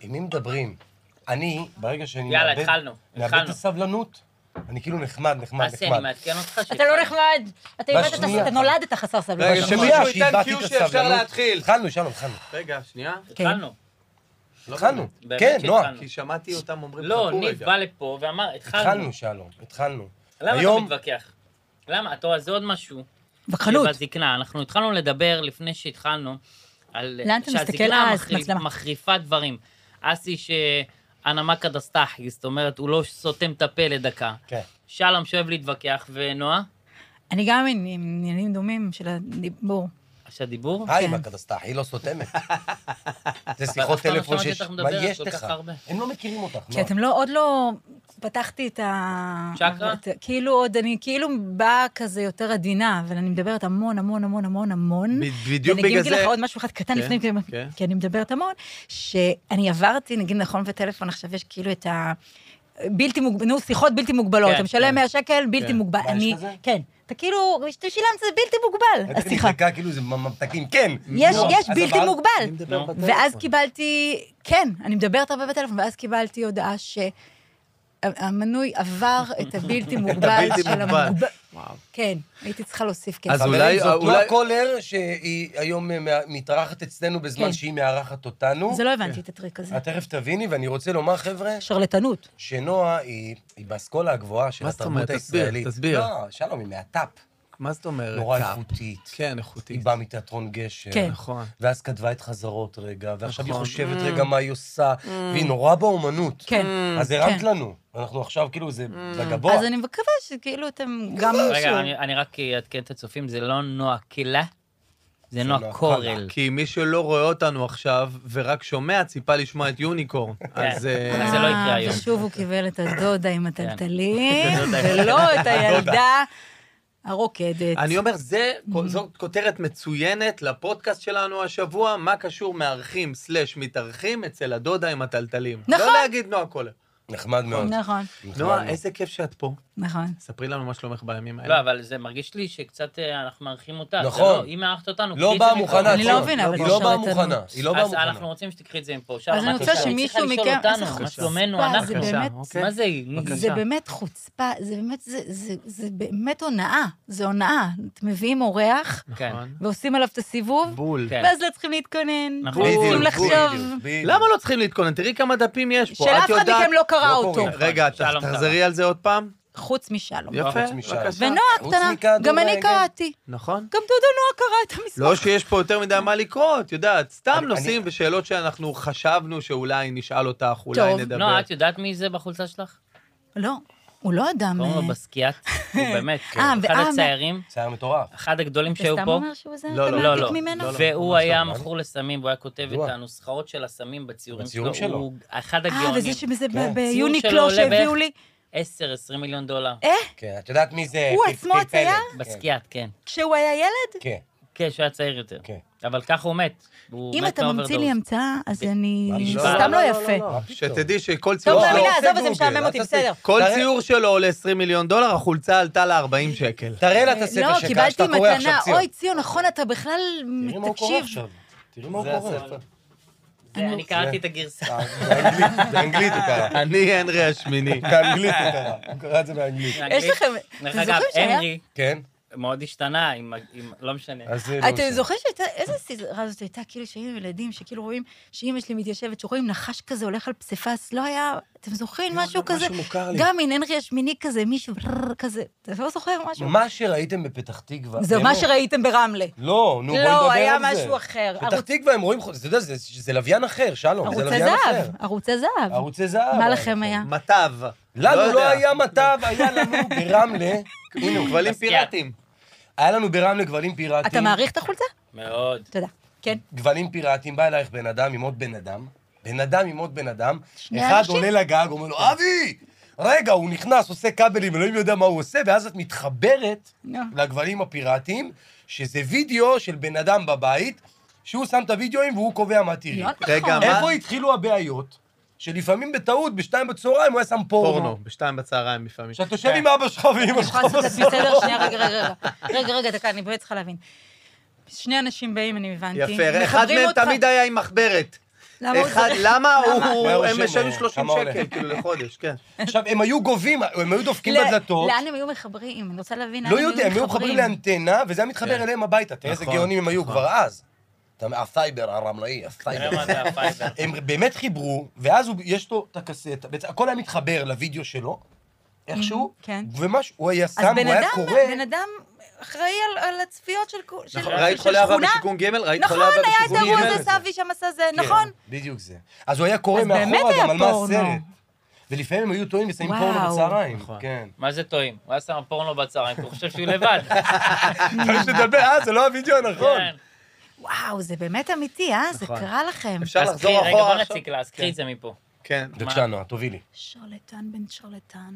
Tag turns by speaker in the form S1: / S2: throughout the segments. S1: עם מי מדברים? אני, ברגע שאני
S2: יאללה,
S1: מאבד-
S2: התחלנו,
S1: מאבד
S2: התחלנו.
S1: את הסבלנות, אני כאילו נחמד, נחמד,
S2: אסי, אני
S1: נחמד.
S2: מעדכן אותך ש...
S3: אתה לא נחמד, אתה איבדת את
S1: בשנייה.
S3: הס- אתה נולדת חסר סבלנות.
S4: רגע,
S3: נכון.
S4: שנייה.
S1: בשנייה שאיבדתי
S4: ייתן
S1: את
S4: cue שאפשר
S1: הסבלנות,
S4: להתחיל.
S1: התחלנו, שלום, התחלנו.
S4: רגע, שנייה.
S2: התחלנו.
S4: לא
S1: התחלנו.
S2: באמת
S1: כן,
S2: שהתחלנו.
S1: נועה.
S4: כי שמעתי אותם אומרים,
S2: לא,
S4: "חכו
S2: ניב
S4: רגע".
S2: בא לפה ואמר, התחלנו.
S1: כן. התחלנו, שלום, התחלנו.
S2: למה אתה
S1: היום-
S2: מתווכח? למה? אתה רואה, זה עוד משהו.
S3: וכחנות.
S2: שבזקנה, אנחנו התחלנו לדבר לפני שהתחלנו, על
S3: לאן אתה מסתכל
S2: שהזקנה
S3: אז?
S2: מחריף-
S3: מצלמה.
S2: מחריפה דברים. אסי שאנמק הדסטחי, זאת אומרת, הוא לא סותם את הפה לדקה.
S1: כן.
S2: שלום שאוהב להתווכח, ונועה,
S3: אני גם עם עם עניינים דומים של הדיבור.
S2: עכשיו דיבור?
S3: אוקיי.
S1: היי, מה קדסטח, היא לא סותמת. זה שיחות
S2: אף פעם לא
S1: טלפון
S2: שמעתי
S1: שיש...
S2: אותך
S1: מה
S2: מדברת
S1: יש
S2: כל כך
S1: לך?
S2: הרבה.
S1: הם לא מכירים אותך,
S3: כי
S1: נועה.
S3: אתם לא, עוד לא פתחתי את ה...
S2: צ'קרה?
S3: את- כאילו עוד, אני כאילו באה כזה יותר עדינה, אבל אני מדברת המון, המון, המון, המון, המון.
S4: ב- בדיוק
S3: ואני
S4: בגלל
S3: אגיד לך
S4: זה...
S3: עוד משהו אחד קטן
S4: כן,
S3: לפני,
S4: כן.
S3: כי אני מדברת המון, שאני עברתי, נגיד נכון וטלפון, עכשיו יש כאילו את ה... בלתי מוגבלות, נו, שיחות בלתי מוגבלות.
S2: כן,
S3: אתה משלם
S2: כן.
S3: 100 שקל, בלתי
S4: כן.
S3: מוגבל.
S1: מה, יש
S3: אני...
S1: כזה?
S3: כן. אתה כאילו, אתה שילמת, זה בלתי מוגבל,
S1: הייתי
S3: השיחה.
S1: נדלקה כאילו זה ממתקים, כן.
S3: אה, יש,
S1: נו,
S3: יש,
S1: אז
S3: בלתי
S1: אבל-
S3: מוגבל.
S4: מדבר בטלפון.
S3: ואז קיבלתי, כן, אני מדברת הרבה בטלפון, ואז קיבלתי הודעה ש... המנוי עבר את הבלתי מוגבל
S4: הבלתי
S3: של
S4: מוגבל.
S3: המוגבל.
S4: וואו.
S3: כן, הייתי צריכה להוסיף
S4: אז
S3: כסף.
S1: חברים,
S4: אולי-
S1: זאת
S4: אולי-
S1: נועה קולר, שהיא היום אה, מה- מתארחת אצלנו בזמן
S3: כן.
S1: שהיא מארחת אותנו.
S3: זה לא הבנתי את הטריק הזה.
S1: את תכף תביני, ואני רוצה לומר, חבר'ה,
S3: שרלטנות.
S1: שנועה היא היא באסכולה הגבוהה של
S4: מה זאת
S1: התרבות
S4: אומרת? תסביר,
S1: הישראלית.
S4: תסביר.
S1: לא, שלום, היא מהטאפ.
S4: מה זאת אומרת?
S1: נורא
S4: טאפ?
S1: איכותית.
S4: כן,
S1: היא
S4: איכותית.
S1: באה מתיאטרון גשר.
S3: כן.
S4: נכון.
S1: ואז כתבה את חזרות רגע, ועכשיו היא
S4: נכון.
S1: חושבת
S4: Mm.
S1: רגע מה היא עושה, והיא נורא באומנות.
S3: כן.
S1: אז הרמת
S3: כן. Mm.
S1: לנו. אנחנו עכשיו, כאילו, זה בגבוה.
S3: אז אני מקווה שכאילו אתם גם...
S2: רגע, אני- אני רק אעדכן את הצופים, זה לא נועה קלה, זה נועה
S1: נועה
S2: קורל.
S4: כי מי שלא רואה אותנו עכשיו, ורק שומע, ציפה לשמוע את יוניקורן.
S2: כן.
S4: אז... אה,
S2: אז זה לא יקרה היום.
S3: ושוב הוא קיבל את הדודה עם הטלטלים,
S2: את הדודה.
S3: ולא את הילדה הרוקדת.
S4: אני אומר, זה, זו כותרת מצוינת לפודקאסט שלנו השבוע, מה קשור מארחים סלאש מתארחים אצל הדודה עם הטלטלים.
S3: נכון.
S4: לא להגיד נועה קולר.
S1: נחמד מאוד.
S3: נכון,
S1: נחמד מאוד.
S4: נועה, איזה כיף שאת פה.
S3: נכון.
S4: ספרי לנו מה שלומך בימים האלה.
S2: לא, אבל זה מרגיש לי שקצת אה, אנחנו מארחים אותה. זה
S1: נכון.
S2: לא- היא מארחת אותנו.
S1: לא
S2: קחי את זה
S1: באה
S2: מפה.
S1: מוכנה.
S3: אני לא
S1: ציון.
S3: מבינה, אבל
S1: היא לא באה
S3: שרלטנות.
S1: מוכנה. היא לא באה
S2: אז
S1: מוכנה.
S2: אנחנו רוצים שתקחי את זה מפה. שלום,
S3: אז אני
S2: מה
S3: רוצה
S2: את עושה?
S3: שמישהו
S2: היא צריכה לשאול
S3: מכם-
S2: אותנו,
S3: איזה
S2: מה
S3: חוצפה,
S2: שלומנו,
S3: זה
S2: אנחנו.
S3: באמת-
S4: אוקיי.
S2: מה זה היא?
S4: בבקשה.
S3: זה באמת חוצפה, זה באמת, זה, זה, זה באמת הונאה, זה הונאה. אתם מביאים אורח
S2: כן.
S4: נכון.
S3: ועושים עליו את הסיבוב,
S4: בול.
S2: כן.
S3: ואז לא צריכים להתכונן,
S2: נכון.
S3: לא צריכים
S4: בדיוק,
S3: לחשוב,
S1: בדיוק, בדיוק.
S4: למה לא צריכים להתכונן? תראי כמה דפים יש פה.
S3: שאף
S4: את
S3: אחד
S4: יודעת-
S3: מכם לא קרא
S1: לא
S3: אותו,
S1: קוראים.
S4: רגע, ת-
S2: שלום,
S4: תחזרי על זה עוד פעם.
S3: חוץ משלום.
S4: יפה,
S1: חוץ משלום.
S4: בבקשה.
S3: ונועה
S1: חוץ
S3: הקטנה,
S1: מכדורגל.
S3: גם אני קראתי,
S4: נכון.
S3: גם דודו נועה קרא את המסמך.
S4: לא שיש פה יותר מדי מה לקרוא, את יודעת, סתם
S1: אני-
S4: נושאים
S1: אני-
S4: ושאלות שאנחנו חשבנו שאולי נשאל אותך, אולי
S3: טוב.
S4: נדבר.
S2: נועה, את יודעת מי זה בחולצה שלך?
S3: לא, הוא לא אדם...
S2: קוראים לו
S3: אה,
S2: בסקיאט. הוא באמת,
S3: אה,
S2: אחד
S3: ואה,
S2: הציירים,
S1: שיער מטורף.
S2: אחד הגדולים
S3: זה
S2: שהיו
S3: סתם
S2: פה.
S3: אומר שהוא זה?
S4: לא,
S3: אתה
S4: לא,
S2: לא,
S3: מעתיק
S2: לא.
S3: ממנו?
S4: לא, לא.
S2: והוא
S1: ממש
S2: היה
S1: לא,
S2: מכור לסמים, והוא היה כותב את
S1: ידוע.
S2: הנוסחאות של הסמים בציורים שלו.
S1: בציורים שלו.
S2: הוא אחד
S3: אה,
S2: הגאונים.
S3: וזה שזה ב-
S1: כן.
S2: ציור
S3: ביוניקלו
S2: שלו עולה
S3: שהביאו
S2: בערך-
S3: לי, אה?
S2: 10-20 מיליון דולר.
S1: כן, את יודעת מי זה?
S3: הוא
S1: פ-
S3: עצמו
S1: פלפלת.
S3: הצייר?
S1: כן,
S2: בסקיאט, כן.
S3: כשהוא היה ילד?
S1: כן,
S2: כן, שהוא היה צעיר יותר.
S1: כן.
S2: אבל ככה הוא מת. הוא
S3: אם
S2: מת
S3: אתה ממציא לי
S2: מאוברדוז.
S3: המצאה, אז אני...
S1: ממש
S3: זה
S1: לא.
S3: סתם לא
S4: לא,
S3: יפה.
S1: מה פתאום?
S4: שתדעי שכל ציור
S3: טוב,
S1: לא,
S3: מאמינה,
S4: שלו...
S1: לא,
S3: עזוב,
S1: עושה
S3: זה
S1: גוגל,
S3: משעמם
S1: אל
S3: אותי,
S1: תעשי.
S3: בסדר.
S4: כל
S1: תראה-
S4: ציור שלו עולה 20 מיליון דולר, החולצה עלתה לה 40 שקל.
S1: תראה לה את
S3: לא,
S1: הספר שלך,
S3: קיבלתי
S1: שאתה קורא עכשיו
S3: מתנה,
S1: ציור.
S3: אוי ציון, נכון, אתה בכלל,
S1: תראי מה הוא קורא
S3: תקשיב.
S1: עכשיו. תראי מה הוא
S4: זה
S1: קורא.
S4: הספר.
S3: אמ-
S2: זה- אני קראתי את הגרסה.
S1: אה, באנגלית, באנגלית הוא קרא.
S4: אני הנרי השמיני.
S1: באנגלית הוא קרא. הוא קרא את זה באנגלית.
S3: יש לכם,
S2: דרך
S3: אתם
S2: אגב,
S3: זוכרים שהיה?
S2: הנרי
S1: כן?
S2: מאוד השתנה עם... ה- עם- לא משנה.
S1: אז זה לא
S3: אתם
S1: עושה.
S3: זוכרים שהייתה, איזה סדרה זאת הייתה, כאילו שהיינו ילדים, שכאילו רואים שאימא שלי מתיישבת, שרואים נחש כזה הולך על פסיפס, לא היה, אתם זוכרים
S1: לא,
S3: משהו כזה?
S4: מוכר
S3: גם עם הנרי השמיני כזה, מישהו בררר כזה, אתה לא זוכר משהו?
S1: מה שראיתם בפתח תקווה...
S3: זה מה
S1: באמת.
S3: שראיתם ברמלה.
S1: לא, נו, בואי נדבר על זה.
S3: לא, היה משהו אחר.
S1: פתח
S3: ערוץ-
S1: תקווה, הם רואים... אתה יודע, זה- זה לוויין אחר, שלום. זה
S3: ערוצי
S1: לוויין אחר.
S3: זהב, ערוצי זהב.
S1: ערוצי זהב. כן.
S3: מה לכם היה?
S4: מטב.
S1: לנו לא
S4: יודע.
S1: היה מטב, היה לנו ברמלה,
S4: הנה, כבלים פיראטיים.
S1: היה לנו ברמלה גבלים פיראטיים.
S3: אתה מעריך את החולצה?
S2: מאוד.
S3: תודה. כן.
S1: גבלים פיראטיים, בא אלייך בן אדם עם עוד בן אדם, בן אדם עם עוד בן אדם,
S3: שני
S1: אחד
S3: אנשים?
S1: עולה לגג, אומר לו, אבי! רגע, הוא נכנס, עושה כבלים, אלוהים יודע מה הוא עושה, ואז את מתחברת
S3: נו.
S1: לגבלים הפיראטיים, שזה וידאו של בן אדם בבית, שהוא שם את הוידאוים והוא קובע אה, מה תראי.
S3: לא נכון.
S4: רגע, מה?
S1: איפה התחילו הבעיות? שלפעמים בטעות, בשתיים בצהריים הוא היה שם
S4: פורנו,
S1: פורנו.
S4: בשתיים בצהריים לפעמים.
S1: כשאתה יושב עם אבא שלך ואימא
S3: אני
S1: שלך
S3: יכולה לעשות לעצמי
S1: בסוף.
S3: סדר? שנייה, רגע, רגע, רגע. רגע, רגע, דקה, אני באמת צריכה להבין. שני אנשים באים, אני הבנתי.
S4: יפה, אחד
S3: מחברים
S4: מהם
S3: אותך-
S4: תמיד היה עם מחברת.
S3: למה הוא
S4: אחד-
S3: צריך?
S4: למה
S1: הוא היה
S4: הוא... הם
S1: רושם,
S4: משלמים
S1: אה,
S4: 30
S1: כמה עולה?
S4: שקל, כאילו, לחודש, כן.
S1: עכשיו, הם היו גובים, הם היו דופקים
S3: לא,
S1: בדלתות.
S3: לאן הם היו מחברים? אני רוצה להבין לאן
S1: לא יודע, הם היו מחברים לאנטנה, וזה היה מתחבר
S4: כן.
S1: אליהם הביתה. תראה איזה
S4: נכון,
S1: גאונים הם היו
S4: נכון.
S1: כבר אז. אתה אומר, הסייבר הרמלאי,
S2: תראה
S1: הסייבר.
S2: מה זה הפייבר.
S1: הם באמת חיברו, ואז הוא- יש לו את הקסטה, בעצם הכל היה מתחבר לוידאו שלו, איכשהו,
S3: כן.
S1: ומשהו, הוא היה שם,
S3: אז בן
S1: הוא היה
S3: אדם,
S1: קורא.
S3: בן אדם אחראי על- על הצפיות של כו- של-
S4: נכון,
S2: של
S4: ראית
S3: של
S4: חולה אהבה
S3: שכונה?
S4: בשיקום גמל? ראית
S3: נכון,
S4: חולה אהבה
S3: היה את
S4: בשיקום
S1: איזה
S3: האירוע
S1: גמל?
S4: גמל?
S3: הזה, סבי שם עשה זה,
S1: כן,
S3: נכון.
S1: בדיוק זה. אז הוא היה קורא
S3: אז באמת
S1: מאחורה
S3: היה
S1: גם על מה
S3: פורנו.
S1: הסרט. ולפעמים הם היו טועים ושמים
S3: וואו.
S1: פורנו בצהריים.
S4: נכון.
S1: כן.
S2: מה זה טועים? הוא היה שם פורנו בצהריים, כי הוא חושב שהוא לבד.
S1: צריך לדבר, אה, זה לא הוידאו הנכון.
S2: נכון. כן.
S3: וואו, זה באמת אמיתי, אה? זה
S4: נכון.
S3: קרה לכם.
S4: אפשר
S2: אז
S4: לחזור
S2: קחי- רגע,
S4: אחורה
S2: בוא
S4: עכשיו?
S2: נציק לה, אז קחי את זה מפה.
S4: כן.
S1: בבקשה, נועה, תובילי.
S3: שרלטן בן שרלטן,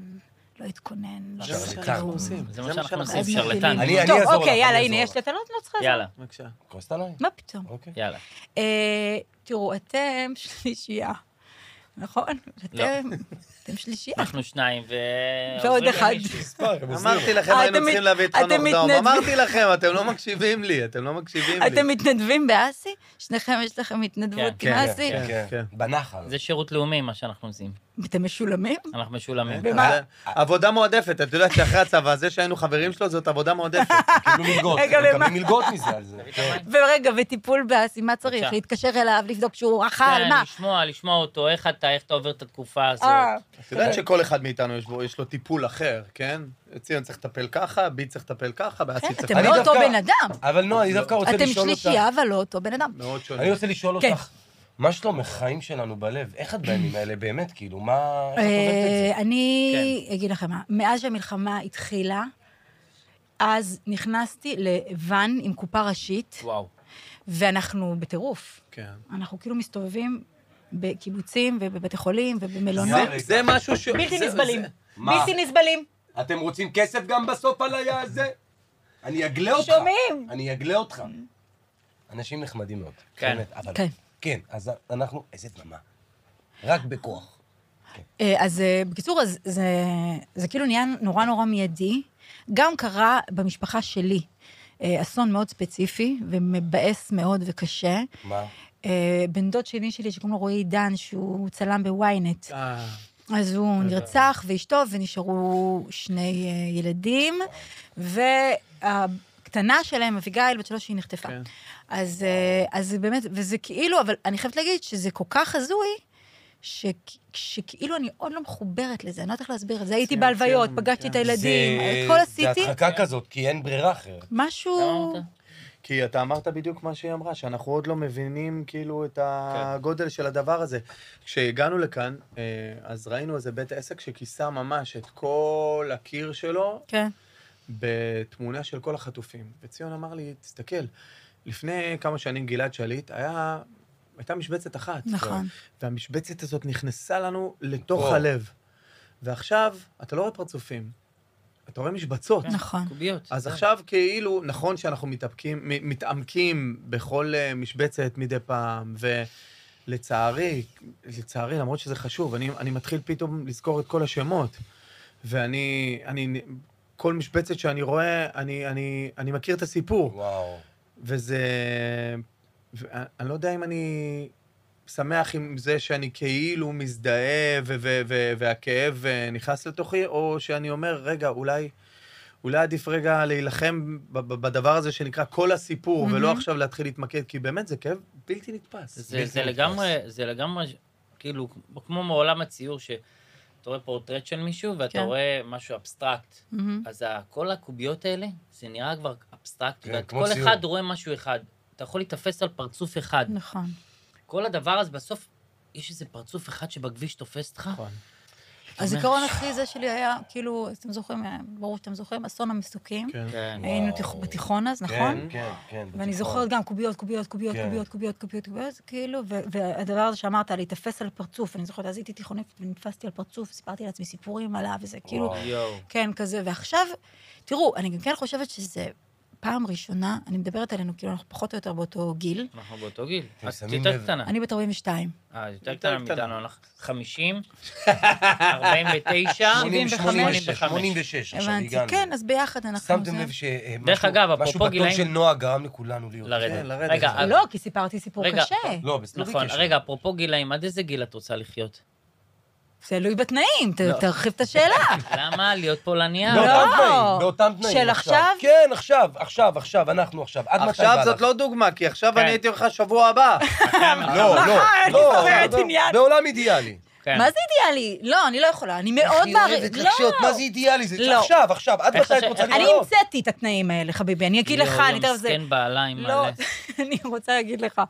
S3: לא התכונן, לא
S1: שרלטן.
S3: עשה כלום.
S1: עושים.
S2: זה מה שאנחנו עושים,
S3: אז
S2: שרלטן.
S3: מגעילים.
S1: אני- אני
S3: טוב,
S1: אעזור
S3: אוקיי,
S1: לך,
S3: יאללה,
S1: אני
S3: הנה,
S1: אעזור
S3: יש לי, אתה לא לא צריך לעזור.
S2: יאללה,
S4: בבקשה.
S1: כועסת עליי?
S3: מה פתאום?
S1: אוקיי.
S2: יאללה.
S3: אה, תראו, אתם שלישייה, נכון?
S2: לא.
S3: אתם אתם שלישייה.
S2: אנחנו שניים, ו...
S3: ועוד
S2: עוזרים
S3: אחד.
S2: למישהו.
S1: כן,
S4: אמרתי לכם,
S3: אה,
S4: היינו
S3: אתם
S4: צריכים
S3: מת-
S4: להביא את
S3: אתם
S4: חנוך דאום.
S3: מתנדבים.
S4: אמרתי לכם, אתם לא מקשיבים לי, אתם לא מקשיבים לי.
S3: אתם מתנדבים באסי? שניכם יש לכם התנדבות
S2: כן,
S3: עם
S1: כן,
S3: אסי?
S1: כן,
S4: כן.
S1: כן. בנחל.
S2: זה שירות לאומי, מה שאנחנו עושים.
S3: אתם משולמים?
S2: אנחנו משולמים.
S3: אה,
S1: במה?
S4: זה- כן, עבודה מועדפת, את יודעת שאחרי הצבא, זה שהיינו חברים שלו, זאת עבודה מועדפת.
S1: קיבלו מלגות.
S3: רגע,
S1: הם
S3: למה?
S1: מקבלים מלגות מזה על זה. כן.
S3: ורגע, וטיפול באסי, מה צריך?
S2: בבקשה.
S3: להתקשר אליו, לבדוק שהוא אכל,
S2: כן,
S3: מה?
S2: לשמוע, לשמוע אותו, איך אתה, איך אתה עובר את התקופה הזאת.
S3: אה,
S4: את יודעת שכל אחד מאיתנו יש בו- יש לו טיפול אחר, כן? ציון צריך לטפל ככה, בי צריך לטפל ככה, באסי
S3: כן,
S4: צריך...
S3: אתם
S1: אני
S3: לא אותו
S1: דווקא-
S3: בן אדם.
S1: אבל נועה, אני דווקא רוצה
S3: אתם
S1: לשאול אותך.
S3: שלישייה, אבל לא אותו בן אדם.
S4: מאוד שונה.
S1: אני רוצה לשאול
S3: כן.
S1: אותך, מה שלום החיים שלנו בלב? איך את בימים האלה באמת? כאילו, מה... איך את עובדת את זה?
S3: אה, אני אגיד לכם מה, מאז שהמלחמה התחילה, אז נכנסתי לוואן עם קופה ראשית,
S2: וואו.
S3: ואנחנו בטירוף.
S4: כן.
S3: אנחנו כאילו מסתובבים בקיבוצים ובבתי חולים
S1: לא,
S3: ובמלונות.
S1: רגע.
S4: זה- זה משהו ש... זה-
S3: בלתי נסבלים.
S4: זה-
S1: מה?
S3: בלתי נסבלים.
S1: אתם רוצים כסף גם בסוף על היה הזה? אני אגלה אותך.
S3: שומעים?
S1: אני אגלה אותך. אנשים נחמדים מאוד.
S2: כן.
S1: באמת, אבל...
S3: כן.
S1: כן, אז אנחנו... איזה דממה. רק בכוח.
S3: אה, אז אה, בקיצור, אז זה, זה כאילו נהיה נורא נורא מיידי. גם קרה במשפחה שלי אה, אסון מאוד ספציפי ומבאס מאוד וקשה.
S1: מה?
S3: אה, בן דוד שני שלי, שקוראים לו רועי עידן, שהוא צלם בוויינט,
S4: אה,
S3: אז הוא נרצח ואשתו, ונשארו שני אה, ילדים, והקטנה שלהם, אביגיל, בת שלוש, היא נחטפה.
S4: כן.
S3: אז, אה, אז זה באמת, וזה כאילו, אבל אני חייבת להגיד שזה כל כך הזוי, ש- שכאילו אני עוד לא מחוברת לזה, אני לא יודעת איך להסביר את זה. הייתי
S4: כן,
S3: בהלוויות,
S4: כן,
S3: פגשתי
S4: כן.
S3: את הילדים,
S1: זה-
S3: את כל עשיתי,
S1: זה הדחקה כזאת, כי אין ברירה אחרת.
S3: משהו...
S2: למה אמרת?
S4: כי אתה אמרת בדיוק מה שהיא אמרה, שאנחנו עוד לא מבינים כאילו את הגודל של הדבר הזה. כשהגענו לכאן, אה, אז ראינו איזה בית עסק שכיסה ממש את כל הקיר שלו,
S3: כן.
S4: בתמונה של כל החטופים. וציון אמר לי, תסתכל, לפני כמה שנים גלעד שליט היה... הייתה משבצת אחת.
S3: נכון.
S4: והמשבצת הזאת נכנסה לנו לתוך
S1: וואו.
S4: הלב. ועכשיו, אתה לא רואה פרצופים, אתה רואה משבצות.
S3: נכון.
S2: קוביות.
S4: אז
S2: זה-
S4: עכשיו כאילו, נכון שאנחנו מתאפקים, מ- מתעמקים בכל אה, משבצת מדי פעם, ולצערי, לצערי, למרות שזה חשוב, אני, אני מתחיל פתאום לזכור את כל השמות, ואני, אני, כל משבצת שאני רואה, אני, אני, אני מכיר את הסיפור,
S1: וואו.
S4: וזה, ואני, אני לא יודע אם אני שמח עם זה שאני כאילו מזדהה ו- ו- ו- והכאב אה, נכנס לתוכי, או שאני אומר, רגע, אולי... אולי עדיף רגע להילחם ב- ב- בדבר הזה שנקרא כל הסיפור,
S3: מהמם.
S4: ולא עכשיו להתחיל להתמקד, כי באמת זה כאב בלתי נתפס.
S2: זה-
S1: בלתי
S2: זה
S1: נתפס.
S2: לגמרי, זה לגמרי, ש- כאילו, כמו מעולם הציור, שאתה רואה פורטרט של מישהו,
S3: כן.
S2: ואתה רואה משהו אבסטרקט.
S3: מהמם.
S2: אז ה- כל הקוביות האלה, זה נראה כבר אבסטרקט.
S1: כן,
S2: ואת-
S1: כמו
S2: כל
S1: ציור.
S2: אחד רואה משהו אחד. אתה יכול להיתפס על פרצוף אחד.
S3: נכון.
S2: כל הדבר הזה, בסוף, יש איזה פרצוף אחד שבכביש תופס אותך.
S4: נכון.
S3: הזיכרון הכי זה שלי היה, כאילו, אתם זוכרים, אה, ברור שאתם זוכרים, אסון המסוקים.
S4: כן.
S2: כן.
S3: היינו
S1: וואו.
S3: תיכ- בתיכון אז, נכון?
S1: כן, כן, כן. בתיכון.
S3: ואני זוכרת גם קוביות, קוביות, קוביות,
S1: כן.
S3: קוביות, קוביות, קוביות, קוביות, כאילו, ו- והדבר הזה שאמרת, להיתפס על פרצוף, אני זוכרת, אז הייתי תיכונית ונתפסתי על פרצוף, סיפרתי לעצמי סיפורים עליו, וזה כאילו,
S1: וואו.
S2: יואו.
S3: כן, כזה, ועכשיו, תראו, אני גם כן חושבת שזה פעם ראשונה, אני מדברת עלינו כאילו אנחנו פחות או יותר באותו גיל.
S2: אנחנו באותו גיל.
S1: אתם
S2: את
S1: שמים לב?
S2: יותר קטנה.
S3: אני בת 42.
S2: אה, את יותר
S4: יותר
S2: קטנה
S4: קטנה.
S2: מאיתנו, אנחנו 50, 49,
S1: 80, 86,
S2: 85.
S1: 86, עכשיו
S3: הבנתי.
S1: הגענו.
S3: כן, אז ביחד אנחנו...
S1: שמתם
S3: זה-
S1: לב שמשהו
S2: דרך אגב, אפרופו
S1: משהו בטון
S2: גילאים-
S1: של נועה גרם לכולנו להיות.
S4: כן,
S2: לרדת.
S4: לרדת.
S2: רגע,
S4: אה,
S2: אז-
S3: לא, כי סיפרתי סיפור
S2: רגע,
S3: קשה.
S1: לא, בסדר.
S2: נכון, רגע, אפרופו גילאים, עד איזה גיל את רוצה לחיות?
S3: תלוי בתנאים, ת-
S2: לא.
S3: תרחיב את השאלה.
S2: למה להיות פולניה?
S3: לא.
S1: באותם תנאים, באותם תנאים.
S3: של עכשיו?
S1: כן, עכשיו, עכשיו, עכשיו, אנחנו עכשיו. עד מתי
S4: עכשיו
S1: בא
S4: זאת
S1: לך?
S4: לא דוגמה, כי עכשיו
S2: כן.
S4: אני הייתי לך שבוע הבא.
S1: לא, לא,
S3: אני
S1: לא,
S3: זוכרת
S1: לא,
S3: עניין.
S1: בעולם אידיאלי.
S2: כן.
S3: מה זה אידיאלי? לא, אני לא יכולה, אני מאוד
S1: אחי,
S3: מעריך...
S1: אוהבת לחשוד, מה זה אידיאלי? זה
S3: לא.
S1: עכשיו, עכשיו, עד
S2: איך
S1: מתי את
S2: חשבת-
S1: רוצה
S3: אני
S1: לראות?
S3: המצאתי את התנאים האלה, חביבי, אני אגיד לך, אני תכף
S2: יואו,
S3: זה...
S2: לא, מסכן בעלה עם
S3: לא,
S2: מלא.
S3: אני רוצה להגיד לך,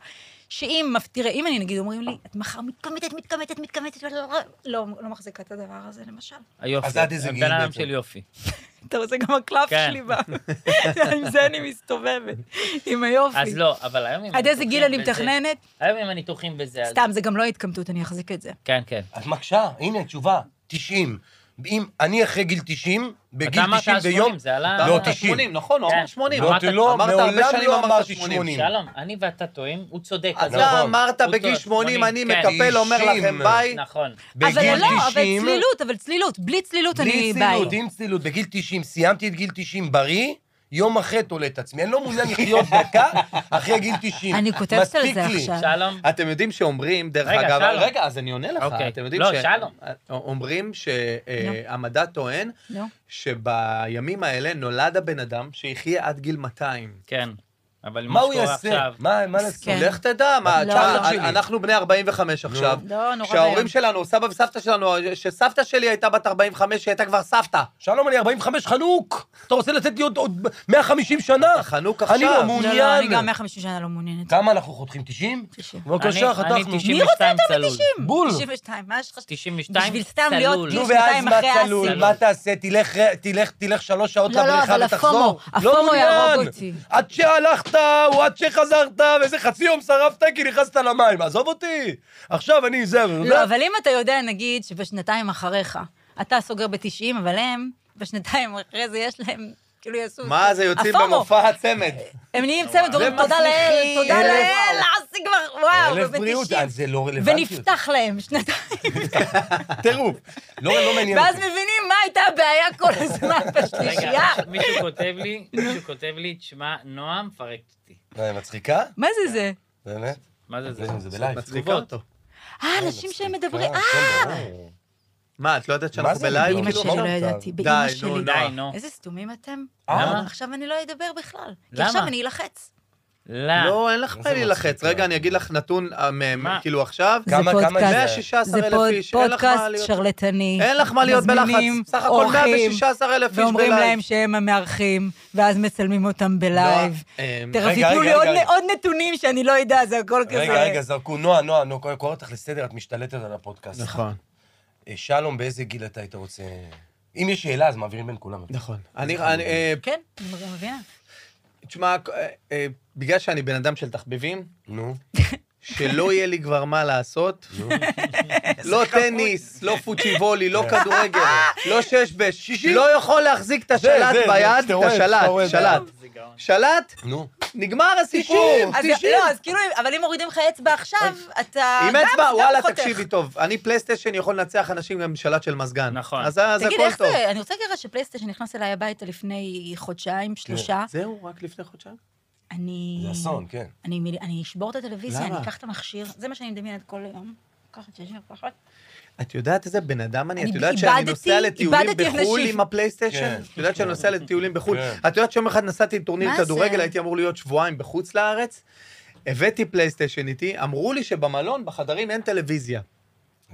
S3: שאם, תראה, אם אני נגיד אומרים לי, את מחר מתקמטת, מתקמטת, מתקמטת, לא, לא לא מחזיקה את הדבר הזה, למשל.
S2: היופי.
S1: אז עד איזה גיל
S2: בן אדם
S1: בעצם?
S2: של יופי.
S3: אתה רואה, זה גם הקלף
S2: כן.
S3: שלי, ב- עם זה אני מסתובבת, עם היופי.
S2: אז לא, אבל היום עם
S3: עד איזה גיל אני
S2: הניתוחים וזה-
S3: מתכננת?
S2: היום עם הניתוחים וזה, אז...
S3: סתם, זה גם לא התקמטות, אני אחזיק את זה.
S2: כן, כן.
S1: אז בבקשה, הנה, תשובה, 90. אם אני אחרי גיל 90, בגיל
S2: אתה אמרת
S1: 90
S2: אז
S1: ביום...
S2: 80, זה עלה...
S1: לא,
S4: אמרת
S1: 90.
S4: 80, נכון, הוא
S2: כן.
S4: אמר 80.
S1: לא,
S2: אמרת-
S1: לא,
S4: אמרת הרבה
S1: מעולם
S4: שנים,
S1: לא
S4: אמרת
S1: אמרתי
S4: 80.
S1: 80.
S2: שלום, אני ואתה טועים, הוא צודק. אז
S3: לא,
S1: נכון.
S4: אתה אמרת
S2: הוא
S4: בגיל
S2: טועה,
S4: 80, אני
S2: 80, כן.
S4: מקפל, אומר לכם
S1: 90.
S3: אוקיי.
S4: ביי.
S2: נכון.
S1: בגיל
S3: אבל לא, אבל
S1: 90,
S3: צלילות, אבל צלילות. בלי צלילות
S1: בלי
S3: אני
S1: צלילות,
S3: ביי.
S1: עם צלילות, בגיל 90, סיימתי את גיל 90 בריא, יום אחרי תולה את עצמי. אני לא מעוניין לחיות דקה אחרי גיל 90.
S3: אני כותבת על
S1: מספיק
S3: זה
S1: לי.
S3: עכשיו.
S2: שלום.
S4: אתם יודעים שאומרים, דרך
S2: רגע,
S4: אגב,
S2: שלום.
S4: רגע, אז אני עונה לך,
S2: אוקיי.
S4: אתם יודעים
S2: לא,
S4: ש-
S2: שלום.
S4: אומרים
S3: נו.
S4: שהמדע טוען
S3: נו.
S4: שבימים האלה נולד הבן אדם שיחיה עד גיל 200.
S2: כן. אבל
S1: מה
S2: מה
S1: הוא
S2: שקורה
S1: יעשה?
S2: עכשיו...
S1: מה מה לעשות?
S3: כן.
S4: לך תדע, מה,
S3: לא.
S4: תשמע,
S1: שלי.
S4: אנחנו בני 45 עכשיו.
S3: לא, נורא ואיום.
S4: כשההורים שלנו, סבא וסבתא שלנו, שסבתא שלי הייתה בת 45, היא הייתה כבר סבתא.
S1: שלום, אני 45 חנוק. אתה רוצה לתת לי עוד- עוד 150 שנה?
S4: אתה חנוק
S1: אני לא
S4: עכשיו.
S3: לא, לא, אני
S1: מעוניין.
S3: גם 150 שנה לא מעוניינת.
S1: כמה אנחנו חותכים? 90?
S3: תשעים.
S1: בבקשה,
S2: אני-
S1: חתכנו.
S2: אני
S3: מי רוצה
S2: 92
S3: יותר
S2: צלול.
S3: מ-90?
S1: בול.
S3: 92, מה יש לך?
S2: 92
S3: בשביל סתם להיות
S2: צלול.
S3: גיל
S1: נו,
S3: שנתיים
S1: ואז מה
S3: אחרי
S1: צלול?
S3: האסיר.
S1: מה תעשה? תלך ר- תלך- תלך שלוש שעות
S3: לא, לא,
S1: לבריכה
S3: אבל
S1: ותחזור? לא
S3: הפומו, הפומו
S1: מעוניין.
S3: יהרוג אותי.
S1: עד שהלכת, או עד שחזרת, ואיזה חצי יום שרפת כי נכנסת למים. עזוב אותי. עכשיו אני זה...
S3: לא, אבל אם אתה יודע, נגיד, שבשנתיים אחריך, אתה סוגר ב-90, אבל הם, בשנתיים אחרי זה יש להם, כאילו יעשו...
S4: מה זה, יוצאים
S3: הפומו.
S4: במופע הצמד.
S3: הם נהיים צמד, אומרים, תודה לאל,
S1: מצליחים.
S3: תודה
S1: אלף-
S3: לאל, עשי כבר, וואו,
S1: אלף
S3: וב-
S1: בריאות,
S3: 90.
S1: אה, זה לא רלוונטי.
S3: ונפתח להם שנתיים,
S1: טירוף. לא לא מעניין
S3: ואז
S1: אותי.
S3: מבינים מה הייתה הבעיה כל הזמן
S2: רגע,
S3: בשלישייה.
S2: מישהו כותב לי, מישהו כותב לי, תשמע, נועה מפרקת אותי.
S1: מה, היא אה, מצחיקה?
S3: מה זה זה?
S1: באמת?
S2: מה זה זה?
S1: זה בלייב.
S4: מצחיקה אותו.
S3: אה, אנשים שהם מדברים,
S1: לא, אה, כן, ברור.
S4: מה, את לא יודעת
S1: מה
S4: שאנחנו
S1: זה
S4: בלייב?
S1: מדהים?
S3: באימא
S1: כאילו,
S3: שלי לא
S1: אמרת.
S3: ידעתי,
S4: די,
S3: באימא
S4: נו,
S3: שלי.
S4: די,
S2: נו.
S3: איזה סתומים אתם.
S1: אה.
S3: עכשיו אני לא אדבר בכלל. כי
S2: למה?
S3: עכשיו אני אלחץ.
S2: למה?
S4: לא, אין לך
S1: מה
S4: מה
S1: זה
S4: להילחץ.
S1: מצחיקה?
S4: רגע, אני אגיד לך נתון, אה, מ-
S2: מה?
S4: כאילו עכשיו,
S1: כמה- כמה
S3: פודקאסט.
S1: זה?
S4: 116,000 איש, אין לך מה להיות...
S3: שרלטני.
S4: אין לך מה להיות בלחץ.
S3: מזמינים
S4: סך הכל
S3: אורחים,
S4: 116,000 איש
S3: ואומרים
S4: בלייב.
S3: להם שהם המארחים, ואז מצלמים אותם בלייב.
S4: לא, אה,
S3: תכף
S1: רגע,
S3: ייתנו
S1: רגע,
S3: לי עוד
S1: רגע.
S3: נ- עוד נטונים שאני לא אדע, זה הכל כזה.
S1: רגע, רגע, זרקו. נועה, נועה, נועה, קורא- קורא אותך לסדר, את משתלטת על הפודקאסט.
S4: נכון,
S1: אה, שלום, באיזה גיל אתה היית רוצה... אם יש שאלה, אז מעבירים בין כולם.
S4: נכון. אני, אני, אה,
S3: כן, אני גם מבינה.
S4: תשמע, אה, אה, בגלל שאני בן אדם של תחביבים,
S1: נו,
S4: שלא יהיה לי כבר מה לעשות,
S1: נו.
S4: לא טניס, לא פוצ'יבולי, לא כדורגל, לא שש בש, לא יכול להחזיק את השלט
S1: זה, זה,
S4: ביד,
S1: אתה רואה,
S4: את
S1: אתה רואה,
S4: השלט, שלט.
S2: זה לא. גאון.
S4: שלט,
S1: נו.
S4: נגמר הסיפור.
S3: אז לא, אז כאילו, אבל אם מורידים לך אצבע עכשיו, אתה
S4: אוקיי. עם
S3: גם-
S4: אצבע,
S3: גם
S4: וואלה,
S3: חותך.
S4: תקשיבי טוב, אני פלייסטיישן יכול לנצח אנשים גם עם שלט של מזגן.
S2: נכון.
S4: אז אז
S3: תגיד,
S4: הכל
S3: איך
S4: טוב.
S3: זה? אני רוצה להגיד לך שפלייסטיישן נכנס אליי הביתה לפני חודשיים, שלושה.
S4: זהו, רק לפני חודשיים?
S3: אני...
S1: זה אסון, כן.
S3: אני, מיל- אני אשבור את הטלוויזיה,
S4: למה?
S3: אני אקח את המכשיר, זה מה שאני מדמיינת כל היום. לקחת שישים, לקחת.
S4: את יודעת איזה בן אדם אני?
S3: אני
S4: את יודעת שאני
S3: איבדתי-
S4: נוסע לטיולים
S3: איבדתי
S4: בחו"ל
S3: אנשים.
S4: עם הפלייסטיישן?
S1: כן.
S4: את יודעת שאני נוסע לטיולים בחו"ל?
S1: כן.
S4: את יודעת שיום אחד נסעתי לטורניר
S3: מה
S4: כדורגל,
S3: זה?
S4: הייתי אמור להיות שבועיים בחוץ לארץ, הבאתי פלייסטיישן איתי, אמרו לי שבמלון, בחדרים אין טלוויזיה.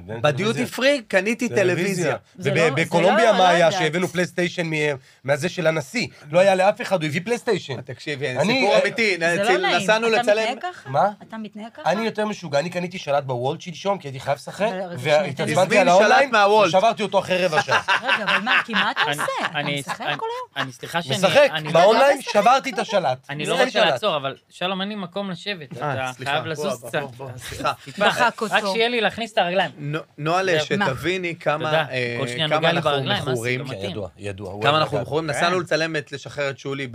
S4: בדיוטי פרי קניתי טלוויזיה.
S3: זה לא- זה
S1: ובקולומביה
S3: לא-
S1: מה
S3: לא
S1: היה?
S3: יודעת.
S1: שהבאנו פלייסטיישן מ- מהזה של הנשיא. לא היה לאף אחד, הוא הביא פלייסטיישן.
S4: תקשיבי,
S1: אני-
S4: סיפור
S1: אה,
S4: אמיתי,
S3: זה לא
S4: נציל-
S3: נעים.
S4: נסענו
S3: אתה
S4: לצלם...
S3: מתנהג ככה?
S1: מה?
S3: אתה מתנהג ככה?
S1: אני יותר משוגע, אני קניתי שלט בוולט שלשום, כי הייתי חייב לשחק,
S3: אבל רגע, שנייה,
S1: והתעצבנתי
S4: תזמין
S1: על
S4: שלט
S1: האונליין,
S4: מהוולט.
S1: ושברתי אותו אחרי רבע שעה.
S3: רגע, אבל מה, כי מה אתה
S2: אני-
S3: עושה? אתה
S2: אני-
S3: משחק
S2: אני-
S3: כל היום?
S2: אני סליחה שאני...
S1: משחק,
S2: אני- לא-
S1: באונליין שברתי את השלט.
S2: אני לא
S1: אין
S2: רוצה
S1: שלט.
S2: לעצור, אבל שלום, אין לי מקום לשבת.
S4: אה,
S2: אתה
S4: סליחה,
S2: חייב
S4: בוא,
S2: לזוז
S4: בוא,
S2: קצת.
S4: בוא, בוא, סליחה.
S2: טיפה.
S3: דחק
S2: רק
S3: אותו.
S2: שיהיה לי להכניס את הרגליים.
S4: נועה,
S2: מה?
S4: שתביני כמה
S2: תודה.
S4: אה,
S2: כל שנייה
S4: כמה
S2: נוגע לי
S4: אנחנו
S2: ברגליים, אסי,
S4: מכורים.
S2: גם
S1: כן,
S2: מתאים.
S1: ידוע, ידוע. הוא
S4: כמה
S1: היה
S4: אנחנו
S1: בגן.
S4: מכורים,
S1: כן.
S4: נסענו לצלם את לשחרר את שולי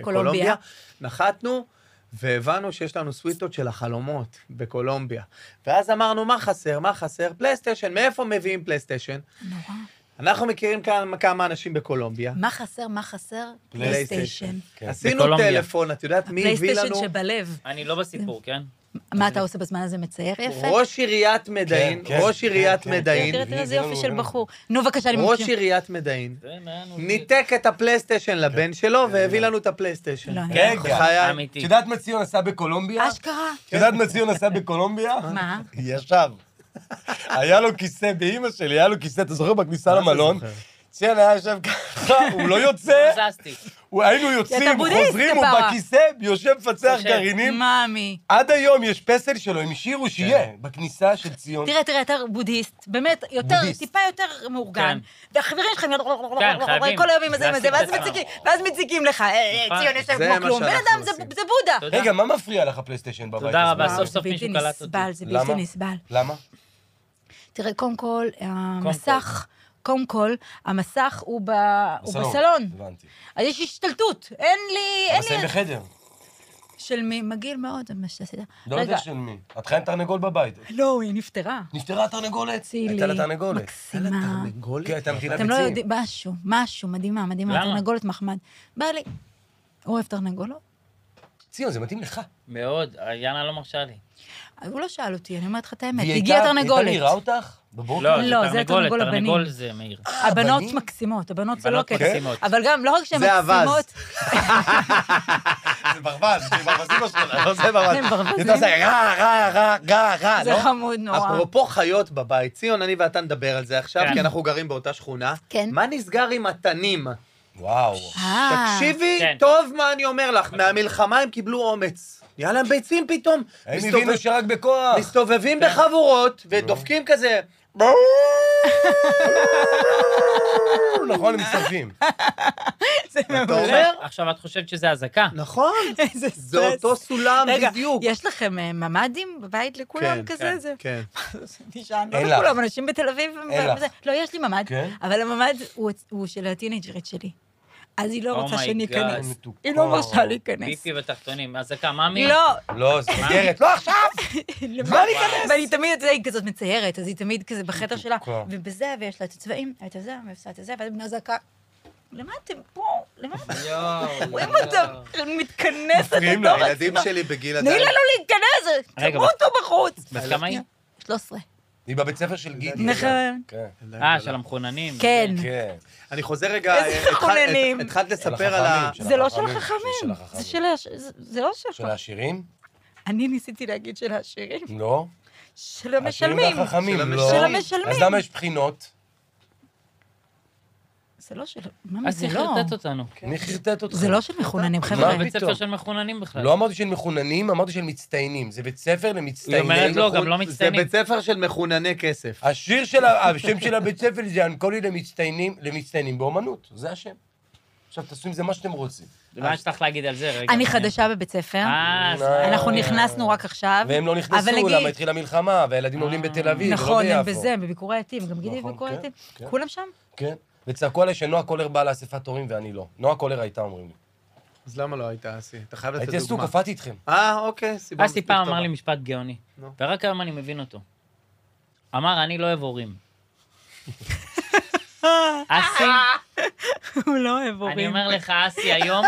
S3: קולומביה.
S4: בקולומביה, נחתנו, והבנו שיש לנו סוויטות של החלומות בקולומביה. ואז אמרנו, מה חסר, מה חסר? פלייסטיישן, מאיפה מביאים פלייסטיישן?
S3: נורא.
S4: אנחנו מכירים כמה- כמה אנשים בקולומביה.
S3: מה חסר, מה חסר?
S4: פלייסטיישן.
S3: פלייסטיישן.
S1: כן.
S4: עשינו
S2: בקולומביה.
S4: טלפון, את יודעת מי הביא
S3: הפלייסטיישן
S4: לנו?
S3: שבלב.
S2: אני לא בסיפור, כן?
S3: מה אתה עושה בזמן הזה? מצייר יפה?
S4: ראש עיריית מדעין,
S1: כן,
S4: ראש
S1: כן,
S4: עיריית
S1: כן,
S4: מדעין,
S1: כן.
S3: תראה, תראה איזה
S1: הביא
S3: יופי
S1: לנו,
S3: של
S1: הביא לנו.
S3: בחור. נו, בבקשה, אני
S4: ראש
S3: ממשיכה.
S4: עיריית מדעין,
S2: זה מעניין אותי.
S4: ניתק את הפלייסטיישן
S1: כן.
S4: לבן שלו והביא לנו את הפלייסטיישן. כן.
S3: לא, אני
S1: רגע.
S3: לא
S1: בחיי. את
S2: אמיתי.
S1: יודעת מה ציון עשה בקולומביה?
S3: יכולה. אשכרה.
S1: את יודעת מה ציון עשה בקולומביה?
S3: מה?
S1: ישב. היה לו כיסא, באימא שלי היה לו כיסא, אתה זוכר בכניסה
S2: לא
S4: מה זה
S1: למלון?
S4: זוכר?
S1: ציון היה יושב ככה, הוא לא יוצא,
S2: זזתי.
S1: הוא- היינו יוצאים,
S3: בודהיסט,
S1: חוזרים, הוא
S3: כפרה.
S1: בכיסא, יושב מפצח
S2: יושב.
S1: גרעינים.
S3: מאמי.
S1: עד היום יש פסל שלו, הם השאירו
S2: כן.
S1: שיהיה, בכניסה של ציון.
S3: תראה, תראה, אתה בודהיסט, באמת, יותר,
S1: נכון? בודהיסט.
S3: טיפה יותר מאורגן. והחברים "לא, שלך,
S2: חייבים.
S3: כל היום עם הזה, עם הזה,
S2: להפסיק את
S3: ואז
S2: עצמם.
S3: מציקים, ואז מציקים לך, "אה, אה,
S2: נכון.
S3: ציון, יש
S4: זה
S3: להם כמו
S4: מה
S3: כלום. בן
S4: שאנחנו
S3: אדם, זה
S4: עושים.
S3: זה בודה.
S2: תודה.
S1: רגע, מה מפריע לך הפלייסטיישן בבית?
S2: תודה רבה,
S1: הזה?
S3: וואו,
S2: סוף סוף
S3: זה בלתי
S2: מישהו קלט אותי.
S3: נסבל, זה בלתי
S1: למה?
S3: נסבל.
S1: למה?
S3: תראה, קודם כל, המסך, קודם כל, המסך הוא ב- הוא בסלון.
S1: הבנתי.
S3: אז יש השתלטות, אין לי, אין
S1: אבל זה
S3: לי...
S1: בחדר.
S3: של מי? מגעיל מאוד, מה שעשית.
S1: לא יודע של מי. את חיית תרנגול בבית.
S3: לא, היא נפטרה.
S1: נפטרה התרנגולת.
S3: צילי.
S1: הייתה לה תרנגולת.
S3: מקסימה.
S4: תרנגולת?
S1: כן, הייתה מטילה
S3: אתם לא
S1: ביצים.
S3: יודעים, משהו, משהו, מדהימה, מדהימה.
S2: למה?
S3: תרנגולת מחמד. בא לי, הוא אוהב תרנגולות?
S1: ציון, זה מתאים לך.
S2: מאוד, יאנה לא מרשה לי.
S3: הוא לא שאל אותי, אני אומרת לך את האמת.
S1: והיא
S3: הגיעה
S1: הייתה- הייתה
S3: תרנגולת.
S1: נראה אותך? בבוקר?
S2: לא,
S3: לא,
S2: זה
S3: זה
S2: תרנגולת,
S3: תרנגול
S2: תרנגול
S3: הבנים.
S2: זה מאיר.
S4: אה,
S3: הבנות
S1: הבנים?
S3: מקסימות, הבנות זה לא
S2: בנות
S3: קטע.
S2: מקסימות.
S3: אבל גם, לא רק שהן
S4: זה אווז.
S3: מקסימות,
S1: זה ברווז, זה ברווזים השכונה, לא זה ברווז.
S3: הם ברווזים.
S1: אתה עושה רע, רע, רע, רע, רע,
S3: זה
S1: לא?
S3: חמוד נורא.
S4: אפרופו חיות בבית, ציון, אני ואתה נדבר על זה עכשיו,
S2: כן.
S4: כי אנחנו גרים באותה שכונה.
S3: כן.
S4: מה נסגר עם התנים?
S1: וואו.
S3: אה,
S4: תקשיבי
S2: כן.
S4: טוב מה אני אומר לך, מהמלחמה הם קיבלו אומץ. נהיה להם ביצים פתאום.
S1: הם
S4: מסתובב-
S1: הבינו שרק בכוח.
S4: מסתובבים בחבורות ודופקים כזה.
S1: נכון, הם מסתובבים.
S3: זה
S4: אתה
S3: מעולה.
S4: אומר?
S2: עכשיו, את חושבת שזה אזעקה?
S4: נכון,
S3: איזה
S4: זה
S3: סטרס.
S4: אותו סולם
S3: רגע,
S4: בדיוק.
S3: יש לכם אה, ממ"דים בבית לכולם כזה? זה-
S4: כן.
S3: נשען,
S1: אין
S3: לא
S1: לך.
S3: לכולם, אנשים בתל אביב, הם
S1: אין לך.
S3: בזה. לא, יש לי ממ"ד,
S1: כן?
S3: אבל הממ"ד הוא- הוא של הטינג'רית שלי. אז היא לא רוצה
S2: אומייגאד.
S3: שאני אכנס.
S1: איזה מתוקה.
S3: היא לא מרשה להיכנס.
S2: ביפי בתחתונים, אזעקה, מאמי?
S3: לא,
S1: לא, זה מגרת, לא עכשיו!
S3: למה להיכנס? ואני תמיד, אתה יודע, היא כזאת מציירת, אז היא תמיד כזה בחדר שלה,
S1: מתוקה.
S3: ובזה, ויש לה את הצבעים, את הזה, ועושה את הזה, ואז בני זעקה, למה אתם פה? למה אתם
S2: יואו.
S3: רואים אותם? מתכנסת
S1: מפריעים
S3: לתוך
S1: לה,
S4: הילדים
S3: עצמה.
S4: שלי בגיל
S3: לא- תני
S4: עדיין.
S3: לנו להיכנס,
S2: רגע,
S3: תמותו בחוץ.
S2: בת כמה היא?
S3: 13.
S1: היא בבית ספר של גידי.
S3: נכון.
S1: כן.
S2: אה, של המחוננים.
S3: כן.
S1: כן.
S4: אני חוזר רגע,
S3: איזה
S4: אה, התחל-
S3: חוננים.
S4: את- התחלת לספר
S1: החכמים,
S4: על ה...
S1: של
S3: זה לא של
S1: החכמים, של
S3: החכמים,
S1: החכמים.
S3: זה של הש... זה- זה לא שלך.
S1: של העשירים?
S3: אני ניסיתי להגיד של העשירים,
S1: לא.
S3: של המשלמים.
S1: העשירים והחכמים,
S4: של
S1: לא.
S3: של המשלמים.
S1: אז למה יש בחינות?
S3: זה לא של... מה
S2: אה, אז
S3: זה
S2: צריך
S3: לא?
S2: לתת אותנו.
S1: מי חרטט אותך?
S3: זה לא של מחוננים,
S2: זה
S3: חבר'ה.
S1: כן. מה
S2: בית ספר
S1: פתאום?
S2: של מחוננים בכלל.
S1: לא אמרתי של מחוננים, אמרתי של מצטיינים. זה בית ספר
S2: היא
S1: למצטיינים.
S2: אומרת לא, גם לא
S4: זה
S2: מצטיינים.
S4: בית ספר של מחונני כסף.
S1: השיר של, ה- השם של הבית ספר זה ינקולי למצטיינים, למצטיינים באומנות, זה השם. עכשיו תעשו עם זה מה שאתם רוצים.
S2: מה יש לך להגיד על זה רגע?
S3: אני חדשה בבית ספר,
S2: אה, אז-
S1: אה.
S3: אנחנו נכנסנו רק עכשיו.
S1: והם לא
S3: אבל
S1: נכנסו,
S3: נגיד-
S1: למה התחילה מלחמה, והילדים עולים בתל אביב, ולא
S3: נכון, הם
S1: ביפו.
S3: בזה, הם בביקורי עטים, גם גידי
S1: נכון,
S3: בביקורי
S1: כן,
S3: עטים.
S1: כן.
S3: כולם שם?
S1: כן, וצעקו עליי שנועה קולר באה לאספת הורים ואני לא. נועה קולר הייתה אומרים לי.
S4: אז למה לא היית אסי? אתה חייב לתת
S1: הייתי
S4: דוגמה.
S1: עסוק, קפאתי איתכם.
S4: אה, אוקיי, סיבה
S2: אסי
S4: מספיק
S2: פעם
S4: טובה.
S2: אמר לי משפט גאוני,
S4: נו.
S2: ורק היום אני מבין אותו. אמר, אני לא אוהב הורים. אסי,
S3: הוא לא אוהב
S2: אני אומר לך, אסי, היום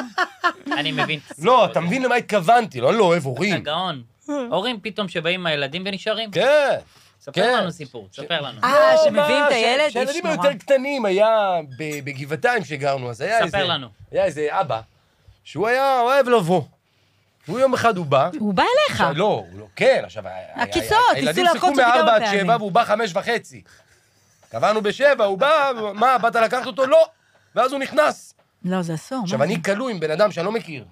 S2: אני מבין את הסיפור
S1: לא,
S2: הזה.
S1: אתה מבין למה התכוונתי, לא, אני לא אוהב
S2: אתה
S1: הורים.
S2: גאון. הורים פתאום שבאים עם הילדים ונשארים.
S1: כן.
S2: ספר
S1: כן.
S2: לנו סיפור, ספר לנו.
S3: אה,
S1: לא,
S3: שמביאים
S1: מה,
S3: את
S1: ש-
S3: הילד, איש
S1: כשהילדים
S3: נורא.
S1: היותר קטנים, היה ב- בגבעתיים שגרנו, אז היה
S2: ספר
S1: איזה...
S2: לנו.
S1: היה איזה אבא, שהוא היה אוהב לבוא. הוא יום אחד הוא בא.
S3: הוא בא אליך.
S1: עכשיו, לא, הוא לא, כן, עכשיו... ה-
S3: הקיצות,
S1: ה- ה-
S3: ניסו
S1: הילדים
S3: להכות
S1: שיחקו
S3: אותו כמה
S1: מארבע עד
S3: פעמים.
S1: שבע, והוא בא חמש וחצי. קבענו בשבע, הוא בא, מה, באת לקחת אותו? לא. ואז הוא נכנס.
S3: לא, זה אסור. מה
S1: עכשיו,
S3: זה?
S1: אני כלוא עם בן אדם שאני לא מכיר.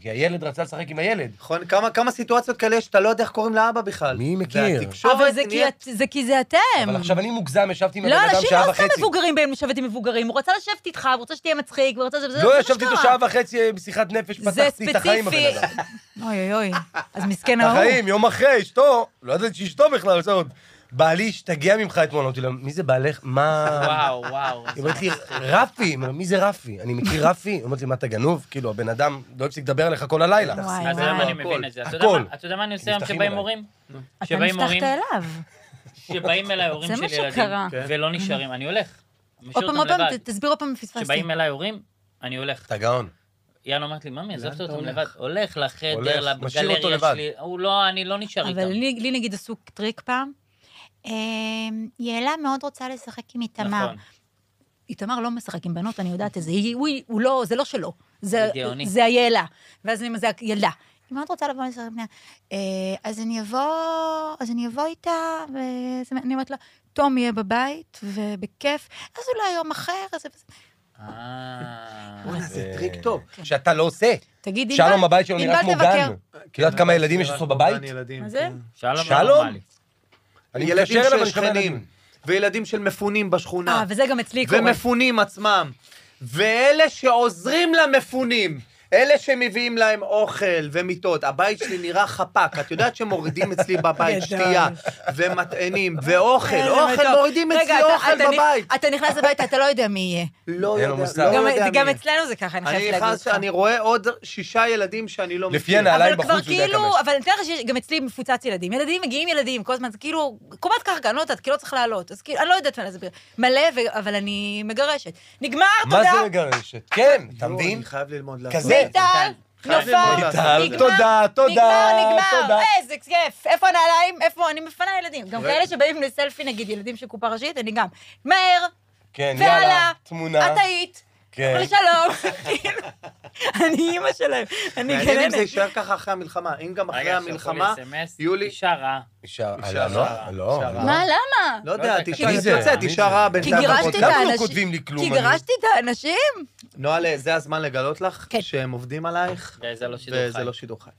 S1: כי הילד רצה לשחק עם הילד.
S4: נכון, כמה- כמה סיטואציות כאלה שאתה לא יודע איך קוראים לאבא בכלל.
S1: מי מכיר?
S4: והתקשורת
S3: אבל זה כי
S4: נהיית-
S3: את- זה כי זה אתם.
S1: אבל עכשיו אני מוגזם, ישבתי עם הבן
S3: לא,
S1: אדם
S3: אנשים
S1: שעה
S3: לא סתם
S1: וחצי.
S3: מבוגרים בין לשבת עם מבוגרים. הוא רצה לשבת איתך, הוא רוצה שתהיה מצחיק, הוא רוצה... זה- זה
S1: לא,
S3: מה
S1: ישבתי איתו
S3: שקרה.
S1: שעה וחצי אה, בשיחת נפש,
S3: זה
S1: פתחתי את החיים בבן
S3: ספציפי.
S1: אדם.
S3: אוי אוי אוי, אז מסכן
S1: את
S3: ההוא.
S1: החיים, יום אחרי, אשתו, לא ידעתי שאשתו בכלל, זה עוד. בעלי השתגע ממך אתמול, אמרתי לה, מי זה בעלך? מה...
S2: וואו, וואו.
S1: היא אומרת לי, רפי, אמרתי לה, מי זה רפי? אני מכיר רפי? היא אומרת לי, מה אתה גנוב? כאילו, הבן אדם לא הפסיק לדבר עליך כל הלילה.
S3: וואי,
S2: אז היום אני מבין את זה. אתה יודע
S1: הכל.
S2: מה- אתה יודע מה אני עושה היום
S1: נפתחים
S2: כשבאים
S1: אליי.
S2: הורים?
S3: אתה
S2: שבאים הורים-
S3: נפתחת אליו.
S2: שבאים אליי הורים
S3: זה
S2: של
S3: מה
S2: ילדים,
S3: שקרה.
S4: כן.
S2: ולא נשארים, אני הולך. משאיר
S3: עוד פעם,
S2: אותם
S3: עוד פעם,
S2: לבד.
S3: ת- תסביר עוד פעם, פספסתי.
S2: כשבאים אליי הורים, אני הולך.
S1: אתה גאון.
S2: יאללה אומרת לי, ממי, עזבת
S4: לאן אתה
S2: אותם
S4: הולך?"
S2: לבד. הולך
S1: הולך,
S2: לחדר,
S1: משאיר אותו
S2: לגלריה
S1: לבד.
S2: שלי. הוא לא, אני לא נשאר איתם.
S3: אבל לי לי נגיד עשו טריק פעם. אמ, יעלה מאוד רוצה לשחק עם איתמר.
S2: נכון.
S3: איתמר לא משחק עם בנות, אני יודעת את זה. היא- הוא- הוא לא, זה לא שלו. זה-
S2: גאוני.
S3: זה היעלה. ואז אני- זה הילדה. היא מאוד רוצה לבוא לשחק עם בנות. "אה, אז אני אבוא, אז אני אבוא איתה, ואני אומרת לה, תום יהיה בבית, ובכיף, אז אולי יום אחר, אז...
S2: אה.
S4: בוא'נה, זה
S1: זה-
S4: טריק טוב.
S1: שאתה לא עושה.
S3: תגיד, ענבל,
S1: שלום הבית שלו נראה
S3: ענבל
S1: כמו
S3: תבקר.
S1: גן.
S4: כן,
S1: את יודעת כמה ילדים יש אצלו בבית?
S3: מה זה?
S2: שלום. לא
S1: שלום?
S2: נורמלי.
S1: אני
S4: ילדים
S1: מתקשר אליו,
S4: של
S1: אני שומע
S4: שכנים.
S1: ילדים.
S4: וילדים של מפונים בשכונה.
S3: אה, וזה גם אצלי קורה.
S4: ומפונים עצמם. ואלה שעוזרים למפונים, אלה שמביאים להם אוכל ומיטות, הבית שלי נראה חפ"ק, את יודעת שמורידים אצלי בבית
S3: גדול.
S4: שתייה ומטענים ואוכל,
S3: איזה
S4: לא אוכל,
S3: מתוק.
S4: מורידים
S3: כן, רגע,
S4: אצלי
S3: אתה-
S4: אוכל
S3: אתה נכ-
S4: בבית.
S3: אתה נכנס הביתה, אתה לא יודע מי יהיה.
S4: לא
S1: אין לו
S4: יודע,
S1: מושג.
S4: לא
S3: גם-
S4: יודע
S3: גם
S4: מי.
S3: אצלנו זה ככה, אני
S4: אני
S3: חייבת להגיד
S4: נכנס,
S3: לך.
S4: אני רואה עוד שישה ילדים שאני לא
S1: לפי
S4: מכיר.
S1: הנהלה- עליי
S3: אבל כבר
S1: בחוץ הוא יודע כמה
S3: כאילו,
S1: יש.
S3: אבל אני אתן לך שגם אצלי מפוצץ ילדים. ילדים מגיעים ילדים, כל הזמן, זה כאילו, קומת קרקע, אני לא יודעת, כי לא צריך לעלות. אז כאילו, אני לא יודעת מה להסביר. מלא, ו- אבל אני מגרשת. נגמר,
S1: מה
S3: תודה.
S1: זה מגרשת? כן, אתה
S4: יואו,
S1: מבין?
S4: אני חייב ללמוד לעשות
S1: כזה.
S4: את זה.
S3: מיטל,
S4: חייב
S3: נופל,
S4: ללמוד
S1: מיטל,
S4: לעשות את זה.
S3: נגמר,
S1: תודה, תודה,
S3: נגמר, נגמר,
S1: תודה.
S3: איזה כיף. איפה הנעליים? איפה? אני מפנה ילדים. גם
S4: רגע.
S3: כאלה שבאים לסלפי, נגיד, ילדים של קופה ראשית, אני גם. מהר,
S1: כן,
S3: ועלה,
S1: יאללה, תמונה.
S3: את היית.
S1: כן.
S3: שלום. אני אימא שלהם, אני
S4: מעניין אם זה
S3: גננת.
S4: יישאר ככה אחרי המלחמה. אם גם אחרי
S2: רגע, שלחו לי
S4: המלחמה,
S2: SMS,
S4: יולי-
S2: אישה רעה.
S1: אישה,
S4: אישה
S1: אה, לא,
S4: רעה.
S1: לא.
S4: אישה
S1: לא.
S4: רעה.
S3: מה, למה?
S4: לא
S2: לא
S4: יודע,
S2: יודע,
S4: תשאר,
S1: מי זה?
S4: יוצאת,
S1: מי
S4: תשאר
S1: זה?
S4: רע
S3: כי
S4: בינתיים.
S3: גירשתי
S4: בפודקאסט.
S3: את
S1: למה לא
S3: האנשים.
S1: כותבים לי כלום?
S3: כי
S1: אני-
S3: גירשתי את האנשים?
S4: נועה, אה, זה הזמן לגלות לך
S3: כן.
S4: שהם עובדים עלייך,
S2: זה- זה לא שידור חי.
S4: וזה לא שידור חי.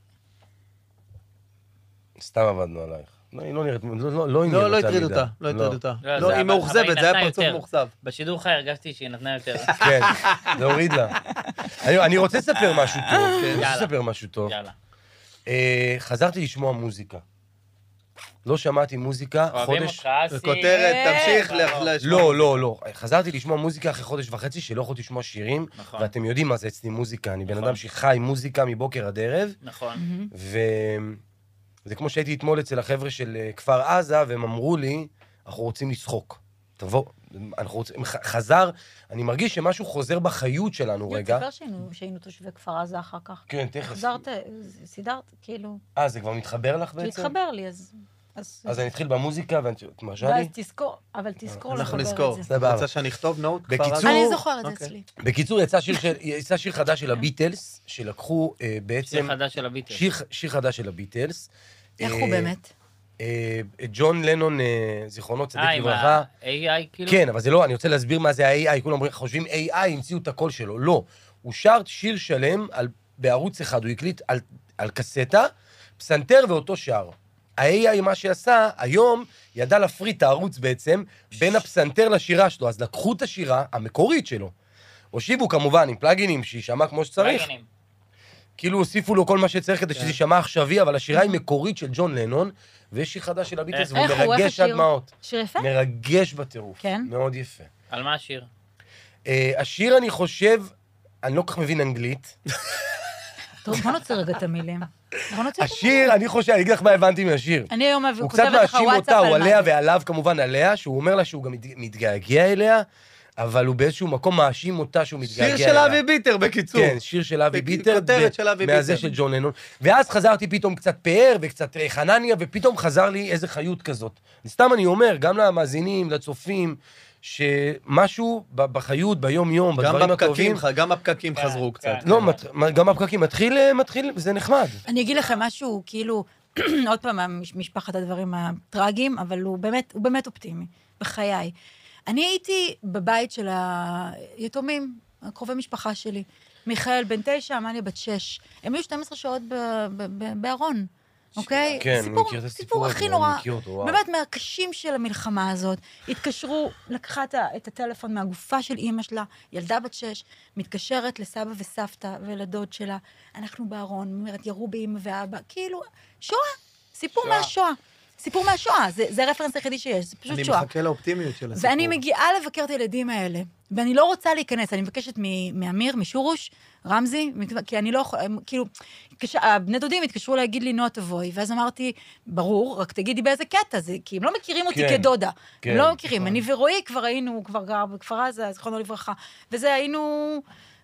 S1: סתם עבדנו עלייך. לא, היא לא נראית, לא- לא לא עניין
S4: לא, לא
S1: אותה
S4: הטריד
S1: מדי.
S4: אותה, לא הטריד אותה.
S2: לא,
S4: לא,
S2: זה- אבל-
S4: היא
S2: אבל
S4: מאוכזבת,
S2: היא
S4: זה
S2: נתנה
S4: היה פרצוף
S2: יותר.
S4: מאוכזב.
S2: בשידור חי הרגשתי שהיא נתנה יותר.
S1: כן, זה הוריד לה. אני- אני רוצה לספר משהו טוב. אני רוצה
S2: אה, יאללה.
S1: לספר משהו טוב.
S2: יאללה.
S1: אה, חזרתי לשמוע מוזיקה. לא שמעתי מוזיקה
S2: אוהבים
S1: חודש...
S2: אותך, אסי.
S4: זה כותרת, תמשיך
S2: אה,
S4: ל- לשמוע.
S1: לא, לא, לא. חזרתי לשמוע מוזיקה אחרי חודש וחצי שלא יכולתי לשמוע שירים,
S2: נכון,
S1: ואתם יודעים מה זה אצלי מוזיקה. אני בן
S2: נכון.
S1: אדם שחי מוזיקה מבוקר עד ערב,
S2: נכון.
S1: וזה כמו שהייתי אתמול אצל החבר'ה של אה, כפר עזה, והם אמרו לי, אנחנו רוצים לצחוק. תבוא, אנחנו רוצים... ח- חזר, אני מרגיש שמשהו חוזר בחיות שלנו רגע.
S3: תספר שהיינו- שהיינו תושבי כפר עזה אחר כך.
S1: כן, תכף.
S3: חזרת, סידרת, כאילו,
S1: אה, זה כבר מתחבר לך בעצם?
S3: שהתחבר לי, אז... אז
S1: אז אני אתחיל במוזיקה, ואני... את מרשה
S3: ואז
S1: לי?
S3: תזכור, אבל תזכור
S4: אנחנו
S3: לחבר את
S4: נזכור.
S3: זה.
S1: סבבה.
S4: רוצה שאני אכתוב נוט? כבר
S1: בקיצור-
S4: אז?
S1: אני
S3: אני זוכרת את זה
S4: אוקיי.
S3: אצלי.
S1: בקיצור, יצא שיר, של, יצא שיר חדש של הביטלס, שלקחו אה,
S2: שיר
S1: בעצם...
S2: חדש של הביטל.
S1: שיר, שיר חדש של הביטלס.
S3: איך
S1: אה,
S3: הוא באמת?
S1: אה, ג'ון לנון, אה, זיכרונו צדיק
S2: אה, עם
S1: לברכה.
S2: ה-AI כאילו?
S1: כן, אבל זה לא, אני רוצה להסביר מה זה ה-AI, כולם אומרים, חושבים AI, המציאו את הקול שלו. לא, הוא שר שיר שלם על, בערוץ אחד, הוא הקליט על, על קסטה, פסנתר ואותו שר. ה-AI, מה שעשה, היום, ידע להפריד את הערוץ בעצם בין הפסנתר לשירה שלו, אז לקחו את השירה המקורית שלו. הושיבו כמובן עם פלאגינים, שיישמע כמו שצריך.
S2: פלאגינים.
S1: כאילו הוסיפו לו כל מה שצריך כדי
S4: כן.
S1: שזה יישמע עכשווי, אבל השירה היא מקורית של ג'ון לנון, ויש שיר חדש של הביטלס,
S2: איך
S1: והוא
S3: הוא? איך
S1: מרגש עד
S3: השיר?
S1: דמעות.
S3: שיר יפה?
S1: מרגש בטירוף.
S3: כן?
S1: מאוד יפה.
S2: על מה השיר?
S1: אה, השיר, אני חושב, אני לא כל כך מבין אנגלית.
S3: טוב, בוא נוציא רגע את המילים. בוא נוציא את המילים.
S1: השיר, אני חושב, אני אגיד לך מה הבנתי מהשיר.
S3: אני היום אביא,
S1: הוא
S3: הוא
S1: קצת
S3: כותבת לך
S1: מאשים
S3: וואטסאפ
S1: אותה, הוא
S3: על
S1: עליה
S3: מה זה.
S1: ועליו, כמובן עליה, שהוא אומר לה שהוא גם מת- מתגעגע אליה, אבל הוא באיזשהו מקום מאשים אותה שהוא מתגעגע
S4: שיר
S1: אליה.
S4: של אבי ביטר, בקיצור.
S1: כן, שיר של אבי
S4: בכ-
S1: ביטר.
S4: כותרת
S1: ב-
S4: של אבי
S1: מהזה
S4: ביטר.
S1: של ג'ון לנון. ואז חזרתי פתאום קצת פאר וקצת אה, חנניה, ופתאום חזר לי איזה חיות כזאת. סתם אני אומר, גם למאזינים, לצופים, שמשהו ב- בחיות, ביום-יום,
S4: גם
S1: בדברים הטובים...
S4: בפקקים, גם בפקקים
S2: כן,
S4: חזרו
S2: כן.
S4: קצת.
S1: לא, מת- מה- גם בפקקים. מתחיל, אה, מתחיל, זה נחמד.
S3: אני אגיד לכם משהו, כאילו, עוד פעם, המש- משפחת הדברים הטראגיים, אבל הוא באמת, הוא באמת אופטימי, בחיי. אני הייתי בבית של היתומים, הקרובי משפחה שלי. מיכאל בן תשע, עמליה בת שש. הם היו 12 שעות ב- ב- ב- בארון, אוקיי?
S1: כן, אני
S3: סיפור-
S1: מכיר את הסיפור
S3: סיפור
S1: הזה,
S3: הכי
S1: אני
S3: נורא.
S1: מכיר אותו, וואו.
S3: באמת מהקשים של המלחמה הזאת. התקשרו, לקחה את ה- את הטלפון מהגופה של אימא שלה, ילדה בת שש, מתקשרת לסבא וסבתא ולדוד שלה, אנחנו בארון, אומרת, ירו באימא ואבא, כאילו, שואה, סיפור
S2: שואה.
S3: מהשואה. סיפור מהשואה, זה, זה הרפרנס היחידי שיש, זה פשוט
S4: אני
S3: שואה.
S4: מחכה לאופטימיות של הסיפור.
S3: ואני מגיעה לבקר את הילדים האלה, ואני לא רוצה להיכנס, אני מבקשת מ- מאמיר, משורוש, רמזי, מכיוון- כי אני לא יכולה, הם כאילו, התקש- הבני דודים התקשרו להגיד לי, נועה תבואי, ואז אמרתי, ברור, רק תגידי באיזה קטע, זה, כי הם לא מכירים אותי
S1: כן,
S3: כדודה.
S1: כן,
S3: הם לא מכירים, אני ורועי כבר היינו, כבר גר בכפר עזה, זיכרונו לברכה, וזה היינו...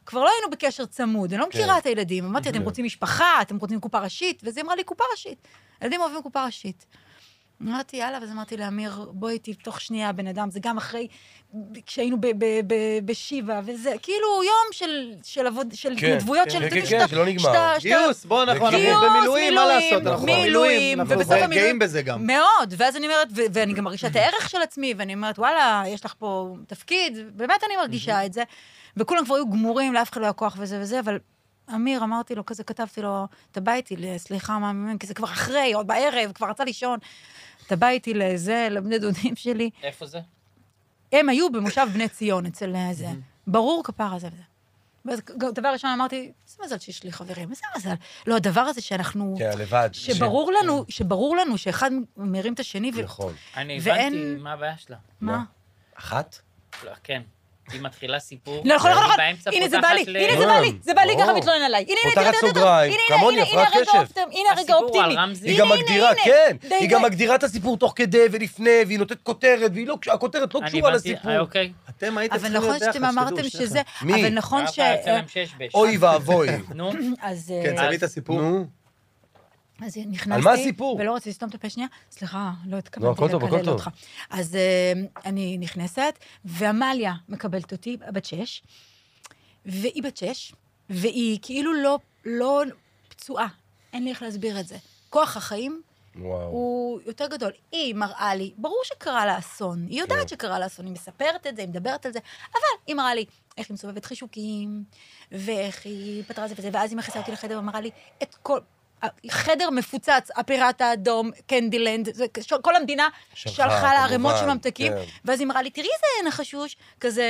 S3: כבר לא היינו בקשר צמוד, אני לא מכירה את הילדים. אמרתי, אתם רוצים משפחה, אתם רוצים קופה ראשית? ואז היא אמרה לי, קופה ראשית. הילדים אוהבים קופה ראשית. אמרתי, יאללה, ואז אמרתי לאמיר, בוא איתי תוך שנייה, בן אדם, זה גם אחרי, כשהיינו ב- ב- ב- בשיבא, וזה כאילו יום של, של, עבוד, של
S1: כן,
S3: התנדבויות,
S1: כן,
S3: של...
S1: כן,
S3: אתה יודע,
S1: כן,
S3: שאתה-
S1: שלא נגמר.
S3: שאתה- שאתה-
S4: גיוס, בוא, אנחנו אנחנו
S1: גיוס,
S4: במילואים, מה
S3: כאילו, מילואים,
S4: לעשות? אנחנו
S1: מילואים,
S4: במילואים,
S3: ובסוף
S4: אנחנו גאים
S3: המילואים-
S4: בזה גם.
S3: מאוד, ואז אני אומרת, ו- ואני גם מרגישה את הערך של עצמי, ואני אומרת, וואלה, יש לך פה תפקיד, באמת אני מרגישה את זה. וכולם כבר היו גמורים, לאף אחד לא היה כוח וזה וזה, אבל אמיר, אמרתי לו, כזה כתבתי לו, אתה בא איתי, ל- סליחה, מה, כי זה כבר אחרי, עוד בערב, כבר רצה לישון. אתה בא איתי לזה, לבני דודים שלי.
S2: איפה זה?
S3: הם היו במושב בני ציון אצל אה, זה. ברור כפרה זה וזה. ואז גם דבר ראשון אמרתי, איזה מזל שיש לי חברים, איזה מזל. לא, הדבר הזה שאנחנו...
S1: כן, לבד.
S3: שברור לנו, שברור לנו שאחד מרים את השני, ו...
S1: נכון.
S2: אני
S3: ואין-
S2: הבנתי מה הבעיה שלה.
S1: לא.
S3: מה?
S1: אחת?
S2: לא, כן. היא מתחילה סיפור.
S3: לא, נכון, נכון,
S2: והיא
S3: נכון.
S2: באמצע
S3: הנה זה
S2: פותחת
S3: בא לי,
S2: ל-
S3: הנה זה בא לי, זה בא לי,
S1: ברור.
S3: ככה מתלונן עליי. הנה, הנה,
S1: פותחת
S3: הנה, הנה,
S1: סוגריים,
S3: הנה,
S1: כמוני,
S3: הנה, הנה,
S1: הפרעת
S3: הרגע
S1: קשב.
S3: אופטם, הנה הרגע
S2: הסיפור על
S3: אופטימי.
S2: רמזי.
S1: היא
S3: הנה,
S1: גם
S3: הנה,
S1: מגדירה,
S3: הנה.
S1: כן,
S3: די,
S1: היא
S3: די.
S1: גם מגדירה את הסיפור תוך כדי ולפני, והיא נותנת כותרת, והיא לא, הכותרת לא
S2: אני
S1: קשורה
S2: הבנתי,
S1: לסיפור.
S2: אה, אוקיי.
S4: אתם הייתם
S3: אבל
S4: צריכים
S3: נכון
S4: להיות ביחד,
S3: שאתם אמרתם
S4: שתדעו,
S3: שזה,
S1: מי?
S3: אבל נכון ש...
S2: אבא יצא להם שש בש.
S1: אוי ואבוי.
S2: נו,
S3: אז...
S4: כן,
S3: אה,
S4: תסיימי את הסיפור.
S1: נו,
S3: אז נכנסתי,
S1: על מה הסיפור?
S3: ולא רציתי לסתום את הפה שנייה, סליחה, לא
S1: לא,
S3: התכוונתי
S1: הכל טוב, הכל
S3: לקלל
S1: טוב.
S3: אותך. אז אה, אני נכנסת, ועמליה מקבלת אותי, בת שש, והיא בת שש, והיא כאילו לא, לא פצועה, אין לי איך להסביר את זה. כוח החיים
S1: וואו.
S3: הוא יותר גדול. היא מראה לי, ברור שקרה לה אסון, היא
S1: כן.
S3: יודעת שקרה לה אסון, היא מספרת את זה, היא מדברת על זה, אבל היא מראה לי איך היא מסובבת חישוקים, ואיך היא פתרה זה וזה, ואז היא מכניסה אותי לחדר ואמרה לי את כל... חדר מפוצץ, הפיראט האדום, קנדילנד, זה, ש- כל המדינה
S1: שלחה,
S3: שלחה לה ערימות של
S1: כמובן,
S3: ממתקים,
S1: כן.
S3: ואז היא אמרה לי, תראי איזה נחשוש, כזה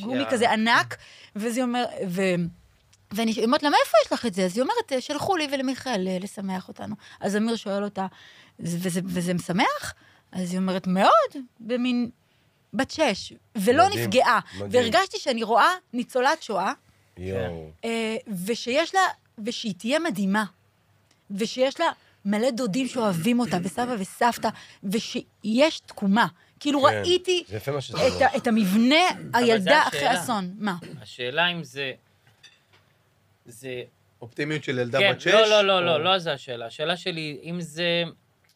S3: גומי
S2: יא.
S3: כזה ענק, ואז היא אומרת, ו... ואני אומרת לה, מאיפה יש לך את זה? אז היא אומרת, "אה, שלחו לי ולמיכאל אה, לשמח אותנו. אז אמיר שואל אותה, "זה- וזה, וזה משמח? אז היא אומרת, מאוד, במין בת שש, ולא
S1: מדהים,
S3: נפגעה.
S1: מדהים.
S3: והרגשתי שאני רואה ניצולת שואה,
S1: יואו.
S3: אה, ושיש לה, ושהיא תהיה מדהימה, ושיש לה מלא דודים שאוהבים אותה, וסבא וסבתא, ושיש תקומה. כאילו
S1: כן.
S3: ראיתי
S1: זה יפה מה שזה
S3: את, ה- את המבנה, הילדה אחרי
S2: השאלה.
S3: אסון. מה?
S2: השאלה אם זה... זה...
S4: אופטימיות של ילדה
S2: כן,
S4: בת שש?
S2: לא, לא, לא,
S4: או-
S2: לא, לא זו השאלה. השאלה שלי, אם זה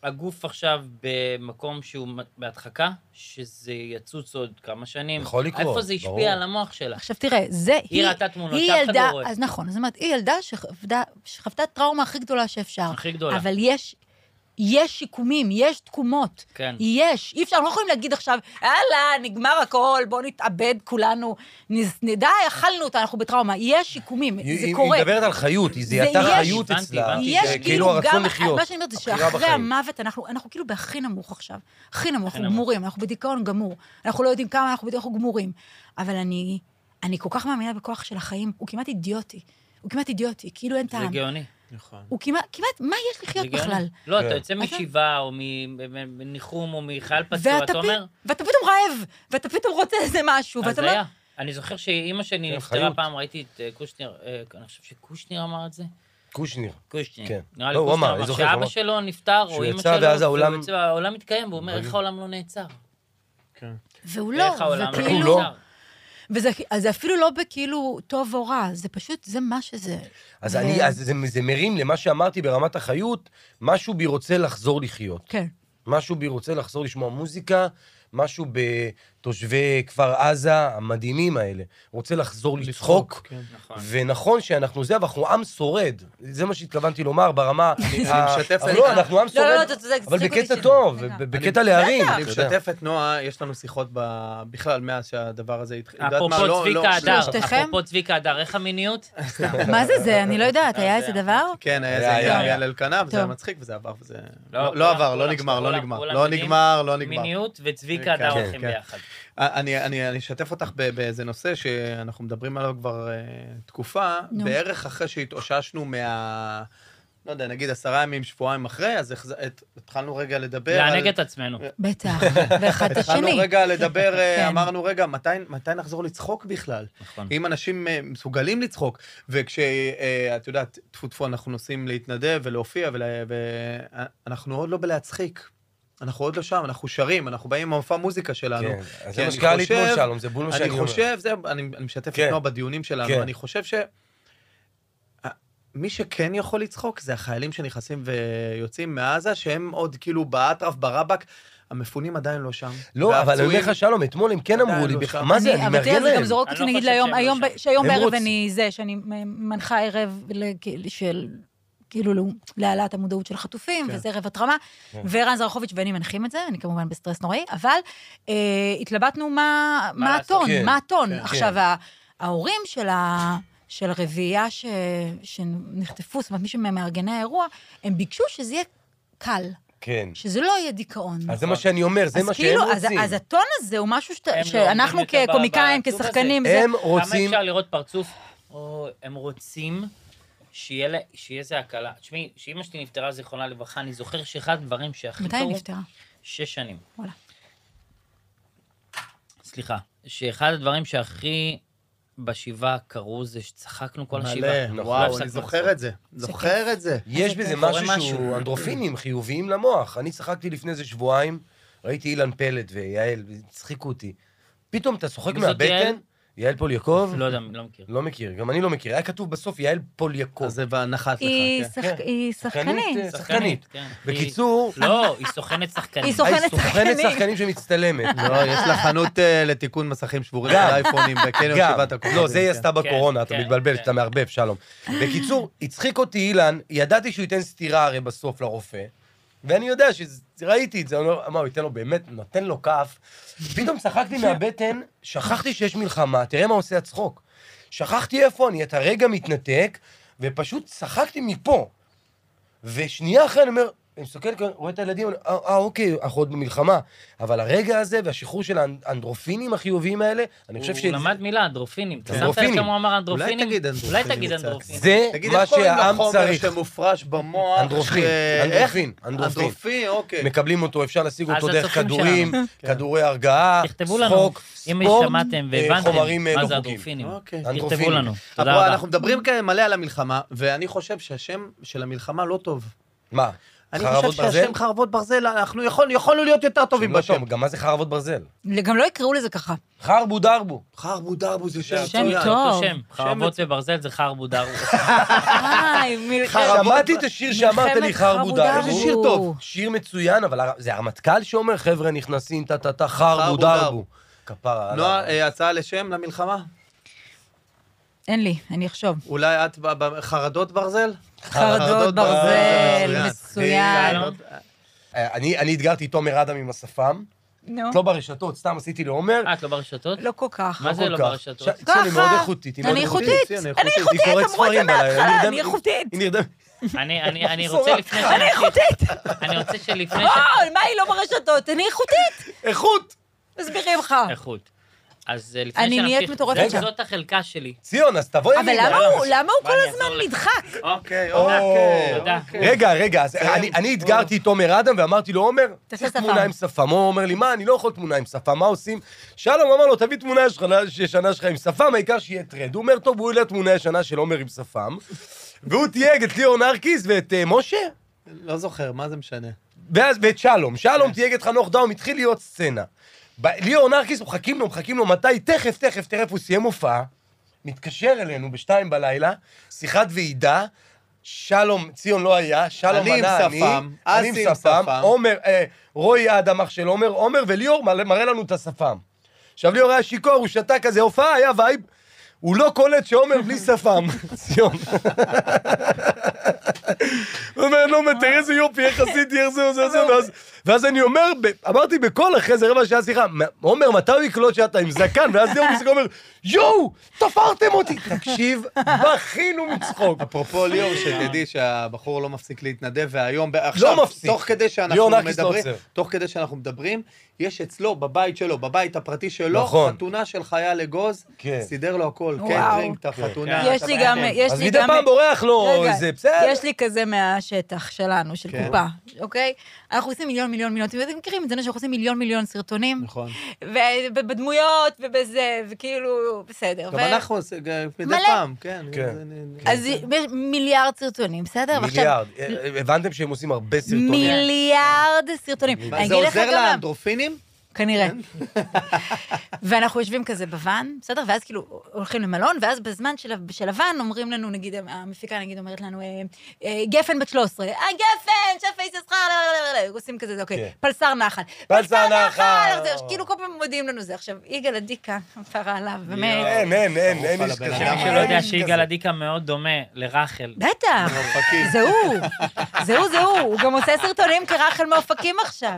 S2: הגוף עכשיו במקום שהוא מ- בהדחקה, שזה יצוץ עוד כמה שנים.
S1: יכול לקרות,
S2: איפה זה
S1: ברור.
S2: השפיע על המוח שלה?
S3: עכשיו תראה, זה היא...
S2: ראתה תמונות
S3: היא
S2: שאף אחד לא
S3: ילדה-
S2: רואה.
S3: אז נכון, זאת אומרת, היא ילדה שחוותה- שחוותה טראומה הכי גדולה שאפשר.
S2: הכי גדולה.
S3: אבל יש... יש שיקומים, יש תקומות.
S2: כן.
S3: יש. אי אפשר, אנחנו לא יכולים להגיד עכשיו, יאללה, נגמר הכל, בואו נתאבד כולנו, נז- נדע, אכלנו אותה, אנחנו בטראומה. יש שיקומים,
S1: היא-
S3: זה
S1: היא-
S3: קורה.
S1: היא מדברת על חיות, היא זיהתה
S3: יש-
S1: חיות
S2: הבנתי,
S1: אצלה.
S2: הבנתי.
S3: יש
S1: זה
S3: כאילו
S1: הרצון
S3: גם,
S1: לחיות.
S3: מה שאני אומרת זה
S1: הבחירה
S3: שאחרי
S1: בחיים.
S3: המוות אנחנו, אנחנו כאילו בהכי נמוך עכשיו. הכי נמוך, אנחנו
S2: נמוך.
S3: גמורים, אנחנו בדיכאון גמור. אנחנו לא יודעים כמה אנחנו בדיוק אנחנו גמורים. אבל אני, אני כל כך מאמינה בכוח של החיים, הוא כמעט אידיוטי. הוא כמעט אידיוטי, כאילו אין
S2: זה
S3: טעם.
S2: גאוני.
S4: נכון.
S3: הוא כמעט, כמעט, מה יש לחיות
S2: זה גאוני.
S3: בכלל?
S2: לא,
S1: כן.
S2: אתה יוצא
S3: אתה-
S2: משבעה, או מ- מ- מניחום, או מחייל פצוע,
S3: ואתה,
S2: אתה
S3: פ...
S2: אומר,
S3: ואתה פתאום רעב, ואתה פתאום רוצה איזה משהו, ואתה לא-
S2: הזיה.
S3: אומר,
S2: אני זוכר שאימא שלי
S1: כן,
S2: נפטרה
S1: חיות.
S2: פעם, ראיתי את אה, קושניר, אה, אני חושב שקושניר אמר את זה.
S1: קושניר.
S2: קושניר.
S1: כן.
S2: נראה לי
S1: לא, הוא אמר,
S2: קושניר
S1: אני
S2: אמר
S1: זוכר שהוא
S2: שאבא
S1: אמר.
S2: שלו נפטר,
S1: שהוא
S2: או אימא
S1: יצא
S2: שלו,
S1: ואז העולם-
S2: והוא יצא, העולם מתקיים, והוא אומר, איך העולם לא נעצר?
S3: והוא לא,
S2: איך העולם
S1: הוא
S3: וכאילו,
S1: לא.
S2: נעצר?
S3: וזה אז זה אפילו לא בכאילו טוב או רע, זה פשוט, זה מה שזה.
S1: אז
S3: ו-
S1: אני, אז זה- זה מרים למה שאמרתי ברמת החיות, משהו בי רוצה לחזור לחיות.
S3: כן.
S1: משהו בי רוצה לחזור לשמוע מוזיקה, משהו בתושבי כפר עזה המדהימים האלה. רוצה לחזור לצחוק.
S4: כן.
S2: נכון.
S1: ונכון שאנחנו זה, אבל אנחנו עם שורד. זה מה שהתכוונתי לומר ברמה... ה-
S4: משתף-
S1: אבל לא, אנחנו עם
S3: לא, לא,
S1: שורד,
S3: אתה צודק,
S1: אבל
S3: תצחיק אותי
S1: בקטע
S3: שלי.
S1: טוב,
S3: רגע.
S1: ב- בקטע להרים. כן,
S4: אני
S1: אתה יודע.
S4: משתף את נועה, יש לנו שיחות ב- בכלל מאז שהדבר הזה התחיל. יודעת מה,
S2: אפרופו
S4: לא- לא-
S2: צביקה הדר,
S3: שלושתכם?
S2: אפרופו צביקה הדר, איך המיניות?
S3: מה זה זה? אני לא יודעת, היה
S2: זה
S3: איזה
S2: היה.
S3: דבר?
S4: כן, היה
S1: היה,
S4: איזה
S1: היה,
S4: עניין
S1: היה.
S4: על אלקנה, וזה היה
S3: טוב.
S4: מצחיק, וזה עבר, וזה...
S2: לא,
S4: לא
S2: כולם-
S4: לא עבר, לא
S2: כולם-
S4: נגמר, לא
S2: כולם-
S4: נגמר.
S2: כולם
S4: לא
S2: יודעים.
S4: נגמר, לא נגמר.
S2: מיניות וצביקה
S4: כן,
S2: הדר
S1: כן,
S2: הולכים
S4: כן.
S2: ביחד.
S4: אה, אני, אני, אני אשתף אותך ב- באיזה נושא שאנחנו מדברים עליו כבר אה, תקופה,
S3: נו.
S4: בערך אחרי שהתאוששנו מה... לא יודע, נגיד עשרה ימים, שבועיים אחרי, אז החז- את- התחלנו רגע לדבר על...
S2: לענג את עצמנו.
S3: בטח, ואחד את
S4: התחלנו
S3: השני.
S4: רגע לדבר,
S3: כן.
S4: אה, אמרנו, רגע, מתי מתי נחזור לצחוק בכלל?
S2: נכון.
S4: אם אנשים אה, מסוגלים לצחוק, וכשאת יודעת, טפו טפו, אנחנו נוסעים להתנדב ולהופיע, ואנחנו עוד לא בלהצחיק. אנחנו עוד לא שם, אנחנו שרים, אנחנו באים עם המופע מוזיקה שלנו.
S1: כן, אז
S4: כי
S1: זה מה
S4: אני
S1: שקרה לי אתמול,
S4: חושב-
S1: שלום, זה בול מה שאני
S4: אני
S1: אומר.
S4: חושב, זה, אני, אני משתף את
S1: כן.
S4: נועה בדיונים שלנו,
S1: כן.
S4: אני חושב ש... ה- מי שכן יכול לצחוק זה החיילים שנכנסים ויוצאים מעזה, שהם עוד כאילו באטרף, ברבק, המפונים עדיין לא שם.
S1: לא, אבל אני אומר לך,
S4: והפצועים-
S1: שלום, אתמול הם כן אמרו
S4: עדיין
S1: לי,
S4: לא
S1: בכ-
S4: שם.
S1: מה זה, אני
S3: אבל תראה,
S1: מארגן
S3: זה גם
S1: להם.
S3: זורק
S2: אני
S3: אותי
S2: לא
S3: נגיד
S2: חושב
S3: ליום,
S2: שהם
S3: היום
S2: לא
S3: ב- שהיום
S1: הם
S3: בערב
S1: רוצים.
S3: אני זה, שאני מ- מנחה ערב ל- כאילו של, כאילו ל- להעלאת המודעות של חטופים,
S4: כן.
S3: וזה ערב התרמה,
S1: כן.
S3: ורן זרחוביץ' ואני מנחים את זה, אני כמובן בסטרס נוראי, אבל אה, התלבטנו מה
S2: מה
S3: מה
S2: לעשות?
S3: הטון,
S1: כן,
S3: מה הטון.
S4: כן.
S3: עכשיו, ה- ההורים של ה... של הרביעייה ש... שנחטפו, זאת אומרת, מי שמארגני האירוע, הם ביקשו שזה יהיה קל,
S1: כן.
S3: שזה לא יהיה דיכאון.
S1: אז זה מה שאני אומר, זה
S3: אז
S1: מה שהם
S3: כאילו, אז-
S1: רוצים.
S3: אז הטון הזה הוא משהו שת-
S2: הם לא
S3: שאנחנו
S2: עומדים יותר ב-
S3: כקומיקאים,
S2: בעצוב
S3: כשחקנים,
S2: הזה.
S3: זה...
S1: הם
S2: כמה
S1: רוצים...
S2: אפשר לראות פרצוף, או הם רוצים שיהיה לה- שיהיה איזה הקלה. תשמעי, כשאימא שלי נפטרה, זיכרונה לברכה, אני זוכר שאחד הדברים שהכי
S3: מתי היא
S2: קרו...
S3: נפטרה?
S2: שש שנים.
S3: וואלה.
S2: סליחה. שאחד הדברים שהכי בשבעה קרו זה שצחקנו כל השבעה.
S4: מלא,
S1: נכון.
S2: לא
S4: וואו,
S2: הפסקנו
S4: אני זוכר את זה. זוכר את זה.
S1: יש
S3: זה
S1: בזה
S3: כיף.
S1: משהו
S2: קורה
S1: שהוא
S2: משהו.
S1: אנדרופינים חיוביים למוח. אני צחקתי לפני איזה שבועיים, ראיתי אילן פלט ויעל, הצחיקו אותי. פתאום אתה צוחק
S2: מי זאת
S1: מהבטן,
S2: יעל?
S1: יעל פוליאקוב,
S2: לא יודע, לא מכיר.
S1: לא מכיר, גם אני לא מכיר, היה כתוב בסוף יעל פוליאקוב.
S4: אז זה נחת לך.
S3: היא
S4: כן.
S1: כן.
S3: שחק- היא שחקנית.
S1: שחקנית. שחקנית.
S2: כן.
S1: בקיצור,
S2: לא, היא סוכנת שחקנים.
S3: היא סוכנת
S1: היי, סוכנת
S3: שחקנים.
S1: שחקנים שמצטלמת.
S4: לא, יש לה חנות אה, לתיקון מסכים שבורים
S1: גם.
S4: של אייפונים בקניון
S1: גם,
S4: שבעת הקומות.
S1: לא, זה היא
S4: כן.
S1: עשתה בקורונה,
S2: כן,
S1: אתה
S2: כן,
S1: מתבלבל,
S2: כן.
S1: אתה מערבב, שלום. בקיצור, הצחיק אותי אילן, ידעתי שהוא ייתן סטירה הרי בסוף לרופא, ואני יודע שראיתי את זה, אני אומר, מה, הוא ייתן לו באמת, נותן לו כף. פתאום צחקתי מהבטן, שכחתי שיש מלחמה, תראה מה עושה הצחוק. שכחתי איפה אני, אתה רגע מתנתק, ופשוט צחקתי מפה. ושנייה אחרי אני אומר, אני מסתכל, כאילו, רואה את הילדים, אני, אה, אה, אוקיי, אנחנו עוד במלחמה. אבל הרגע הזה והשחרור של האנדרופינים החיוביים האלה, אני חושב ש...
S2: הוא למד מילה, אנדרופינים. אתה שמת
S1: אנדרופינים.
S2: לב כמה הוא אמר אנדרופינים?
S4: אולי תגיד אנדרופינים
S2: אולי תגיד
S4: קצת.
S2: אנדרופינים.
S1: זה
S4: תגיד,
S1: מה
S4: איך קוראים
S1: שהעם
S4: לחומר
S1: צריך.
S4: שמופרש במוח?
S1: אנדרופין,
S4: אה, איך?
S1: אנדרופין, אנדרופין.
S4: אנדרופין, אוקיי.
S1: מקבלים אותו, אפשר להשיג
S2: אז
S1: אותו דרך
S2: הצופים
S1: כדורים, כן.
S4: כן.
S1: כדורי הרגעה,
S2: תכתבו לנו,
S1: צחוק,
S2: אם
S1: ספורט,
S2: שמעתם
S1: אה,
S2: והבנתם
S1: חומרים אה,
S2: מה
S1: לא
S2: זה
S1: חוקיים.
S2: אנדרופינים.
S4: אוקיי.
S2: תכתבו
S1: אנדרופינים.
S2: לנו. תודה
S4: אפרופו,
S2: רבה.
S4: אנחנו מדברים כאן מלא על המלחמה, ואני חושב שהשם של המלחמה לא טוב.
S1: מה?
S4: אני חושב
S1: חרבות ברזל?
S4: שהשם חרבות ברזל, אנחנו יכול- יכולנו להיות יותר טובים
S1: שהם לא
S4: בשם.
S1: טוב, גם מה זה חרבות ברזל?
S3: גם לא יקראו לזה ככה.
S1: חרבו דרבו.
S4: חרבו דרבו זה שם
S2: זה
S3: שם
S4: מצוין.
S3: טוב.
S2: אותו שם, חרבות וברזל זה חרבו דרבו.
S3: איי, מלחמת
S1: שמעתי את השיר שאמרת לי, חרבו דרבו.
S4: איזה שיר טוב.
S1: שיר מצוין, אבל הר- זה הרמטכ"ל שאומר, חבר'ה נכנסים, טה טה טה, חרבו
S4: חרבו
S1: דרבו.
S4: דרבו.
S1: כפרה
S4: נועה,
S1: עליו.
S4: אה, הצעה לשם למלחמה?
S3: אין לי, אני אחשוב.
S4: אולי את ב- ב- חרדות ברזל?
S3: חרדות ברזל, מצוין.
S2: מצוין.
S1: אה, אני אני אתגרתי את תומר אדם עם השפם,
S3: נו,
S1: לא ברשתות, סתם עשיתי לעומר.
S2: אה, את לא ברשתות?
S3: לא כל כך.
S2: מה זה
S1: כל
S2: לא
S1: כך.
S2: ברשתות?
S1: ש- אצלי אני
S3: ככה.
S1: מאוד איכותית. היא מאוד
S3: אני
S1: איכותית.
S3: איכותית,
S4: איכותית,
S3: אני איכותית,
S1: היא קוראת
S3: אמרו את זה
S1: ספרים בלילה, אני
S3: מההתחלה,
S1: נרדם-
S3: אני איכותית.
S1: היא נרדמת.
S2: אני- אני אני
S1: מחזורה.
S2: רוצה לפני
S3: אני
S2: שנמשיך,
S3: איכותית.
S2: אני רוצה שלפני ש...
S3: אוי, מה היא לא ברשתות? אני איכותית,
S1: איכות!
S3: מסבירים לך.
S2: איכות. אז אה, לפני
S3: אני
S2: שנמשיך...
S3: נהיית מטורפת אוקיי.
S1: עכשיו.
S2: זאת החלקה שלי.
S1: ציון, אז תבואי
S3: אבל
S1: ימינה.
S3: למה הוא- למה הוא
S2: מה,
S3: כל
S2: אני
S3: הזמן
S2: אעזור לך.
S3: נדחק?
S4: אוקיי,
S1: או, כן.
S4: אוקיי.
S2: תודה.
S4: אוקיי.
S1: רגע, רגע, אז אני- אני אתגרתי את עומר אדם ואמרתי לו, עומר, צריך
S3: שפם."
S1: תמונה עם שפם. הוא אומר לי, מה, אני לא יכול תמונה עם שפם, מה עושים? שלום אמר לו, תביא תמונה שלך, ישנה שלך עם שפם, העיקר שיהיה טרנד. הוא אומר, טוב, הוא העלה תמונה ישנה של עומר עם שפם, והוא תייג את ליאור נרקיס ואת אה, משה,
S4: לא זוכר, מה זה משנה?
S1: ואז ואת שלום.
S4: כן.
S1: שלום תייג את חנוך דאום, התחיל להיות סצנה. ב- ליאור נרקיס, מחכים לו, מחכים לו, מתי? תכף, תכף, תכף, הוא סיים הופעה, מתקשר אלינו בשתיים בלילה, שיחת ועידה, שלום, ציון לא היה, שלום
S4: אני עם
S1: ענה,
S4: שפם, אסי
S1: אני
S4: עם
S1: עם שפם,
S4: שפם.
S1: עומר, אה, רועי אדם, אח של עומר, עומר וליאור מראה מראה לנו את השפם. עכשיו, ליאור היה שיכור, הוא שתה כזה, הופעה, היה וייב, הוא לא קולט שעומר בלי שפם, ציון. הוא אומר, לא, מה, תראה איזה יופי, איך עשיתי, איך זה, זה, זה, ואז... ואז אני אומר, ב- אמרתי בקול, אחרי איזה רבע שעה שיחה, "מה- עומר, מתי הוא יקלוט שאתה עם זקן? ואז יום מסוים אומר, יואו, תפרתם אותי. תקשיב, בכינו מצחוק.
S4: אפרופו ליאור, שתדעי שהבחור לא מפסיק להתנדב, והיום, עכשיו,
S1: לא מפסיק.
S4: תוך כדי שאנחנו
S1: ליאור נרקיס לא
S4: מדברים,
S1: עוצר.
S4: תוך כדי שאנחנו מדברים, יש אצלו, בבית שלו, בבית הפרטי שלו,
S1: נכון.
S4: חתונה של חייל אגוז,
S1: כן.
S4: סידר לו הכל,
S3: וואו.
S4: קייטרינג, את
S1: כן.
S2: אה,
S4: החתונה.
S3: יש
S4: את
S3: לי
S4: הבית.
S3: גם,
S2: הבנתם.
S3: יש
S1: אז
S3: לי
S1: מדי
S3: גם...
S1: פעם בורח לו
S3: רגע,
S1: איזה, בסדר.
S3: יש לי כזה מהשטח שלנו, של
S4: כן.
S3: קופה, אוקיי? אנחנו עושים מיליון, מיליון, מיליון, אתם מכירים את זה, שאנחנו עושים מיליון, מיליון סרטונים,
S4: נכון.
S3: ובדמויות, ובזה, וכאילו, בסדר.
S4: גם
S3: ו-
S4: אנחנו עושים, גם מדי
S3: מלא.
S4: פעם, כן.
S1: כן.
S4: זה- זה-
S3: אז יש מיליארד סרטונים, בסדר? ועכשיו-
S1: מיליארד. אה, הבנתם שהם עושים הרבה סרטונים.
S3: מיליארד סרטונים.
S1: מה,
S4: מה,
S3: אני
S4: זה
S3: אגיד לך
S4: עוזר
S3: גם למה.
S4: לאנדרופינים?
S3: כנראה.
S1: כן.
S3: ואנחנו יושבים כזה בוואן, בסדר? ואז כאילו הולכים למלון, ואז בזמן של, ה- של הוואן אומרים לנו, נגיד, המפיקה נגיד אומרת לנו, אה, אה, גפן בת 13, אה, גפן, שפי יששכר, לא, לא, לא, לא, לא, עושים כזה, זה אוקיי,
S1: כן.
S3: פלסר נחל.
S1: פלסר נחל.
S3: זה, כאילו כל פעם מודיעים לנו זה. עכשיו, יגאל אדיקה, כפרה עליו, באמת.
S1: אין, אין, אין, אין
S4: על
S1: איש
S4: הבן
S1: כזה.
S4: אדם.
S2: שמי שלא יודע
S1: אין איש
S2: שיגאל
S1: כזה.
S2: עדיקה מאוד דומה לרחל.
S3: בטח, זה הוא, זה הוא, זה הוא, הוא גם עושה סרטונים כרחל מאופקים עכשיו.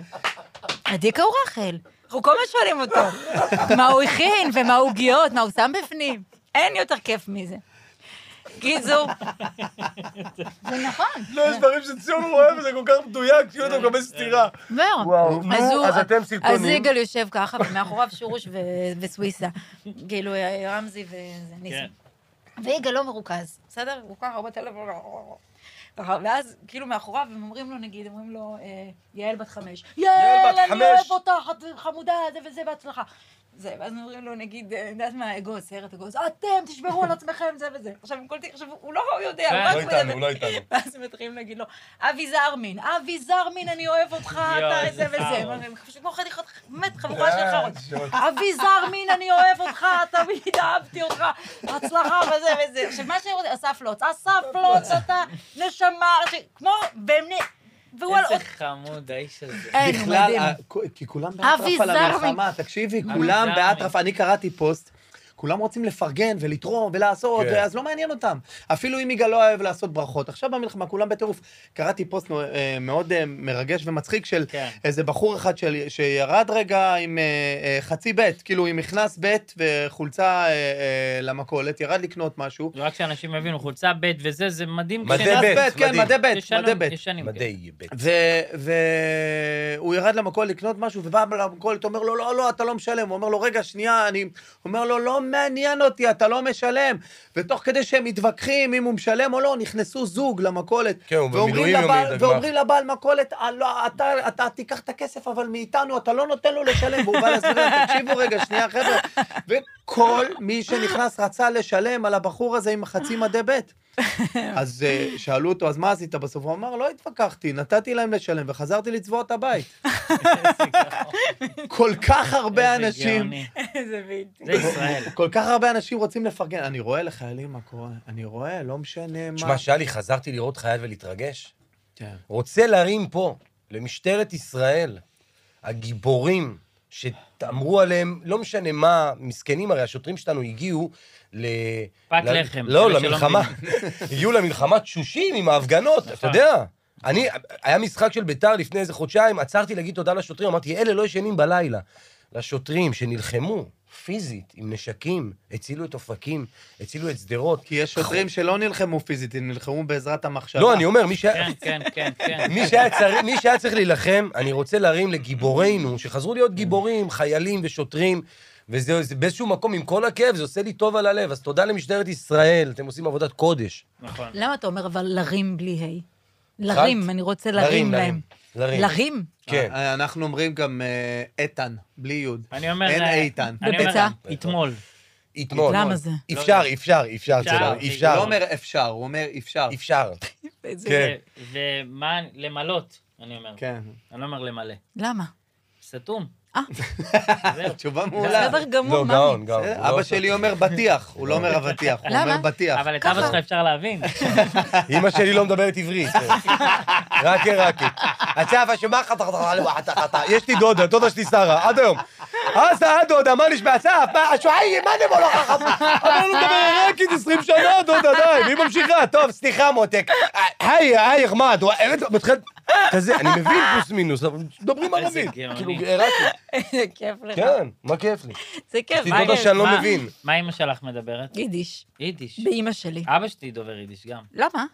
S3: עדיקה הוא רחל, אנחנו כל הזמן שואלים אותו, מה הוא הכין ומה העוגיות, מה הוא שם בפנים, אין יותר כיף מזה. קיצור, זה נכון,
S1: לא, יש דברים שציון רואה וזה כל כך מדויק, כאילו אתה מקבל סטירה.
S3: מאוד.
S1: וואו, נו,
S3: הוא-
S1: אז אתם
S3: אז
S1: סרטונים.
S3: יגאל יושב ככה, ומאחוריו שורוש ו- וסוויסה, כאילו רמזי וזה, ניסים.
S2: כן.
S3: ויגאל לא מרוכז, בסדר? הוא ככה בטלפון, לא, ואז כאילו מאחוריו הם אומרים לו, נגיד, אומרים לו, אה, יעל בת חמש. יעל,
S1: בת
S3: אני אוהב
S1: חמש."
S3: אותך, את חמודה, זה וזה, בהצלחה. זה, ואז אומרים לו, נגיד, אה, יודעת מה, אגוז, סיירת אגוז, אתם, תשמרו על עצמכם, זה וזה. עכשיו, הם קולטים, עכשיו, הוא לא יודע, הוא
S2: כן.
S3: רק
S1: לא
S3: מדבר.
S1: איתנו, הוא לא איתנו.
S3: ואז הם מתחילים להגיד לו, אבי זרמין, אבי זרמין, אני אוהב אותך,
S2: יואו,
S3: אתה
S2: איזה
S3: זה וזה.
S2: חארות.
S3: הם פשוט כמו חתיכות, באמת, חבורה
S1: כן.
S3: של חרות.
S1: שעות.
S3: אבי זרמין, אני אוהב אותך, תמיד אהבתי אותך, הצלחה וזה וזה. עכשיו, מה שאני רוצה, אסף לוץ, אסף לוץ, אתה נשמה, ש- כמו, באמת, והוא על אה. עוד...
S2: איזה חמוד האיש הזה.
S3: אין, הוא
S4: בכלל,
S3: מדהים.
S4: ה- כו- כי כולם
S3: אבי
S4: באטרף על
S3: זרמי.
S4: המלחמה, תקשיבי,
S2: אבי
S4: כולם
S2: זרמי.
S4: באטרף, אני קראתי פוסט, כולם רוצים לפרגן ולתרום ולעשות,
S1: כן.
S4: אז לא מעניין אותם. אפילו אם יגאל לא אוהב לעשות ברכות, עכשיו במלחמה כולם בטירוף. קראתי פוסט נו- אה, מאוד אה, מרגש ומצחיק של
S2: כן.
S4: איזה בחור אחד של- שירד רגע עם אה, אה, חצי בית, כאילו עם מכנס בית וחולצה אה, אה, למכולת, ירד לקנות משהו.
S2: רק שאנשים יבינו, חולצה ב' וזה, זה מדהים.
S1: מדי
S2: כשנס-
S4: מכנס
S1: בית,
S4: בית, כן,
S1: מדהים.
S4: מדי בית,
S2: ישנים-
S4: מדי בית.
S2: ישנים, כן.
S1: מדי בית.
S4: והוא ירד למכולת לקנות משהו, ובא למכולת, אומר לו, לא, לא, אתה לא משלם. הוא אומר לו, רגע, שנייה, אני... הוא אומר לו, לא מעניין אותי, אתה לא משלם. ותוך כדי שהם מתווכחים אם הוא משלם או לא, נכנסו זוג למכולת.
S1: כן, הוא
S4: ואומרים
S1: במילואים
S4: לבעל-
S1: יומי, דגמ"ח.
S4: ואומרים לבעל מכולת, "אה, לא, אתה, אתה תיקח את הכסף, אבל מאיתנו אתה לא נותן לו לשלם. והוא בא להסביר להם, תקשיבו רגע, שנייה, חבר'ה. וכל מי שנכנס רצה לשלם על הבחור הזה עם חצי מדי בית. אז אה, שאלו אותו, אז מה עשית בסוף? הוא אמר, לא התווכחתי, נתתי להם לשלם וחזרתי לצבוע את הבית. כל כך הרבה
S2: איזה
S4: אנשים,
S2: כן. גאוני.
S3: איזה בלתי.
S2: זה ישראל.
S4: כל כך הרבה אנשים רוצים לפרגן. אני רואה לחיילים מה קורה, אני רואה, לא משנה מה.
S1: תשמע, שלי, חזרתי לראות חייל ולהתרגש.
S4: כן.
S1: רוצה להרים פה, למשטרת ישראל, הגיבורים שאמרו עליהם, לא משנה מה, מסכנים, הרי השוטרים שלנו הגיעו ל...
S2: פת
S1: ל-
S2: לחם,
S1: לא,
S2: אלה שלא
S1: למלחמה. הגיעו למלחמה תשושים עם ההפגנות,
S2: נכון.
S1: אתה יודע. אני, היה משחק של ביתר לפני איזה חודשיים, עצרתי להגיד תודה לשוטרים, אמרתי, אלה לא ישנים בלילה. לשוטרים שנלחמו פיזית עם נשקים, הצילו את אופקים, הצילו את שדרות.
S4: כי יש שוטרים שלא נלחמו פיזית, הם נלחמו בעזרת המחשבה.
S1: לא, אני אומר, מי שהיה...
S2: כן, כן, כן, כן.
S1: מי שהיה, צר... מי שהיה צריך להילחם, אני רוצה להרים לגיבורינו, שחזרו להיות גיבורים, חיילים ושוטרים, וזה זה באיזשהו מקום, עם כל הכאב, זה עושה לי טוב על הלב. אז תודה למשטרת ישראל, אתם עושים עבודת קודש.
S2: נכון.
S3: למה אתה אומר אבל לרים בלי ה'? לרים, אני רוצה לרים להם.
S1: לרים.
S3: לרים?
S1: כן.
S4: אה, אנחנו אומרים גם אה, איתן, בלי יוד.
S2: אני אומר... אה,
S4: אין איתן.
S2: אני אומר,
S3: בביצה.
S2: אתמול.
S1: אתמול.
S3: למה זה?
S1: אפשר, אפשר, אפשר,
S2: אפשר,
S1: צלם,
S2: אפשר.
S4: הוא
S1: אפשר.
S4: לא אומר אפשר, הוא אומר אפשר.
S1: אפשר.
S3: איזה-
S1: כן.
S2: ו- ומה, למלות, אני אומר.
S4: כן.
S2: אני לא אומר למלא.
S3: למה?
S2: סתום.
S3: אה.
S2: זהו.
S4: תשובה מעולה.
S3: בסדר גמור,
S1: לא,
S3: מה?
S1: גאון, גאון.
S4: בסדר,
S1: הוא לא
S4: אבא
S1: עושה-
S4: שלי אומר בטיח, הוא לא אומר אבטיח, הוא
S3: למה?
S4: אומר בטיח.
S2: אבל את
S3: ככה.
S2: אבא שלך אפשר להבין.
S1: אמא שלי לא מדברת עברית. רק עיראקי. הצפה שמה חתך חתך חתך. יש לי דודה, דודה שלי שרה, עד היום. אז הדודה, מה נשמע? אסף, מה, השועי, מה נמול לך? אבל הוא מדבר עיראקית 20 שנה, דודה, די, והיא ממשיכה. טוב, סליחה, מותק. היי, היי, אחמד. מתחיל... כזה, אני מבין פלוס מינוס, אבל מדברים
S2: איזה
S1: ערבית.
S2: גאוני.
S1: כאילו, עיראקי.
S3: זה כיף לך.
S1: כן, מה כיף לי.
S3: זה כיף.
S1: אשתי
S3: מה
S1: דודה
S3: יש?
S1: שאני לא
S2: מה-
S1: מבין.
S2: מה אימא שלך מדברת?
S3: יידיש.
S2: יידיש.
S3: באימא שלי.
S2: אבא שלי דובר יידיש גם.
S3: למה?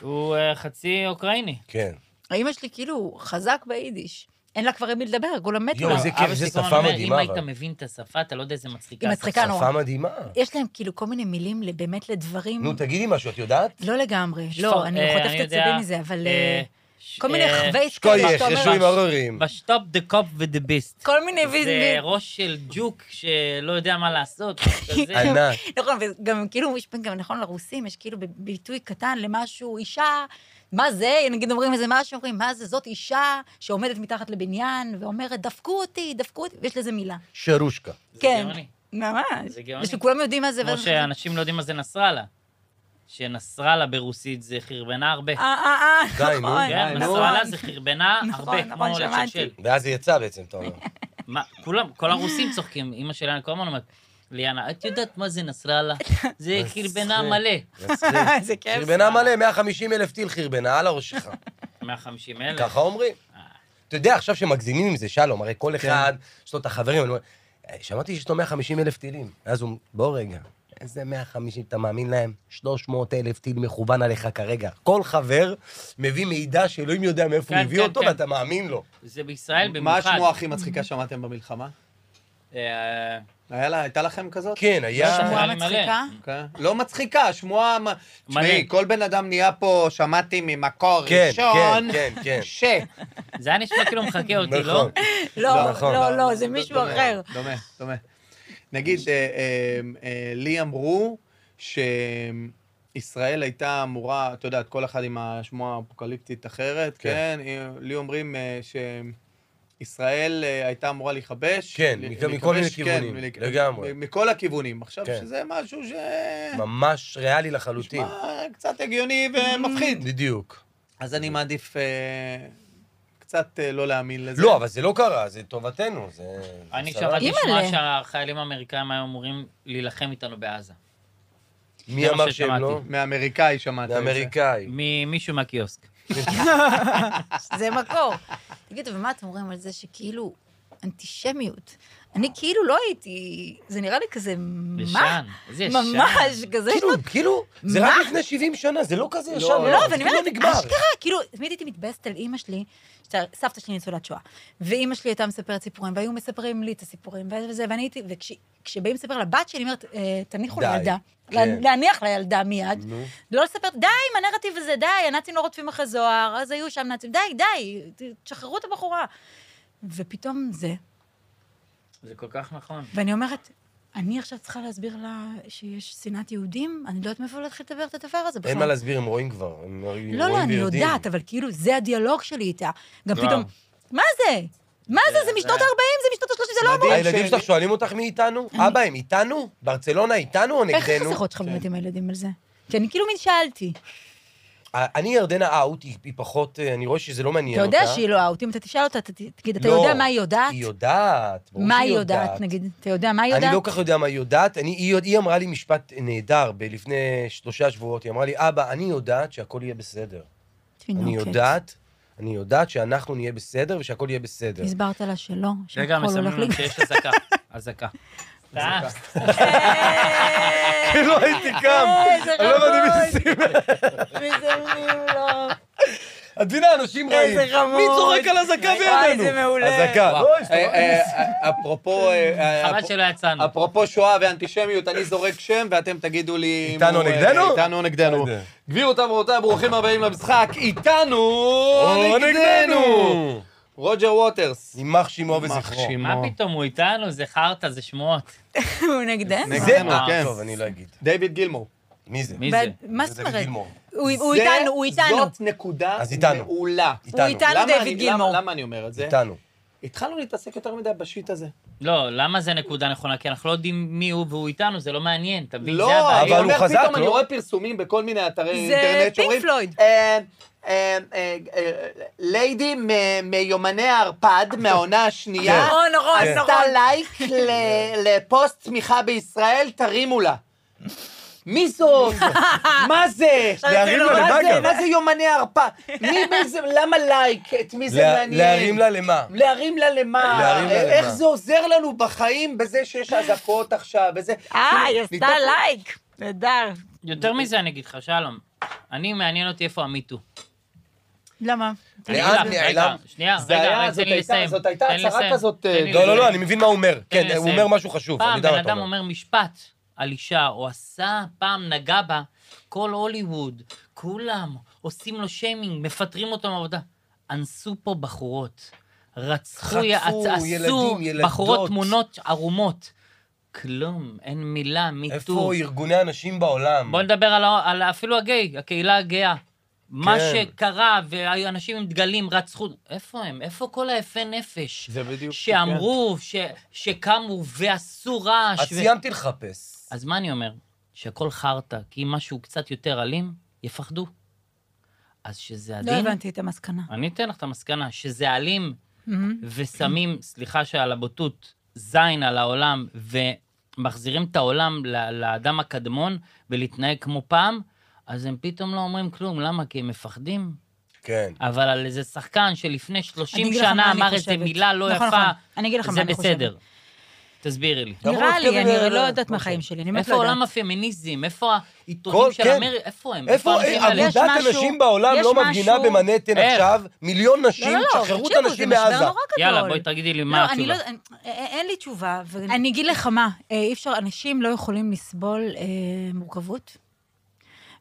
S2: הוא אה, חצי אוקראיני.
S1: כן.
S3: האימא שלי כאילו חזק ביידיש. אין לה כבר עם מי לדבר, כולם מתו.
S1: יואו,
S3: לה.
S1: לא, זה
S2: אבא
S1: כיף,
S2: שלי
S1: זו
S2: כל הזמן
S1: שפה
S2: אומר,
S1: מדהימה,
S2: אם היית
S1: אבל.
S2: מבין את השפה, אתה לא יודע איזה מצחיקה.
S3: היא
S2: השפה."
S3: מצחיקה נורא.
S1: שפה מדהימה.
S3: יש להם כאילו כל מיני מילים ל- באמת לדברים.
S1: נו, תגידי משהו, את יודעת?
S3: לא לגמרי.
S2: שפר-
S3: לא, אני
S2: אה,
S3: חוטפת את
S2: יודע,
S3: עצבים מזה, אבל...
S2: אה,
S3: אה,
S2: ש-
S3: כל מיני
S2: אה,
S3: חווי
S1: שקוייך,
S3: שאתה אומר,
S1: ישו עם הרורים.
S2: בשטופ דה קופ ודה ביסט.
S3: כל מיני
S2: זה
S3: ויזמים.
S2: ראש של ג'וק שלא יודע מה לעשות. כזה.
S1: ענק.
S3: נכון, וגם כאילו, יש גם נכון לרוסים, יש כאילו ביטוי קטן למשהו, אישה, מה זה? נגיד אומרים איזה משהו, אומרים, מה זה, זאת אישה שעומדת מתחת לבניין ואומרת, דפקו אותי, דפקו אותי, ויש לזה מילה.
S1: שרושקה.
S2: זה
S3: כן.
S2: גאוני.
S3: ממש.
S2: זה גאוני.
S3: ושכולם יודעים מה זה.
S2: כמו
S3: ואז-
S2: שאנשים לא יודעים מה זה נסראללה. שנסראללה ברוסית זה חרבנה הרבה.
S3: אה, אה,
S1: די,
S3: אה,
S1: נו.
S3: נכון.
S2: כן,
S4: נו.
S2: נסראללה זה חרבנה
S3: נכון,
S2: הרבה,
S3: נכון,
S2: כמו
S3: שמעתי.
S2: לצ'צ'ל.
S1: ואז זה יצא בעצם, אתה אומר.
S2: מה, כולם, כל הרוסים צוחקים, אימא שלי כל הזמן אומרת, ליאנה, את יודעת מה זה נסראללה? זה חרבנה מלא.
S1: מצחיק.
S3: אה, זה כיף.
S1: חרבנה מלא, 150 אלף טיל חרבנה על הראש שלך.
S2: 150 אלף.
S1: ככה אומרים.
S2: אה.
S1: אתה יודע, עכשיו שמגזימים עם זה, שלום, הרי כל
S2: כן.
S1: אחד, יש לו את החברים, אני אומר, "אה, שמעתי שיש לו 150 אלף טילים. אז הוא, בוא רגע, איזה 150, אתה מאמין להם? 300 אלף טיל מכוון עליך כרגע. כל חבר מביא מידע שאלוהים יודע מאיפה הוא
S2: כן,
S1: הביא
S2: כן,
S1: אותו,
S2: כן.
S1: ואתה מאמין לו.
S2: זה בישראל
S4: מה
S2: במיוחד.
S4: השמועה הכי מצחיקה שמעתם במלחמה?
S2: אה,
S4: היה לה- הייתה לכם כזאת?
S1: כן,
S2: לא
S1: היה...
S2: שמוע.
S3: שמועה
S2: מלא.
S3: מצחיקה.
S4: אוקיי. לא מצחיקה, שמועה... מ- תשמעי, כל בן אדם נהיה פה, שמעתי ממקור
S1: כן,
S4: ראשון,
S1: כן, כן, כן.
S4: ש...
S2: זה היה נשמע כאילו מחקה אותי, לא?
S1: נכון.
S3: לא,
S1: נכון.
S3: לא, לא, זה מישהו
S4: דומה,
S3: אחר.
S4: דומה, דומה. נגיד, אה, אה, אה, לי אמרו שישראל הייתה אמורה, את יודעת, כל אחד עם השמועה האפוקליפטית אחרת,
S1: כן.
S4: כן? אה, לי אומרים אה, שישראל אה, הייתה אמורה להיכבש.
S1: כן,
S4: ל-
S1: מכ- מכל
S4: להיכבש,
S1: מיני
S4: כן,
S1: כיוונים,
S4: ולהיכ-
S1: לגמרי.
S4: מ- מכל הכיוונים. עכשיו,
S1: כן.
S4: שזה משהו ש...
S1: ממש ריאלי לחלוטין.
S4: מה, קצת הגיוני ומפחיד.
S1: בדיוק.
S4: אז אני מעדיף אה, קצת אה, לא להאמין לזה.
S1: לא, אבל זה לא קרה, זה טובתנו, זה...
S2: אני
S1: זה
S2: שמעתי
S1: סבבה.
S2: שמועה
S3: אימא'לה.
S2: שהחיילים האמריקאים היו אמורים להילחם איתנו בעזה.
S1: מי
S2: זה מה
S1: אמר שהם
S2: ששמעתי.
S1: לא?
S4: מאמריקאי שמעת.
S1: זה
S4: את זה.
S1: אמריקאי.
S2: ממישהו מהקיוסק.
S3: זה מקור. תגידו, ומה אתם אומרים על זה שכאילו אנטישמיות? אני כאילו לא הייתי, זה נראה לי כזה, מה?
S2: ישן. איזה ישן.
S3: ממש, כזה יש
S1: כאילו,
S3: לו...
S1: כאילו, זה רק
S3: לא- מה?
S1: לפני 70 שנה, זה לא כזה ישן.
S4: לא,
S3: לא, ואני
S1: כאילו
S3: אומרת,
S1: נגמר.
S3: אשכרה, כאילו, תמיד הייתי מתבאסת על אימא שלי, שת- סבתא שלי ניצולת שואה, ואימא שלי הייתה מספרת סיפורים, והיו מספרים לי את הסיפורים, וזה וזה, ואני הייתי, וכשבאים לספר לבת שלי, אני אומרת, "אה, תניחו
S1: די,
S3: לילדה,
S1: כן.
S3: לה- להניח לילדה מיד,
S1: נו,
S3: לא לספר, די עם הנרטיב הזה, די, הנאצים לא רודפים אחרי זוהר, אז היו שם נאצים, די, די, ת- תשחררו את הבחורה. ופתאום זה,
S2: זה כל כך נכון.
S3: ואני אומרת, אני עכשיו צריכה להסביר לה שיש שנאת יהודים? אני לא יודעת מאיפה להתחיל לדבר את הדבר הזה בכלל.
S1: אין מה להסביר, הם רואים כבר. הם רואים לא.
S3: לא, לא, אני
S1: ויודעים.
S3: יודעת, אבל כאילו, זה הדיאלוג שלי איתה. גם
S2: וואו.
S3: פתאום, מה זה? מה זה? זה משנות
S1: אה,
S3: ה-40, זה משנות ה-30, זה לא אמור.
S4: מדהים
S1: הילדים
S4: ש-
S1: שלך שואלים אותך מי איתנו? אבא, הם איתנו? ברצלונה איתנו או
S3: איך
S1: נגדנו?
S3: החסכות שלך באמת עם הילדים על זה? כי אני כאילו מין שאלתי.
S1: ה- אה, אני ירדנה אאוט, היא היא פחות, אה, אני רואה שזה לא מעניין
S3: אתה
S1: אותה.
S3: יודע שהיא לא אאוט, אם אתה תשאל אותה, אתה ת- תגיד, אתה
S1: לא,
S3: יודע מה היא יודעת?
S1: היא יודעת, ברור
S3: מה
S1: שהיא
S3: היא יודעת, נגיד? אתה יודע מה היא יודעת?
S1: אני לא כל כך יודע מה היא יודעת. אני, היא, היא אמרה לי משפט נהדר ב- לפני שלושה שבועות, היא אמרה לי, אבא, אני יודעת שהכל יהיה בסדר. אני
S3: תינוקת.
S1: יודעת, אני יודעת שאנחנו נהיה בסדר ושהכול יהיה בסדר.
S3: הסברת לה שלא,
S2: רגע,
S3: שהכל הולך
S2: מסמנים לנו
S3: לי.
S2: שיש אזעקה. אזעקה.
S4: אה,
S2: סתם.
S1: לא הייתי קם,
S3: איזה
S1: אני לא יודע מי זה
S3: רמון.
S1: סימן. את מבינה, אנשים רעים.
S3: איזה חמוד.
S1: מי צוחק על אזעקה
S3: וואי,
S1: בידינו?
S3: זה מעולה.
S1: אזעקה.
S2: וואו.
S1: לא, יש
S4: אה,
S1: דבר
S4: אה,
S1: כזה.
S4: אה, אפרופו... אה, אה,
S2: חבל
S4: אפ-
S2: שלא יצאנו.
S4: אפרופו שואה ואנטישמיות, אני זורק שם ואתם תגידו לי... אם
S1: איתנו
S4: הוא, אה,
S1: נגדנו?
S4: איתנו נגדנו.
S1: בסדר.
S4: גבירותיי ורבותיי, ברוכים הבאים למשחק, איתנו
S1: או,
S4: נגדנו!
S1: אה, נגדנו.
S4: רוג'ר ווטרס.
S1: יימח שמו וזכרו.
S4: מחשימו.
S2: מה פתאום, הוא איתנו? זה חרטא, זה שמועות.
S3: הוא נגדנו?
S4: נגד-
S1: זה,
S4: נגדנו,
S1: אה,
S4: כן.
S1: טוב, אני לא אגיד.
S4: דיוויד גילמור.
S1: מי זה?
S2: מי
S3: מה-
S2: זה?
S3: מה
S1: זה
S3: זאת
S1: דוד
S3: אומרת?
S1: גילמור.
S3: הוא הוא
S4: זה-
S3: איתנו, הוא איתנו.
S4: זאת נקודה
S1: אז איתנו.
S4: מעולה.
S3: הוא
S1: איתנו.
S3: איתנו,
S4: למה אני-
S3: דיוויד
S4: למה-
S3: גילמור.
S4: למה אני אומר את זה?
S1: איתנו.
S4: התחלנו להתעסק יותר מדי בשיט הזה.
S2: לא, למה זה נקודה נכונה? כי אנחנו לא יודעים מי הוא והוא איתנו, זה לא מעניין, אתה מבין? זה
S4: לא,
S2: הבעיה.
S1: אבל
S4: אני
S1: הוא
S4: אומר,
S1: חזק,
S4: פתאום אני
S1: לא?
S4: רואה פרסומים בכל מיני אתרי
S3: זה
S4: אינטרנט
S3: פינק פלויד.
S4: "אה, אה, אה, אה, ליידי מ- מיומני הערפד מהעונה השנייה,
S1: כן.
S3: נכון, נכון,
S4: עשתה
S3: נכון.
S4: לייק ל- לפוסט תמיכה בישראל, תרימו לה. מי זאת? מה זה?
S1: להרים לה
S4: מה זה?
S1: לבאגה.
S4: מה זה יומני הרפא? מי מי זה? למה לייק? את מי זה
S1: לה-
S4: מעניין?
S1: להרים לה למה?
S4: להרים לה למה?
S1: להרים לה
S4: איך
S1: למה.
S4: זה עוזר לנו בחיים בזה שיש אזעקות עכשיו? וזה...
S1: נכון.
S5: אה, היא
S4: ניתן-
S5: עשתה לייק. נהדר.
S2: יותר מזה אני אגיד לך, שלום, אני מעניין אותי איפה המיטו.
S5: למה?
S2: אני
S1: לאן
S2: אגיד לך, רגע,
S1: נעלם?
S2: שנייה,
S4: זה
S2: רגע,
S4: היה-
S2: רגע,
S4: זאת
S2: תן לי
S4: הייתה-
S2: לסיים.
S4: זאת הייתה
S2: תן לי
S4: הצהרה
S2: לסיים,
S4: כזאת, אה,
S2: תן לי
S1: לא, לא,
S2: לסיים.
S1: לא, אני מבין מה הוא אומר. כן, הוא
S2: לסיים.
S1: אומר משהו חשוב, אני
S2: פעם
S1: יודע
S2: בן
S1: מה אתה
S2: אדם
S1: אומר.
S2: אומר משפט על אישה, או עשה, פעם נגע בה, כל הוליווד, כולם עושים לו שיימינג, מפטרים אותו מעבודה. אנסו פה בחורות, רצחו,
S1: חטפו
S2: יעצ- עשו
S1: ילדים, ילדות.
S2: בחורות תמונות ערומות. כלום, אין מילה, מיטו.
S1: איפה ארגוני הנשים בעולם?
S2: בוא נדבר על, ה- על אפילו הגיי, הקהילה הגאה. מה
S1: כן.
S2: שקרה, ואנשים עם דגלים רצחו, איפה הם? איפה כל היפי נפש?
S4: זה בדיוק... כן.
S2: שאמרו, ש, שקמו ועשו רעש.
S1: אז סיימתי לחפש.
S2: אז מה אני אומר? שהכל חרטא, כי אם משהו קצת יותר אלים, יפחדו. אז שזה
S5: לא
S2: עדין...
S5: הבנתי את המסקנה.
S2: אני אתן לך את המסקנה, שזה אלים
S5: מהמם.
S2: ושמים, סליחה שעל הבוטות, זין על העולם, ומחזירים את העולם ל- לאדם הקדמון ולהתנהג כמו פעם, אז הם פתאום לא אומרים כלום. למה? כי הם מפחדים.
S1: כן.
S2: אבל על איזה שחקן שלפני 30
S5: אני אגיד לך מה
S2: שנה
S5: אני
S2: אמר איזה
S5: חושבת.
S2: מילה לא
S5: נכון,
S2: יפה,
S5: נכון. אני אגיד לך מה
S2: זה
S5: אני חושבת.
S2: בסדר. תסבירי לי.
S5: נראה לי,
S1: אנחנו
S5: אני
S1: מתקדמים
S5: לא
S1: ל-
S5: יודעת מהחיים שלי, אני באמת
S2: איפה
S5: לא יודעת.
S2: עולם הפמיניזם? איפה
S1: כל-
S2: העיתונים של
S1: כן.
S2: אמריקה? איפה הם?
S1: איפה
S2: האנשים
S1: אה,
S2: האלה?
S5: יש
S1: אגודת
S5: משהו-
S1: הנשים בעולם
S5: יש
S1: לא מפגינה
S5: משהו-
S1: במנהטן
S2: איך?
S1: עכשיו? מיליון
S5: לא,
S1: נשים,
S5: לא, לא,
S1: שחררו את
S5: תקשיבו,
S1: הנשים
S5: זה משבר
S1: מעזה.
S5: נורא גדול.
S2: יאללה, בואי תגידי לי מה
S5: לא, אני לא,
S2: התשובה.
S5: אני, אה, אין לי תשובה. ו... אני אגיד לך מה, אה, אי אפשר, אנשים לא יכולים לסבול אה, מורכבות,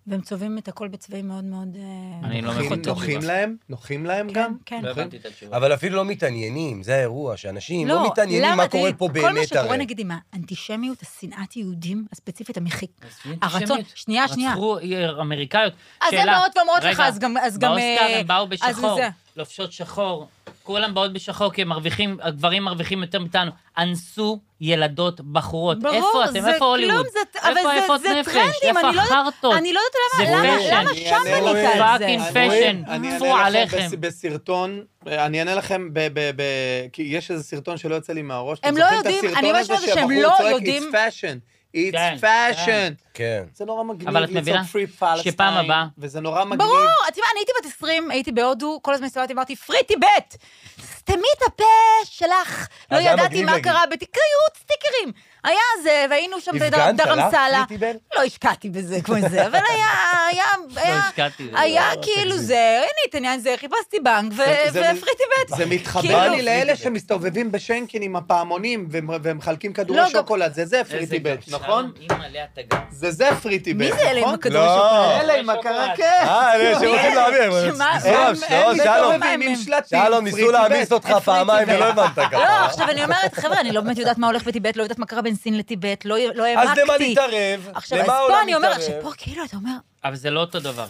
S5: והם צובעים את הכל בצבעים מאוד מאוד... אה,
S2: אני לא
S5: נוכחים.
S2: מבין את התשובה.
S4: נוחים להם? נוחים להם
S5: כן,
S4: גם?
S5: כן.
S2: לא הבנתי את התשובה.
S1: אבל אפילו לא מתעניינים, זה האירוע, שאנשים לא מתעניינים
S5: למה,
S1: מה קורה
S5: תראי,
S1: פה
S5: כל מה
S1: באמת
S5: שקורה,
S1: הרי.
S5: נגיד, עם האנטישמיות, השנאת יהודים, הספציפית, המחיק...
S2: אז מי
S5: הרצון...
S2: אנטישמיות?
S5: שנייה, שנייה.
S2: רצחו אה, אמריקאיות.
S5: אז הן
S2: שאלה,
S5: באות ואומרות לך,
S2: רגע,
S5: אז גם- אז גם,
S2: באוסקר
S5: אה,
S2: הם באו בשחור,
S5: זה.
S2: לובשות שחור. כולם באות בשחור, כי הם מרוויחים, הגברים מרוויחים יותר מאיתנו. אנסו ילדות בחורות.
S5: ברור,
S2: איפה אתם?
S5: זה
S2: איפה הוליווד?
S5: כלום, זה-
S2: איפה
S5: אבל זה-
S2: היפות
S5: זה
S2: נפש?
S5: טרנדים,
S2: איפה
S5: אני לא יודעת-
S2: החרטות?
S5: אני לא יודעת
S2: זה
S5: למה- למה-
S2: פשן.
S5: למה
S4: אני
S5: שם
S4: אענה
S5: בנית
S1: לכם.
S5: על זה.
S2: פאקינג
S4: אני-
S2: פשן,
S4: אני
S2: טפו
S4: אענה לכם
S2: עליכם.
S4: בס- בסרטון, אה, אני אענה לכם ב... ב- ב- כי יש איזה סרטון שלא יוצא לי מהראש. אתם
S5: הם לא
S4: זוכרים את
S5: יודעים,
S4: הסרטון
S5: אני ממש
S4: הזה
S5: אומרת שהם
S4: שהבחור
S5: לא
S4: צועק,
S5: יודעים-
S4: It's fashion,
S2: כן,
S4: it's fashion.
S1: כן.
S4: זה נורא מגניב
S2: אבל את
S4: ליצור
S2: מבינה
S4: free palestine,
S2: שפעם הבאה-
S4: וזה נורא מגניב.
S5: ברור, את יודעת, אני הייתי בת 20, הייתי בהודו, כל הזמן הסתובבתי, אמרתי, פרי טיבט! סתמי את הפה
S4: אה,
S5: שלך! לא
S1: היה
S5: ידעתי
S1: מגניב
S5: מה
S1: להגיד.
S5: קרה, בקריאות סטיקרים. היה זה, והיינו שם
S1: הפגנת,
S5: בדרמסלה.
S1: הלכת, פריטי בל?
S5: לא השקעתי בזה כמו זה, אבל היה, היה, היה,
S2: לא השקעתי בזה,
S5: היה
S1: לא,
S5: כאילו
S1: תגזים.
S5: זה, הנה התעניין זה, חיפשתי בנק ו-
S4: זה- זה-
S5: אה, והפריטי בית.
S4: זה מתחבר
S5: כאילו-
S4: לי לאלה שמסתובבים בשנקין עם הפעמונים והם- ומחלקים כדורי
S5: לא, גם-
S4: שוקולד, זה זה
S2: איזה
S4: פריטי בט,
S2: גב,
S4: נכון?
S2: שלום, אימא, לאה תגר.
S4: זה זה פריטי בט,
S5: מי
S4: נכון?
S5: זה אלה עם הכדורי
S1: לא.
S5: שוקולד?
S4: אלה עם הקרקס.
S1: אה, אלה שרוצים להעביר.
S5: שמה-
S1: נזרום,
S5: הם-
S1: לא,
S5: הם
S1: שלום.
S5: מסתובבים.
S4: עם שלטים.
S1: שלום, ניסו
S4: פריטי
S1: להעמיס
S4: בט.
S1: אותך
S5: פריטי
S1: פעמיים
S5: בן.
S1: ולא הבנת ככה.
S5: לא, עכשיו אני אומרת, חבר'ה, אני לא באמת יודעת מה הולך בטיבט, לא יודעת מה קרה בין סין לטיבט, לא לא
S1: אז
S5: העמקתי.
S1: למה להתערב?
S5: עכשיו, אז
S1: למה
S5: פה
S1: העולם
S5: אני אומרת,
S1: מתערב?
S5: שפה כאילו, אתה אומר,
S2: אבל זה לא אותו דבר.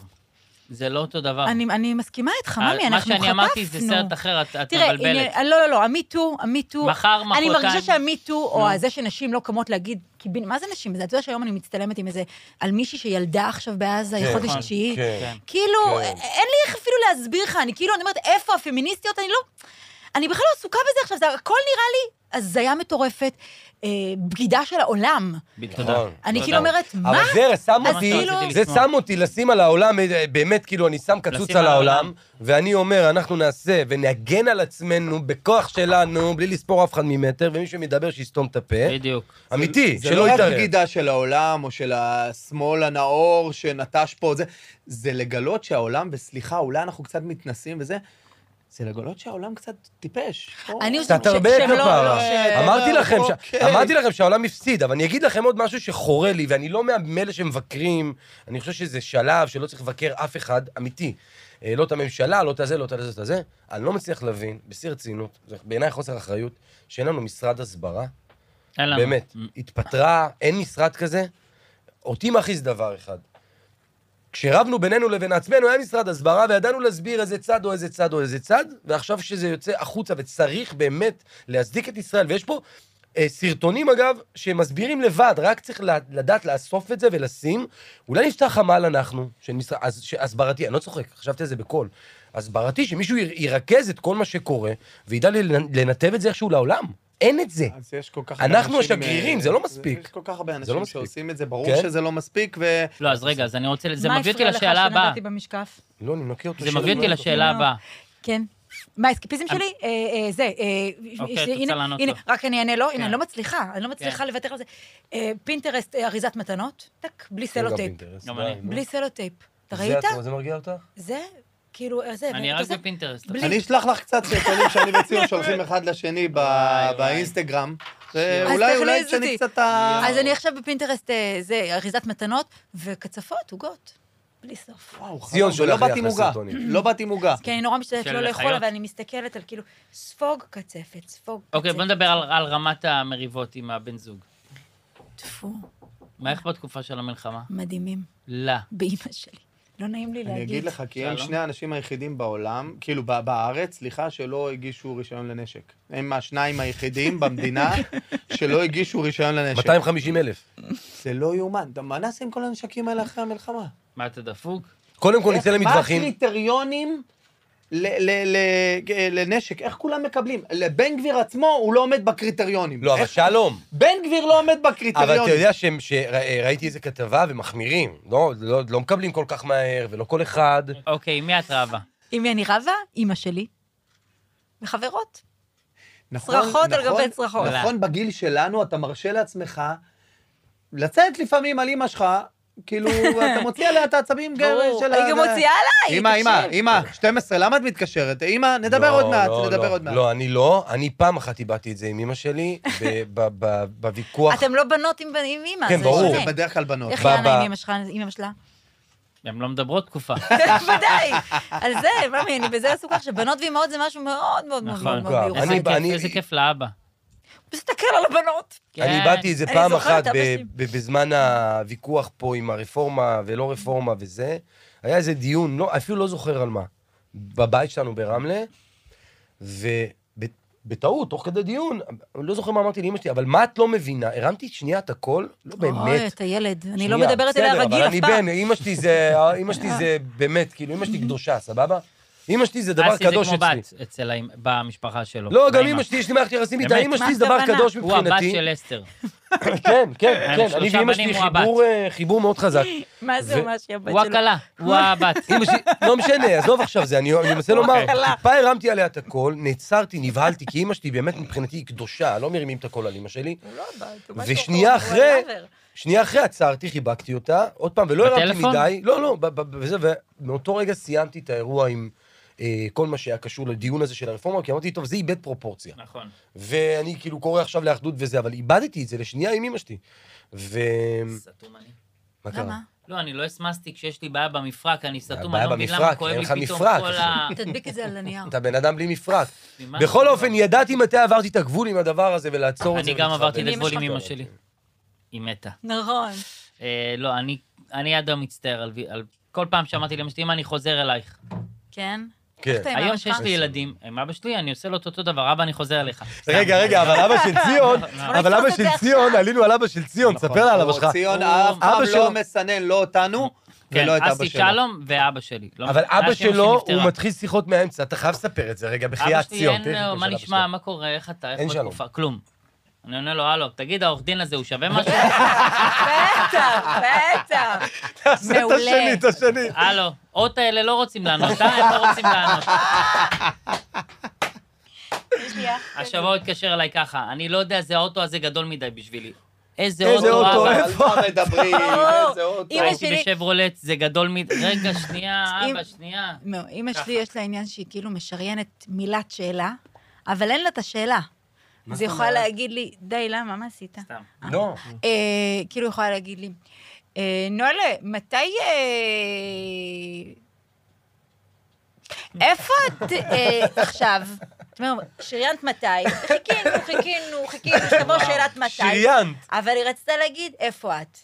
S2: זה לא אותו דבר.
S5: אני, אני מסכימה איתך,
S2: אה,
S5: ממי, אנחנו חטפנו.
S2: מה שאני אמרתי זה סרט אחר, את את
S5: תראה,
S2: מבלבלת.
S5: הנה, לא, לא, לא, המיטו, המיטו,
S2: מחר,
S5: אני
S2: מחרתיים.
S5: מרגישה שהמיטו, או זה שנשים לא קמות להגיד, קיבין, מה זה נשים? אתה יודע שהיום אני מצטלמת עם איזה, על מישהי שילדה עכשיו בעזה, היא
S1: כן,
S5: חודש
S2: נכון,
S5: תשיעי,
S1: כן.
S5: כאילו,
S1: כן.
S5: אין לי איך אפילו להסביר לך, אני כאילו, אני אומרת, איפה הפמיניסטיות? אני לא... אני בכלל לא עסוקה בזה עכשיו, זה הכל נראה לי הזיה מטורפת, אה, בגידה של העולם.
S2: תודה.
S1: נכון.
S5: אני
S2: תודה.
S5: כאילו אומרת, מה?
S1: אבל זה שם
S5: אז
S1: אותי,
S5: כאילו-
S1: זה שם אותי לשים על העולם, אה, באמת, כאילו, אני שם קצוץ
S2: לשים
S1: על
S2: על
S1: העולם,
S2: העולם.
S1: ואני אומר, אנחנו נעשה ונגן על עצמנו בכוח שלנו, בלי לספור אף אחד ממטר, ומי שמדבר שיסתום את הפה.
S2: בדיוק.
S1: אמיתי,
S4: זה לא
S1: שלא
S4: רק
S1: יתערב.
S4: בגידה של העולם או של השמאל הנאור שנטש פה, זה, זה לגלות שהעולם, וסליחה, אולי אנחנו קצת מתנסים וזה, זה לגלות שהעולם קצת טיפש.
S5: אני
S4: או-
S5: חושבת
S1: קצת הרבה
S5: שהם לא-
S1: כפרה.
S5: לא, ש-
S1: אמרתי לכם, ש-
S4: אוקיי.
S1: אמרתי לכם שהעולם הפסיד, אבל אני אגיד לכם עוד משהו שחורה לי, ואני לא מה- מאלה שמבקרים, אני חושב שזה שלב שלא צריך לבקר אף אחד, אמיתי. אה, לא את הממשלה, לא את הזה, לא את הזה, לא את הזה. אני לא מצליח להבין, בשיא רצינות, זה בעיניי חוסר אחריות, שאין לנו משרד הסברה,
S2: אין לנו.
S1: באמת. התפטרה, אין משרד כזה. אותי מכעיס דבר אחד. כשרבנו בינינו לבין עצמנו, היה משרד הסברה, וידענו להסביר איזה צד או איזה צד או איזה צד, ועכשיו שזה יוצא החוצה, וצריך באמת להצדיק את ישראל, ויש פה אה, סרטונים, אגב, שמסבירים לבד, רק צריך ל- לדעת לאסוף את זה ולשים. אולי נפתח חמ"ל אנחנו, של משרד, אז, הסברתי, אני לא צוחק, חשבתי על זה בקול. הסברתי, שמישהו יר- ירכז את כל מה שקורה, וידע ל- לנתב את זה איכשהו לעולם. אין את זה.
S4: אז יש כל כך
S1: אנחנו
S4: אנשים,
S1: השגרירים,
S4: אה,
S1: זה לא מספיק.
S4: יש כל כך הרבה
S1: לא
S4: אנשים
S1: מספיק.
S4: שעושים את זה, ברור
S1: כן?
S4: שזה לא מספיק, ו...
S2: לא, אז רגע, אז אני רוצה... זה מביא אותי
S5: מה
S2: לשאלה
S5: הפריע לך
S2: הבאה.
S5: שנגעתי במשקף?
S1: לא, אני מנקה אותו.
S2: זה
S1: שם,
S2: מביא אותי
S1: לא,
S2: לשאלה
S5: לא.
S2: הבאה.
S5: כן. מה, האסקיפיזם שלי? אה, אה, זה, אה,
S2: אוקיי, את
S5: הנה-
S2: רוצה לענות
S5: הנה,
S2: לו.
S5: רק אני אענה לו,
S2: כן.
S5: הנה, אני לא מצליחה, אני לא מצליחה לוותר על זה. אה, פינטרסט, אה, אריזת מתנות, טק, בלי
S4: לא
S1: אין לא, גם
S5: סלוטייפ.
S1: אינטרס,
S2: גם
S1: די,
S2: אני.
S1: נו.
S5: בלי סלוטייפ. אתה
S1: זה
S5: ראית?
S1: את- זה מרגיע אותך?
S5: זה, כאילו, אה, זה,
S2: אני
S5: ואתה
S2: רק
S5: זה-
S2: בפינטרסט.
S5: בלי-
S4: אני אשלח לך קצת סרטונים שאני וציון שולחים אחד לשני ב-
S2: וואי, וואי.
S4: באינסטגרם.
S2: אז
S4: ואולי, אולי
S5: תכניס אותי.
S4: תשני קצת את ה...
S5: אז אני עכשיו בפינטרסט, אה, זה, אריזת מתנות, וקצפות, עוגות. בלי סוף.
S4: וואו, חבל,
S1: ציון שולח
S4: ולא
S1: לי
S4: באתי
S1: אחלה
S4: מוגה,
S1: סרטונים.
S4: לא באתי מוגה.
S5: כי אני נורא משתדלת
S2: של
S5: לא לאכול,
S2: חיות.
S5: אבל אני מסתכלת על כאילו, ספוג קצפת, ספוג קצפת.
S2: אוקיי, בוא נדבר על על רמת המריבות עם הבן זוג.
S5: טפו,
S2: מה איך בתקופה של המלחמה?
S5: מדהימים,
S2: לא.
S5: באימא שלי. לא נעים לי להגיד.
S4: אני אגיד לך, כי הם
S2: שלום.
S4: שני האנשים היחידים בעולם, כאילו ב- בארץ, סליחה, שלא הגישו רישיון לנשק. הם השניים היחידים במדינה שלא הגישו רישיון לנשק.
S1: 250 אלף.
S4: זה לא יאומן. אתה- מה נעשה עם כל הנשקים האלה אחרי המלחמה?
S2: מה, אתה דפוק?
S1: קודם כל נצא
S4: איך- מה
S1: למטווחים.
S4: הקריטריונים ל- ל- ל- לנשק? איך כולם מקבלים? לבן גביר עצמו, הוא לא עומד בקריטריונים.
S1: לא, אבל
S4: איך-
S1: שלום.
S4: בן גביר לא עומד בקריטריונים.
S1: אבל אתה יודע שהם- שראיתי איזה כתבה ומחמירים. לא- לא לא מקבלים כל כך מהר, ולא כל אחד.
S2: אוקיי, מי את רבה?
S5: עם מי אני רבה? אימא שלי. וחברות.
S4: נכון,
S5: צרחות על
S4: נכון,
S5: גבי צרחות.
S4: נכון, בגיל שלנו אתה מרשה לעצמך לצאת לפעמים על אימא שלך, כאילו, אתה מוציא עליה את העצבים גם
S5: ברור.
S4: של
S5: היא גם מוציאה עליי,
S4: אימא,
S5: תקשיב.
S4: אימא, אימא, 12, למה את מתקשרת? אימא, נדבר
S1: לא,
S4: עוד מעט,
S1: לא,
S4: נדבר
S1: לא.
S4: עוד מעט.
S1: לא, אני לא. אני פעם אחת איבדתי את זה עם אמא שלי, ב- ב- ב- בוויכוח.
S5: אתם לא בנות עם עם אימא,
S1: כן,
S5: זה
S1: ברור.
S4: זה
S5: שונה.
S4: בדרך כלל בנות.
S1: ב-
S5: איך יאנה
S1: ב-
S5: עם אמא שלך, עם אמא שלה?
S2: הן לא מדברות תקופה.
S5: נכון, בוודאי, על זה, ממי, אני בזה עסוקה עכשיו. בנות ואימהות זה משהו מאוד מאוד מאוד
S2: נכון.
S5: מאוד מאוד
S1: אני-
S2: איזה
S5: מיוחד.
S2: כיף,
S1: אני-
S2: איזה כיף לאבא.
S5: תסתכל על הבנות.
S1: אני איבדתי את זה
S5: כן. אני
S1: פעם
S5: זוכרת,
S1: אחת
S5: אבא
S1: ב-
S5: שלי.
S1: ב- בזמן הוויכוח פה עם הרפורמה ולא רפורמה וזה. היה איזה דיון, לא, אפילו לא זוכר על מה, בבית שלנו ברמלה, ובטעות, תוך כדי דיון, אני לא זוכר מה אמרתי לאמא שלי, אבל מה את לא מבינה? הרמתי שנייה את הכל? לא באמת.
S5: אוי, אתה ילד, אני
S1: שנייה,
S5: לא מדברת אליה
S1: בסדר,
S5: רגיל
S1: אבל
S5: אף
S1: אני
S5: פעם.
S1: בן, אימא שלי זה, אימא שלי זה באמת, כאילו, אימא שלי קדושה, סבבה? אימא שלי זה דבר
S2: אסי זה
S1: קדוש
S2: כמו
S1: אצלי.
S2: בת אצל האמ- במשפחה שלו.
S1: לא, גם
S2: באמא.
S1: אימא שלי, יש לי מערכת יחסים איתה,
S2: באמת,
S1: אימא
S5: מה
S1: שלי זה דבר
S5: הכוונה?
S1: קדוש
S2: הוא הבת
S1: מבחינתי.
S2: של אסתר.
S1: כן, כן,
S2: הם
S1: כן, אני
S2: שלושה
S1: ואימא
S2: בנים,
S1: שלי
S2: הוא הבת.
S1: חיבור, אה, חיבור מאוד חזק.
S5: מה זה
S1: ו-
S5: ממש הבת
S2: הוא
S5: שלו?
S2: הכלה, הוא הבת.
S1: אימא שלי, לא משנה, עזוב עכשיו זה, אני אני מנסה לומר,
S5: הלך.
S1: טיפה הרמתי עליה את הכל, נעצרתי, נבהלתי, כי אימא שלי באמת מבחינתי היא קדושה, לא מרימים את הכל על אימא שלי.
S5: הוא לא הבת, הוא
S1: ושנייה
S5: משהו אחר, הוא
S1: אחרי,
S5: whatever.
S1: שנייה אחרי עצרתי, חיבקתי אותה, עוד פעם, ולא הרמתי
S2: בטלפון?
S1: מדי, לא, לא, ב- ב- וזה, ומאותו רגע סיימתי את האירוע עם אה, כל מה שהיה קשור לדיון הזה של הרפורמה, כי אמרתי, טוב, זה איבד פרופורציה.
S2: נכון.
S1: ואני כאילו קורא עכשיו לאחדות וזה, אבל איבדתי את זה לשנייה עם אימא שלי. ו...
S2: סתום אני.
S1: מה קרה?
S5: למה?
S2: לא, אני לא הסמסתי כשיש לי בעיה במפרק, אני סתום,
S1: הבעיה
S2: אני לא מבין למה
S1: במפרק,
S2: כואב
S1: אין
S2: לי
S1: לך
S2: פתאום
S1: מפרק.
S2: כל ה...
S5: תדביק את זה על הנייר.
S1: אתה בן אדם בלי מפרק.
S2: ממה
S1: בכל
S2: אתה
S1: אופן,
S2: מדבר?
S1: ידעתי מתי עברתי את הגבול עם הדבר הזה ולעצור את זה.
S2: אני גם
S1: ולהתחבר.
S2: עברתי
S5: עם אמא
S2: לגבול עם
S5: שלך?
S2: אמא שלי. היא מתה.
S5: נכון.
S2: אה, לא, אני- אני עד היום מצטער על וי- על... כל פעם שאמרתי לאמא שלי, אמא, אני חוזר אלייך.
S5: כן?
S1: כן.
S5: אתה עם
S2: היום
S5: אבא
S2: שיש
S5: שלך?
S2: לי ילדים, עם אבא שלי, אני עושה לו את אותו דבר, אבא, אני חוזר אליך.
S1: רגע, רגע, אבל אבא של ציון, אבל
S5: נפתור
S1: אבא
S5: את
S1: של
S5: זה עכשיו.
S1: ציון, עלינו על אבא של ציון,
S4: נכון,
S1: ספר לה על אבא
S4: הוא-
S1: שלך.
S4: ציון
S2: הוא-
S4: אף פעם
S1: אבא
S4: לא
S1: שלו-
S4: מסנן, לא אותנו
S2: כן,
S4: ולא את אבא
S2: אסי
S4: שלו.
S2: שלום ואבא שלי. לא-
S1: אבל
S2: זה
S1: אבא
S2: השם
S1: שלו, הוא
S2: שנפטרה.
S1: מתחיל שיחות מהאמצע, אתה חייב לספר את זה רגע,
S2: אבא
S1: בחייאת
S2: שלי
S1: ציון.
S2: אין
S1: תכף
S2: לו, מה
S1: של אבא
S2: נשמע,
S1: שלו.
S2: מה קורה, איך אתה, איך
S1: אין שלום.
S2: בתקופה, כלום. אני עונה לו, הלו, תגיד, העורך דין הזה, הוא שווה משהו?
S5: בטח, בטח.
S1: תעשה את
S5: מעולה.
S1: השני, את השני.
S2: הלו, אות האלה לא רוצים לענות, אה? הם לא רוצים לענות.
S5: יש לי אח כזה.
S2: השבוע הוא התקשר אליי ככה, אני לא יודע, זה האוטו הזה גדול מדי בשבילי. איזה
S1: איזה
S2: אוטו,
S1: אוטו,
S2: אבא?
S1: אה?
S4: על מה מדברים,
S5: ברור.
S4: איזה אוטו.
S5: אמא
S2: הייתי
S5: שלי-
S2: בשברולט, זה גדול מדי. רגע, שנייה, אבא,
S5: אם-
S2: שנייה.
S5: לא, אימא
S2: ככה.
S5: שלי יש לה עניין שהיא כאילו משריינת מילת שאלה, אבל אין לה את השאלה. אז היא יכולה להגיד לי, די, למה? מה עשית?
S2: סתם.
S1: לא.
S5: אה, כאילו, היא יכולה להגיד לי, אה, נולה, מתי... אה, איפה את אה, עכשיו? זאת אומרת, שריינת מתי? חיכינו, חיכינו, חיכינו, שתבוא שאלת מתי.
S1: שריינת.
S5: אבל היא רצתה להגיד, איפה את?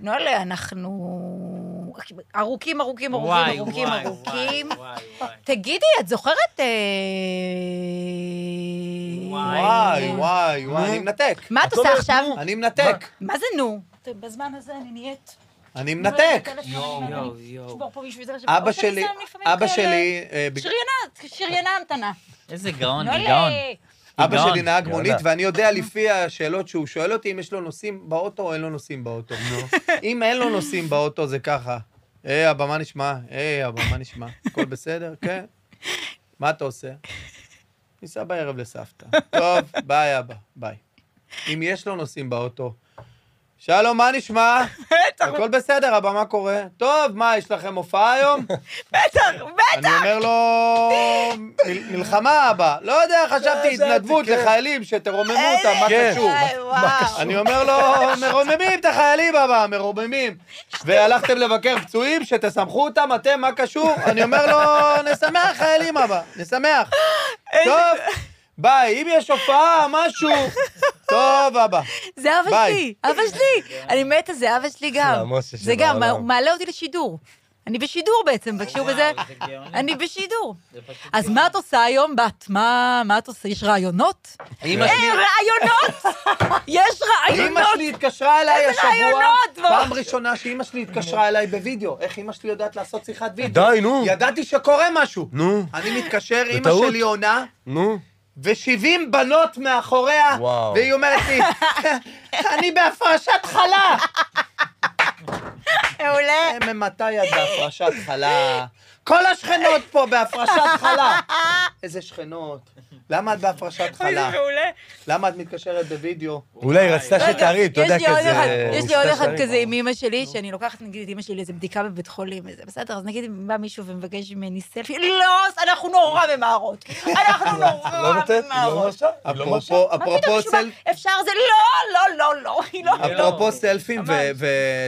S5: נולה, אנחנו ארוכים, ארוכים,
S2: וואי,
S5: ארוכים,
S2: וואי,
S5: ארוכים,
S2: וואי,
S5: ארוכים.
S2: וואי, וואי.
S5: תגידי, את זוכרת... אה,
S2: וואי.
S4: וואי, וואי, וואי, אני מנתק.
S5: אה, מה את
S1: את
S5: עושה
S1: אומרת,
S5: עכשיו?
S1: נו.
S4: אני מנתק.
S5: מה זה נו? בזמן הזה אני נהיית...
S4: אני מנתק.
S2: יואו, יואו, יואו.
S5: שבור פה בשביל זה.
S4: אבא שלי, אבא שלי, אה, בג-
S5: שריינה, שריינה המתנה. לא
S2: איזה גאון,
S5: נולה,
S2: גאון.
S4: אבא
S2: גאון.
S4: שלי נהג
S1: גאונה.
S4: מונית, ואני יודע לפי השאלות שהוא שואל אותי אם יש לו נוסעים באוטו או אין לו נוסעים באוטו. אם אין לו נוסעים באוטו, זה ככה. היי, אבא, מה נשמע? היי, אבא, מה נשמע? הכל בסדר? כן. מה אתה עושה? ניסע בערב לסבתא. טוב, ביי, אבא, ביי. אם יש לו נוסעים באוטו, שלום, מה נשמע? הכל בסדר, אבא, מה קורה? טוב, מה, יש לכם הופעה היום?
S5: בטח, בטח!
S4: אני אומר לו, "מל- מלחמה אבא. לא יודע, חשבתי
S1: זה,
S4: התנדבות
S1: כן.
S4: לחיילים שתרוממו אותם, מה
S1: כן.
S4: קשור?
S5: וואי, וואו.
S4: אני אומר לו, מרוממים את החיילים אבא, מרוממים. והלכתם לבקר פצועים, שתשמחו אותם, אתם, מה קשור? אני אומר לו, נשמח חיילים אבא, נשמח. טוב, ביי, אם יש הופעה, משהו. טוב אבא.
S5: זה אבא
S4: ביי.
S5: שלי, אבא שלי. אני מתה, זה אבא שלי
S1: אחלה,
S5: גם.
S1: משה
S5: זה גם,
S1: שבעולם.
S5: הוא מעלה אותי לשידור. אני בשידור בעצם, בשיעור הזה.
S2: וואו, אה, זה גאוני.
S5: אני בשידור.
S2: זה פשוט
S5: אז
S2: גאוני.
S5: מה את עושה היום, בת? מה מה את עושה? יש רעיונות?
S4: אמא
S5: אין רעיונות! יש
S4: אימא
S5: רעיונות!
S4: שלי התקשרה אליי
S5: איזה
S4: השבוע,
S5: רעיונות, דבורה.
S4: פעם ראשונה שאימא שלי התקשרה אליי בווידאו. איך אימא שלי יודעת לעשות שיחת וידאו?
S1: די, נו.
S4: ידעתי שקורה משהו.
S1: נו,
S4: אני מתקשר, אימא
S1: בטעות.
S4: שלי עונה,
S1: נו.
S4: ו-70 בנות מאחוריה,
S1: וואו.
S4: והיא אומרת לי, אני בהפרשת חלה.
S5: מעולה.
S4: ממתי את בהפרשת חלה? כל השכנות פה בהפרשת חלה. איזה שכנות? למה את בהפרשת חלה?
S5: מעולה.
S4: למה את מתקשרת בווידאו?
S1: אולי היא רצתה
S5: רגע,
S1: שתראי, אתה יודע,
S5: יש לי עוד
S1: כזה...
S5: אחד- יש לי עוד
S1: רצתה
S5: אחד
S1: שתראי.
S5: כזה עם אימא שלי, שאני לוקחת נגיד את אימא שלי לאיזה בדיקה בבית חולים וזה, בסדר, אז נגיד בא מישהו ומבקש ממני סלפי, לא, אנחנו נורא ממהרות, אנחנו
S1: לא
S5: נורא
S1: נותנת? היא לא
S5: ממהרות.
S1: מרשה? היא לא מרשה?
S4: אפרופו,
S5: מה פתאום
S4: אפרופו
S5: מישהו בא,
S4: סל...
S5: אפשר זה לא, לא, לא, לא, היא לא,
S4: אפרופו סלפים,
S5: ממש.
S4: ו-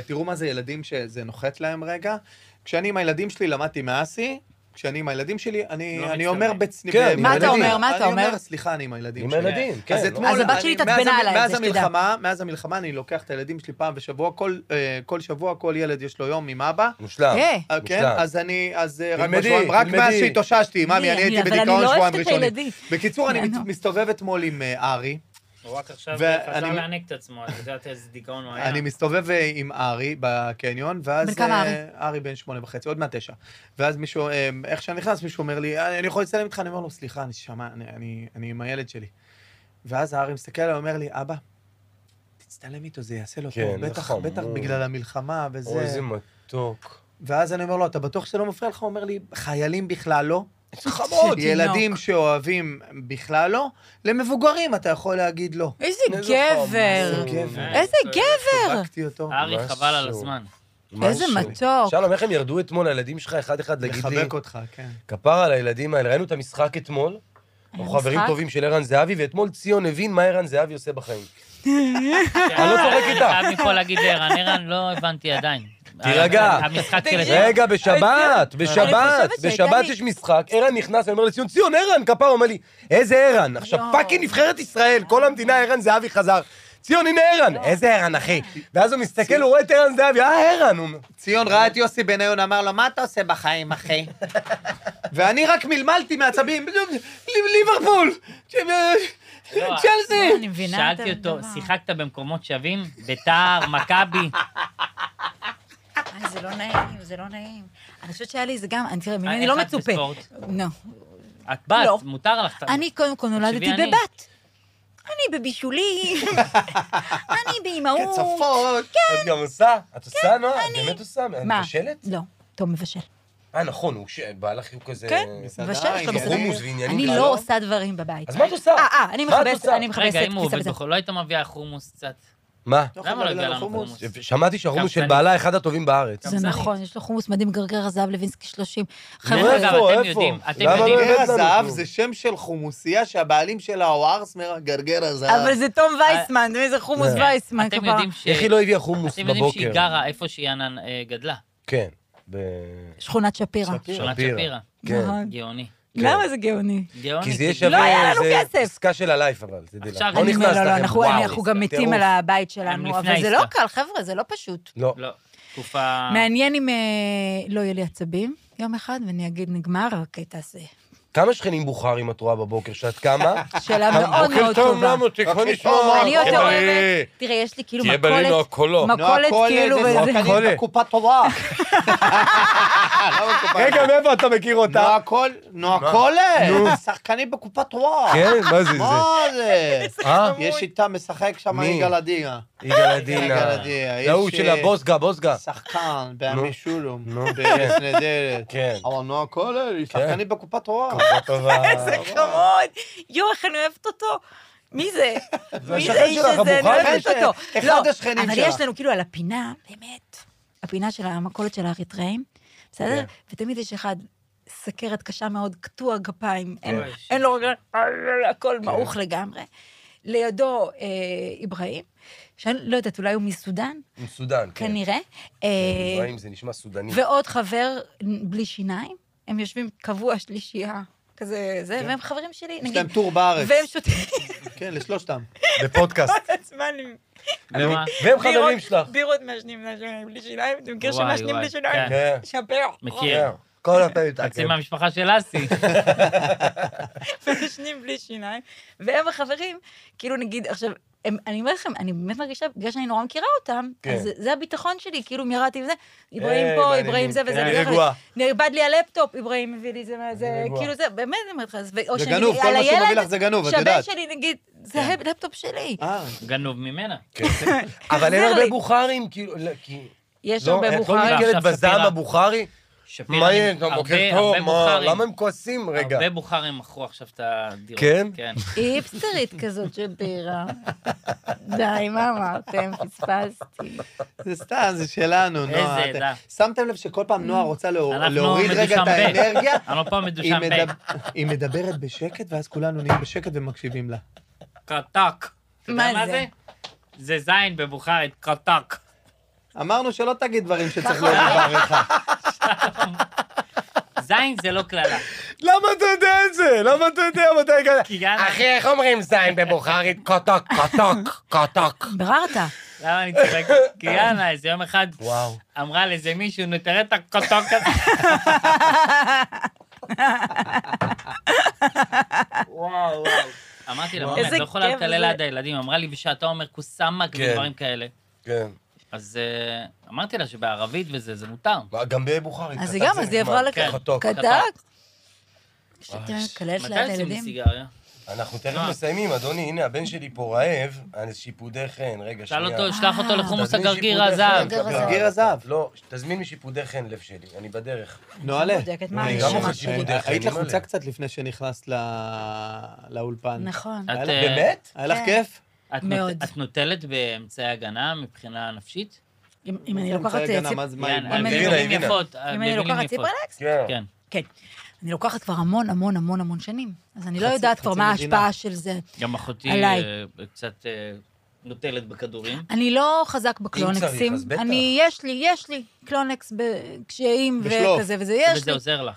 S4: ותראו מה זה ילדים שזה נוחת להם רגע. כשאני עם הילדים שלי למדתי מאסי, כשאני עם הילדים שלי, אני,
S2: לא
S4: אני
S2: מצטלם.
S4: אומר בצניעות.
S1: כן, עם
S5: מה אתה
S1: הילדים.
S5: אומר? מה אתה
S4: אני
S5: אומר?
S4: אומר, סליחה, אני עם הילדים
S1: עם
S4: שלי.
S1: הילדים, כן.
S4: אז
S1: לא-
S4: אתמול,
S5: אז הבת
S4: אני-
S5: שלי
S4: מאז
S5: התעצבנה
S4: המ-
S5: עליי,
S4: מאז
S5: זה שתדע.
S4: המלחמה, מאז המלחמה אני לוקח את הילדים שלי פעם בשבוע, כל, אה, כל שבוע כל ילד יש לו יום עם אבא.
S1: מושלם.
S5: אה.
S4: אה, כן,
S1: מושלם.
S4: אז אני, אז אה, רק
S1: תלמדי,
S4: בשבועיים, רק
S1: תלמדי.
S4: מאז שהתאוששתי, ממי, אני
S5: אני-
S4: הייתי
S5: אבל אני
S4: בדיכאון
S5: לא
S4: שבועיים
S5: אוהבת את
S4: ראשונים.
S5: הילדים. לא,
S4: בקיצור, אני מת-
S5: נו.
S4: מסתובב אתמול עם אה, ארי,
S2: הוא רק עכשיו
S4: ואני-
S2: חזר להעניק את עצמו, את יודעת איזה דיכאון הוא היה.
S4: אני מסתובב אה, עם ארי בקניון, ואז...
S5: בן כמה
S4: אה, ארי בן שמונה וחצי, עוד מעט תשע. ואז מישהו, אה, איך שאני נכנס, מישהו אומר לי, "אה, אני יכול לצלם איתך? אני אומר לו, סליחה, אני שמע, אני- אני אני עם הילד שלי. ואז הארי מסתכל עליי, אומר לי, אבא, תצטלם איתו, זה יעשה לו
S1: כן,
S4: טוב,
S1: זה
S4: בטח,
S1: חמוד."
S4: בטח בגלל המלחמה
S1: אוי, איזה
S4: וזה.
S1: מתוק.
S4: ואז אני אומר לו, אתה בטוח שזה לא מפריע לך? הוא אומר לי, חיילים בכלל לא.
S1: איזה חמוד.
S4: ילדים שאוהבים בכלל לא, למבוגרים אתה יכול להגיד לא.
S5: איזה
S1: איזה
S5: גבר,
S1: חמוד.
S4: גבר.
S2: אה,
S5: איזה גבר,
S4: חיבקתי אותו.
S2: ארי
S1: משהו.
S2: חבל על
S4: לא,
S2: הזמן.
S5: איזה
S1: משהו.
S5: מתוק.
S1: שלום, איך הם ירדו אתמול, הילדים שלך, אחד-אחד, להגיד לי,
S4: לחבק אותך, כן.
S1: כפר על הילדים האלה. ראינו את המשחק אתמול, אנחנו חברים
S5: משחק?
S1: טובים של ערן זהבי, ואתמול ציון הבין מה ערן זהבי עושה בחיים.
S2: אה, אני
S1: לא צוחק איתך.
S2: חייב מפה להגיד לערן, ערן, לא הבנתי עדיין.
S1: תירגע.
S2: המשחק של...
S5: תגיד.
S2: אתמול.
S1: רגע, בשבת, בשבת,
S5: חושבת שהייתה
S1: בשבת
S5: לי-
S1: יש משחק, ערן נכנס, אני אומר לציון, ציון, ערן, כפר, הוא אומר לי, איזה ערן? עכשיו,
S5: יואו.
S1: פאקינג נבחרת ישראל, כל המדינה, ערן זהבי חזר. ציון, הנה ערן, איזה ערן, אחי. ואז הוא מסתכל, הוא רואה את ערן זהבי, אה, ערן, הוא אומר,
S4: ציון ראה את יוסי בניון, אמר לו, מה אתה עושה בחיים, אחי? ואני רק מלמלתי מעצבים, ליברפול, צ'לסי.
S5: אני מבינה את
S2: שאלתי
S5: הדבר.
S2: אותו, שיחקת במקומות שווים? ביתר, מכבי.
S5: אה, זה לא נעים, זה לא נעים. אני חושבת שהיה לי זה גם, אני תראה, ממני
S2: איך
S5: לא
S2: את
S5: מצופה.
S2: אה, בספורט?
S5: לא.
S2: את בת,
S5: לא.
S2: מותר לך.
S5: אני קודם כל נולדתי
S2: אני.
S5: בבת. אני בבישולים, אני באימהות.
S4: צפות.
S1: את גם עושה? את עושה, נועה? את באמת עושה? את
S5: מה?
S1: מבשלת?
S5: לא, תום מבשל.
S1: אה, נכון, הוא ש- בעלך הוא כזה...
S5: כן,
S4: מסעדה,
S5: מבשל, יש לו
S4: עם
S5: מסעדה.
S1: חומוס ועניינים
S5: אני
S1: כאלה,
S5: לא
S1: לא?
S5: עושה דברים בבית.
S1: אז מה את עושה?
S5: אה, אה, אני
S1: מה את
S5: מכבסת,
S1: עושה?
S5: אני מכבסת.
S2: רגע, אם הוא
S5: פיסה
S2: עובד
S5: בצד.
S2: בחול, לא היית מביאה חומוס קצת.
S1: מה?
S2: למה לא הביאה לנו חומוס?
S1: שמעתי שהחומוס של
S2: קמצני.
S1: בעלה אחד הטובים בארץ.
S5: זה
S2: קמצנית.
S5: נכון, יש לו חומוס מדהים, גרגר הזהב לוינסקי 30.
S2: נו,
S5: חבר'ה,
S2: רגע, אבל אתם יודעים, אתם
S1: לא למה לא
S2: יודעים.
S1: הבאת לנו
S4: גרגר הזהב
S1: כלום?
S4: זה שם של חומוסייה שהבעלים שלה הוא ארסמר, גרגר הזהב.
S5: אבל זה תום וייסמן, זה חומוס
S1: כן.
S5: וייסמן
S2: אתם
S5: כבר.
S2: יודעים ש...
S1: איך היא לא הביאה חומוס
S2: אתם יודעים שהיא
S1: בבוקר?
S2: גרה איפה שהיא ענן, אה, גדלה.
S1: כן. ב-
S5: שכונת שפירא.
S1: שפירא.
S2: שכונת שפירא.
S1: כן.
S5: נכון.
S2: גאוני.
S5: למה זה גאוני?
S2: גאוני.
S1: כי זה יהיה
S2: כי-
S1: שווה...
S5: לא היה לנו
S1: זה
S5: כסף.
S1: עסקה של הלייף, אבל, תדעי לך.
S2: עכשיו
S1: לא
S2: אני-
S1: נכנס
S5: לא, לא,
S1: לכם.
S5: אנחנו-
S1: וואו,
S5: אנחנו גם מתים
S1: טירוף.
S5: על הבית
S2: הם
S5: שלנו,
S2: לפני
S5: אבל זה לא
S2: העסקה.
S5: קל, חבר'ה, זה לא פשוט.
S1: לא.
S2: לא, תקופה...
S5: מעניין אם אה, לא יהיה לי עצבים יום אחד, ואני אגיד, נגמר, אוקיי, תעשה.
S1: כמה שכנים בוכרים את רואה בבוקר? שאת קמה?
S5: שאלה מאוד מאוד טובה.
S1: מוציק? בוא נשמע.
S5: אני יותר אוהבת, תראה, יש לי כאילו
S1: תהיה בריא, נועה
S2: לא,
S5: מכולת,
S1: קולו.
S5: מכולת כאילו,
S4: זה
S5: וזה-
S1: נועה
S4: שחקנים
S1: קולט.
S4: בקופה טובה. למה קופה?
S1: רגע, מאיפה אתה מכיר אותה?
S4: נועה קול,
S1: מה?
S4: נועה קולר, שחקנית בקופת רוע.
S1: כן, מה זה זה?
S4: מה זה?
S1: אה?
S4: יש איתה משחק שם
S1: מי?
S4: יגאל עדינה.
S1: יגאל
S4: יגאל
S1: עדינה.
S4: עדינה.
S1: זה ההוא
S4: יש,
S1: של
S4: אה,
S1: הבוסגה, בוסגה.
S4: שחקן
S1: נו.
S4: בעמי שולום,
S1: נו,
S4: בארץ נהדרת.
S1: כן.
S4: אבל נועה קולר היא שחקנית בקופת רוע.
S1: טובה, טובה.
S5: איזה חמוד. יואו, איך אני אוהבת אותו. מי זה? מי
S1: השכן
S5: זה האיש
S1: שלך,
S5: הזה? אני
S1: הבוכרה.
S5: אוהבת
S4: אחד
S5: אותו.
S4: ש- אחד
S5: לא,
S4: השכנים
S5: אבל
S4: שלך.
S5: יש לנו כאילו על הפינה, באמת, הפינה של המכולת של האריתראים, בסדר?
S1: כן.
S5: ותמיד יש אחד, סכרת קשה מאוד, קטוע גפיים, אין-
S2: אוי.
S5: אין לו רגליים, הכל מעוך לגמרי. לידו אה, אברהים, שאני לא יודעת, אולי הוא מסודן,
S1: עם סודן, כן.
S5: כנראה. אה,
S1: רואים, זה נשמע סודני.
S5: ועוד חבר בלי שיניים, הם יושבים קבוע שלישייה, כזה זה, והם חברים שלי,
S4: יש
S5: נגיד,
S4: להם טור בארץ.
S5: והם שותים
S4: כן, לשלושתם.
S1: בפודקאסט.
S5: כל הזמן עם
S2: ומה?
S1: והם חברים שלך.
S5: בירות מעשנים נשים בלי שיניים, אתה מכיר
S2: וואי,
S5: שמעשנים
S2: וואי,
S5: בלי שיניים?
S1: כן.
S5: שפר.
S2: מכיר.
S1: כן. כל הפעמים
S2: חצי
S1: תעקב.
S2: מהמשפחה של אסי.
S5: מעשנים בלי שיניים, והם החברים, כאילו נגיד, עכשיו, הם, אני אומרת לכם, אני באמת מרגישה, בגלל שאני נורא מכירה אותם,
S1: כן.
S5: אז זה- זה הביטחון שלי, כאילו מירדתי וזה, אברהים
S1: אה,
S5: פה,
S1: מעניינים.
S5: אברהים זה וזה,
S1: אה,
S5: בדרך כלל
S1: רגועה.
S5: נאבד לי הלפטופ, אברהים מביא לי זה, מה זה,
S1: רגועה.
S5: כאילו זה, באמת, אני אומרת לך, אז- או
S4: זה
S5: שאני-
S4: גנוב, כל
S5: על
S4: מה שהוא
S5: הילד,
S4: מביא לך זה גנוב, את
S5: שהבן
S4: יודעת. כן.
S5: שלי, נגיד, זה הלפטופ שלי.
S4: אה,
S2: גנוב ממנה.
S1: כן. אבל אין
S5: תחזיר
S1: הרבה
S5: לי.
S1: בוכרים, כאילו, לא, כי...
S5: יש
S1: לא,
S5: הרבה
S1: את לא
S5: בוכרים.
S1: נתקלת
S2: עכשיו
S1: בזעם
S2: שפירא.
S1: הבוכרי?
S2: שפירא,
S1: מה
S2: אני-
S1: יהיה, אתה בוקר
S2: הרבה-
S1: טוב?
S2: הרבה
S1: מה,
S2: בוכרים.
S1: למה הם כועסים רגע?
S2: הרבה בוכרים מכרו עכשיו את הדירות.
S1: כן?
S2: כן.
S5: היא היפסטרית כזאת של בירה. די, מה אמרתם? פספסתי.
S4: זה סתם, זה שלנו, נועה.
S2: איזה
S4: אתם-
S2: עדה.
S4: שמתם לב שכל פעם נועה רוצה להור-
S2: אנחנו
S4: להוריד רגע את
S2: מדושן ב'.
S4: האנרגיה?
S2: אנחנו פה
S4: היא
S2: מדושן
S4: מדב- היא מדברת בשקט, ואז כולנו נהיים בשקט ומקשיבים לה.
S2: בקרטק. אתה יודע
S5: מה זה?
S2: זה זין בבוכרית, קרטק.
S4: אמרנו שלא תגיד דברים שצריך להוריד בעריכה.
S2: זין זה לא קללה.
S1: למה אתה יודע את זה? למה אתה יודע מתי הגעת?
S2: כי יאללה.
S1: אחי, איך אומרים זין בבוכרית? קטק, קטק, קטק.
S5: ביררת.
S2: למה אני צוחק? כי יאללה, איזה יום אחד
S1: וואו.
S2: אמרה לאיזה מישהו, נו, תראה את הקרטק הזה. וואו, וואו. אמרתי לה, מומי, את
S5: איזה
S2: לא יכולה
S5: כיף
S2: לקלל
S5: זה."
S2: ליד הילדים. אמרה לי, ושאתה אומר כוסמק
S1: כן.
S2: ודברים כאלה.
S1: כן.
S2: אז אה, אמרתי לה שבערבית וזה, זה מותר.
S1: מה, גם בבוכרית.
S5: אז היא
S1: קטק
S5: גם,
S1: זה
S5: אז היא
S1: נחמד.
S5: עברה לכאן.
S2: כן,
S1: קטק.
S5: קטק. שאתם מקללת
S2: מתי
S5: ליד
S2: עושים לי
S5: הילדים?
S2: סיגריה?
S1: אנחנו
S2: מה?
S1: תכף מסיימים, אדוני, הנה, הבן שלי פה רעב, אז שיפודי חן, רגע,
S2: שאל
S1: שנייה.
S2: אותו, שלח
S5: אה.
S2: אותו לחומוס
S1: תזמין
S2: הגרגיר
S1: שיפודי
S2: הזהב.
S1: חן,
S5: הגרגיר
S4: הגרגיר הזהב.
S1: לא, תזמין משיפודי חן לב שלי, אני בדרך.
S4: נועלה.
S5: בודקת מה
S1: אני
S4: היית
S1: גם
S5: הרשימה.
S1: אוכל שיפודי חן,
S4: היית
S1: אימא'לה.
S4: לחוצה קצת לפני שנכנסת ל- לאולפן.
S5: נכון.
S2: את,
S4: יאללה.
S2: אה,
S1: באמת?
S4: היה לך
S5: כן.
S4: כיף?
S2: את נות-
S5: מאוד.
S2: את נוטלת באמצעי הגנה מבחינה נפשית?
S5: אם אם אני לוקחת
S4: אמצעי הגנה,
S5: ציפ-
S4: מה זה- מה-
S2: יאללה,
S4: מה-
S5: אם אני-
S2: במילים
S1: הבינה.
S2: יפות. אה,
S5: אם אני
S2: במילים
S5: לוקחת
S2: יפות.
S5: ציפרלקס?
S1: כן.
S2: כן.
S5: כן. אני לוקחת כבר המון המון המון המון שנים, אז אני לא
S4: חצי-
S5: יודעת כבר
S4: חצי
S5: מה
S4: מדינה.
S5: ההשפעה של זה.
S2: גם אחותי
S5: עליי.
S2: אה, קצת אה, נוטלת בכדורים.
S5: אני לא חזק
S1: צריך,
S5: בקלונקסים.
S1: אז בטח.
S5: אני, יש לי, יש לי קלונקס בקשיים
S4: בשלוף.
S5: וכזה וזה, יש
S2: וזה
S5: לי.
S2: עוזר לך.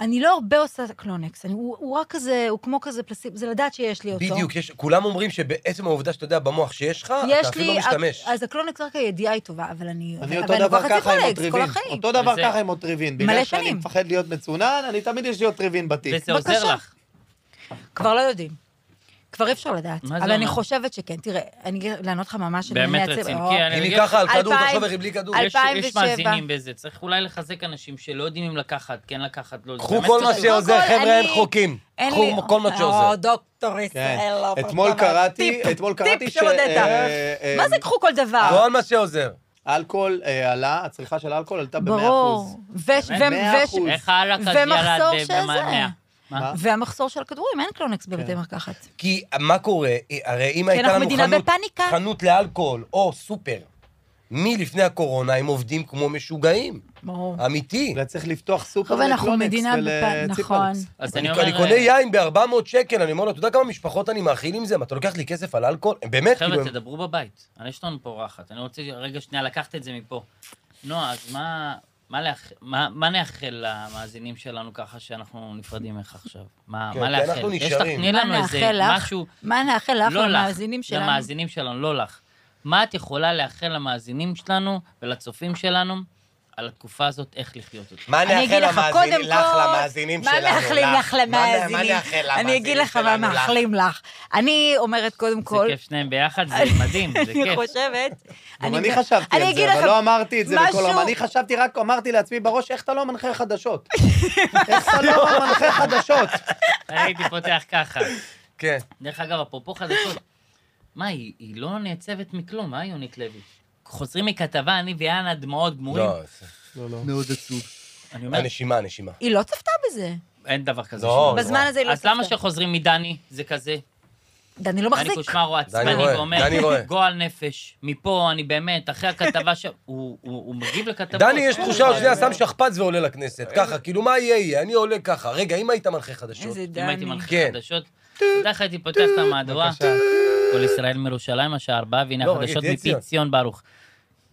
S5: אני לא הרבה עושה קלונקס, אני, הוא, הוא רק כזה, הוא כמו כזה פלסיב, זה לדעת שיש לי אותו.
S1: בדיוק, יש- כולם אומרים שבעצם העובדה שאתה יודע במוח שיש לך,
S5: יש
S1: אתה אפילו
S5: לי-
S1: לא משתמש.
S5: אז הקלונקס רק הידיעה היא טובה, אבל אני...
S4: אני
S5: אבל
S4: אותו דבר
S5: לוקחת
S4: ככה עם
S5: ציפרלקס
S4: אוטריבין.
S5: כל החיים.
S4: אותו דבר
S2: וזה-
S4: ככה עם אוטריבין.
S5: מלא
S4: בגלל שאני
S5: שנים.
S4: מפחד להיות מצונן, אני תמיד יש לי אוטריבין בתיק.
S2: וזה עוזר
S5: בבקשה.
S2: לך.
S5: כבר לא יודעים. כבר אי אפשר לדעת.
S2: מה זה
S5: אבל אני
S2: אומר?
S5: חושבת שכן. תראה, אני אגיד- לענות לך ממש... אני
S2: באמת
S5: מייצרת-
S2: רציני,
S5: או,
S2: כי אני-
S1: אם
S2: יש-
S1: היא ככה על כדור,
S5: אלפיים-
S1: תחשוב איך היא בלי כדור.
S5: אל-
S2: יש- יש
S5: 2007.
S2: מאזינים בזה, צריך אולי לחזק אנשים שלא יודעים אם לקחת, כן לקחת, לא. זה
S1: קחו
S2: באמת
S1: כל מה
S2: צריך-
S5: קודם ש-
S1: שעוזר,
S5: כל,
S1: חבר'ה, אין
S5: אני-
S1: חוקים.
S5: אין לי...
S1: קחו כל מה שעוזר.
S5: או, דוקטור
S4: כן.
S5: ישראל. לא,
S4: אתמול
S5: אבל-
S4: קראתי,
S5: טיפ,
S4: אתמול
S5: טיפ
S4: קראתי ש...
S5: של עודדה.
S4: אה, אה,
S5: מה זה קחו כל דבר?
S1: כל מה שעוזר.
S4: אלכוהול אה, עלה, הצריכה של אלכוהול עלתה ב-100%.
S5: ברור. וש-
S2: באמת?
S5: ו-
S4: מאה
S5: וש-
S4: אחוז.
S2: איך הלאה כזה
S5: ומחסור
S2: ירד
S5: שזה.
S2: במאה?
S4: מה?
S5: והמחסור של הכדורים, אין קלונקס
S4: כן.
S5: בבתי מרקחת.
S1: כי מה קורה, אה, הרי אם
S5: כי
S1: הייתה
S5: אנחנו
S1: לנו
S5: מדינה
S1: חנות,
S5: בפאניקה.
S1: חנות לאלכוהול או סופר, מלפני הקורונה הם עובדים כמו משוגעים.
S5: ברור.
S2: אה.
S1: אמיתי.
S4: אולי צריך לפתוח סופר
S5: חבר'ה, אנחנו
S4: לקלונקס
S5: מדינה בפ... נכון.
S4: ולציפרלקס.
S2: אז אני
S1: אני
S2: אומר...
S1: אני קונה
S2: אה,
S1: יין ב-400 שקל, אני אומר לו, אתה יודע כמה משפחות אני מאכיל עם זה? מה, אתה לוקח לי כסף על אלכוהול? הם באמת, כאילו,
S2: חבר'ה,
S1: הם-
S2: תדברו בבית. אני- יש לנו פה רחת. אני רוצה רגע שנייה לקחת את זה מפה. נועה, אז מה... מה, לאח... מה, מה נאחל למאזינים שלנו ככה שאנחנו נפרדים ממך עכשיו? מה,
S1: כן,
S2: מה
S1: כי
S2: לאחל?
S1: אנחנו
S2: יש
S1: נשארים.
S2: תני
S5: מה
S2: לנו איזה
S5: נאחל לך?
S2: משהו,
S5: מה נאחל לך
S2: לא לך,
S5: למאזינים שלנו?
S2: למאזינים שלנו, לא לך. מה את יכולה לאחל למאזינים שלנו ולצופים שלנו על התקופה הזאת, איך לחיות אותה.
S1: מה
S5: אני אגיד
S1: נאחל
S5: לך,
S1: למאזינים
S5: קודם
S1: לך,
S5: כל,
S1: למאזינים
S5: מה
S1: שלנו?
S5: מאחלים לך
S1: מה- מה
S5: למאזינים?
S1: נאחל למאזינים
S5: אני אגיד לך מה
S1: שלנו,
S5: מאחלים לך. אני אומרת קודם
S2: זה
S5: כל...
S2: כיף שניהם ביחד, זה מדהים, זה
S5: אני
S2: כיף.
S5: חושבת...
S4: גם אני חשבתי
S5: אני
S4: על
S5: אגיד
S4: זה, אבל
S5: לכם
S4: לא אמרתי את זה בכל...
S5: משהו-
S4: אני חשבתי, רק אמרתי לעצמי בראש, איך אתה לא מנחה חדשות? איך אתה לא מנחה חדשות?
S2: הייתי פותח ככה.
S1: כן.
S2: דרך אגב, אפרופו חדשות, מה, היא היא לא נעצבת מכלום, אה, יונית לוי? חוזרים מכתבה, אני ויאנה, דמעות גמורים.
S1: לא, זה-
S4: לא, לא.
S6: מאוד עצוב.
S2: אני אומר,
S1: הנשימה, הנשימה.
S5: היא לא צפתה בזה.
S2: אין דבר כזה.
S1: לא,
S2: שלא.
S5: בזמן הזה היא לא
S2: אז למה
S5: צפתה.
S2: שחוזרים מדני, זה כזה?
S5: דני לא
S2: דני
S5: מחזיק.
S2: קושמרו עצבני
S1: רואה,
S2: ואומר,
S1: דני רואה.
S2: גועל נפש, מפה אני באמת, אחרי הכתבה ש... הוא- הוא הוא מגיב לכתבות. אה,
S1: דני, יש
S2: אין
S1: תחושה
S2: לו
S1: שזה
S2: בעיה.
S1: שם שכפ"ץ ועולה לכנסת. ככה, כאילו, מה יהיה יהיה? אני עולה ככה. רגע, אם היית מנחה חדשות...
S5: איזה
S2: אם הייתי
S5: דני.
S2: מנחה
S1: כן.
S2: חדשות, בדרך כלל הייתי פותח את המהדורה, כל ישראל מירושלים, השעה ארבעה, והנה
S1: לא,
S2: החדשות
S1: ראיתי,
S2: מפי
S1: עציון.
S2: ציון ברוך.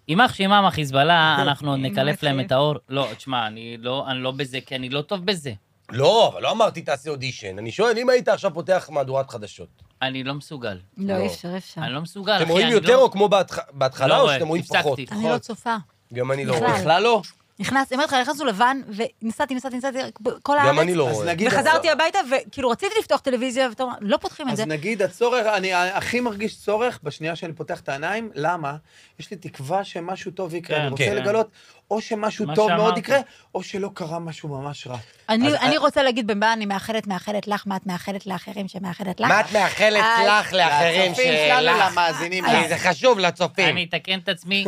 S2: יימח שמם החיזבאללה, אנחנו עוד
S5: אם
S2: נקלף להם
S5: נקלף.
S2: את האור. לא, תשמע, אני לא אני לא בזה, כי אני לא טוב בזה.
S1: לא, אבל לא אמרתי תעשה אודישן. אני שואל, אם היית עכשיו פותח מהדורת חדשות,
S2: אני לא מסוגל.
S5: לא,
S1: לא.
S5: אי אפשר, אי אפשר.
S2: אני לא מסוגל, אחי.
S1: אתם רואים
S2: אני
S1: יותר
S2: לא-
S1: או כמו בהתח- בהתחלה,
S2: לא
S1: או
S2: רואה,
S1: שאתם רואים
S2: הפסקתי.
S1: פחות?
S5: אני לא
S1: פחות.
S5: צופה.
S1: גם אני לא
S5: בכלל.
S1: רואה.
S4: בכלל לא.
S5: נכנס, אומרת לך, נכנסנו לבן, ונסעתי, נסעתי, נסעתי, כל הארץ.
S1: גם אני לא
S4: אז
S1: רואה.
S4: נגיד-
S5: וחזרתי הביתה, וכאילו רציתי לפתוח טלוויזיה, ואתה אומר, לא פותחים את
S4: אז
S5: זה.
S4: נגיד הצורך, אני הכי מרגיש צורך בשנייה שאני פותח את העיניים, למה? יש לי תקווה שמשהו טוב יקרה,
S2: כן,
S4: אני רוצה
S2: כן.
S4: לגלות או שמשהו
S2: מה
S4: טוב מאוד
S2: שאמרתי.
S4: יקרה, או שלא קרה משהו ממש רע.
S5: אני,
S1: אז-
S5: אני רוצה להגיד במה אני מאחלת, מאחלת לך, מה את מאחלת לאחרים שמאחלת לך.
S1: מה את מאחלת
S5: אז-
S1: לך, לאחרים
S4: לצופים שלנו,
S1: שלך? אה,
S4: למאזינים
S5: אה.
S1: כי
S4: לנו.
S1: זה חשוב לצופים.
S2: אני אתקן את עצמי,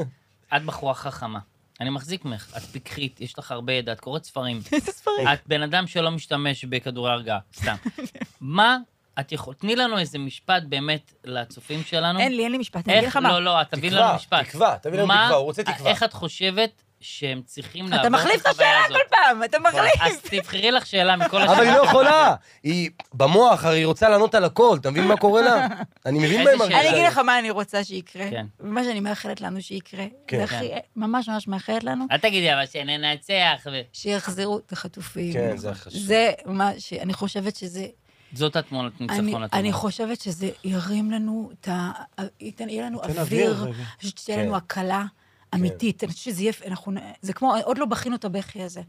S2: את בחורה חכמה. אני מחזיק ממך, את פיקחית, יש לך הרבה ידע, את קוראת ספרים.
S5: איזה ספרים.
S2: את בן אדם שלא משתמש בכדורי הרגעה, סתם. מה את יכול... תני לנו איזה משפט באמת לצופים שלנו.
S5: אין לי, אין לי משפט, אני אגיד לך
S2: איך...
S5: מה.
S2: לא, לא, את תביא
S1: תקווה,
S2: לנו משפט.
S1: תקווה, תביא לנו
S2: מה-
S1: תקווה, הוא רוצה תקווה.
S2: איך את חושבת שהם צריכים לעבור
S5: אתה מחליף את השאלה
S2: הזאת?
S5: כל פעם, אתה מחליף.
S2: אז תבחרי לך שאלה מכל השאלה.
S1: אבל היא לא יכולה. היא במוח, הרי היא רוצה לענות על הכל, אתה מבין מה קורה לה? אני מבין מה
S2: איזה
S1: היא מרגישה.
S5: אני אגיד לך מה אני רוצה שיקרה,
S2: כן.
S5: ומה שאני מאחלת לנו שיקרה.
S1: כן.
S5: זה הכי, ממש ממש מאחלת לנו,
S2: אל תגידי, אבל שננצח. ו-
S5: שיחזרו את החטופים.
S1: כן, זה החשוב.
S5: זה מה ש... אני חושבת שזה...
S2: זאת התמונת
S5: אני,
S2: ניצחון. את
S5: אני
S2: אומרת.
S5: חושבת שזה ירים לנו את ה... ייתן, יהיה לנו
S4: תן
S5: אוויר.
S4: אוויר
S5: אני
S4: רגע.
S5: חושבת שתהיה
S1: כן.
S5: לנו הקלה אמיתית. אני חושבת שזה יהיה... אנחנו... נ- זה כמו... עוד לא בכינו את הבכי הזה.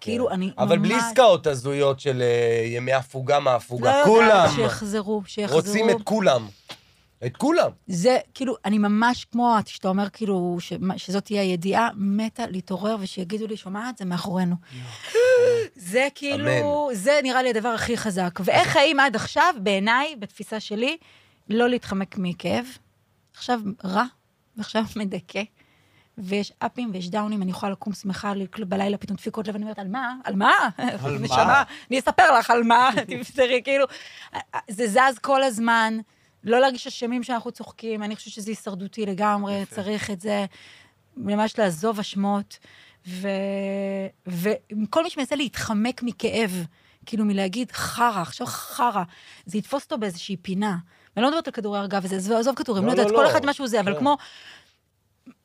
S5: כאילו, אני ממש...
S1: אבל בלי עסקאות הזויות של אה, ימי הפוגה
S5: לא
S1: מהפוגה.
S5: יודעת,
S1: כולם
S5: שיחזרו, שיחזרו.
S1: רוצים את כולם. את כולם.
S5: זה, כאילו, אני ממש כמו, שאתה אומר, כאילו, שמה- שזאת תהיה הידיעה, מתה להתעורר ושיגידו לי, שומעת, זה מאחורינו. זה כאילו, זה נראה לי הדבר הכי חזק. ואיך חיים עד עכשיו, בעיניי, בתפיסה שלי, לא להתחמק מכאב. עכשיו רע, ועכשיו מדכא, ויש אפים ויש דאונים, אני יכולה לקום שמחה, ל- בלילה פתאום דפיקות לב, אני אומרת, על מה? על מה?
S4: מה?
S5: נשמה, אני אספר לך על מה, תפתרי, כאילו, זה זז כל הזמן, לא להרגיש אשמים שאנחנו צוחקים, אני חושבת שזה הישרדותי לגמרי, צריך את זה, ממש לעזוב אשמות, ו... וכל מי שמנסה להתחמק מכאב, כאילו מלהגיד חרא, עכשיו חרא, זה יתפוס אותו באיזושהי פינה. ואני לא מדברת על כדורי הרגעה וזה, עזוב- עזוב כדורים,
S1: לא,
S5: לא יודעת,
S1: לא,
S5: כל
S1: לא.
S5: אחד משהו זה, אבל
S1: כן.
S5: כמו...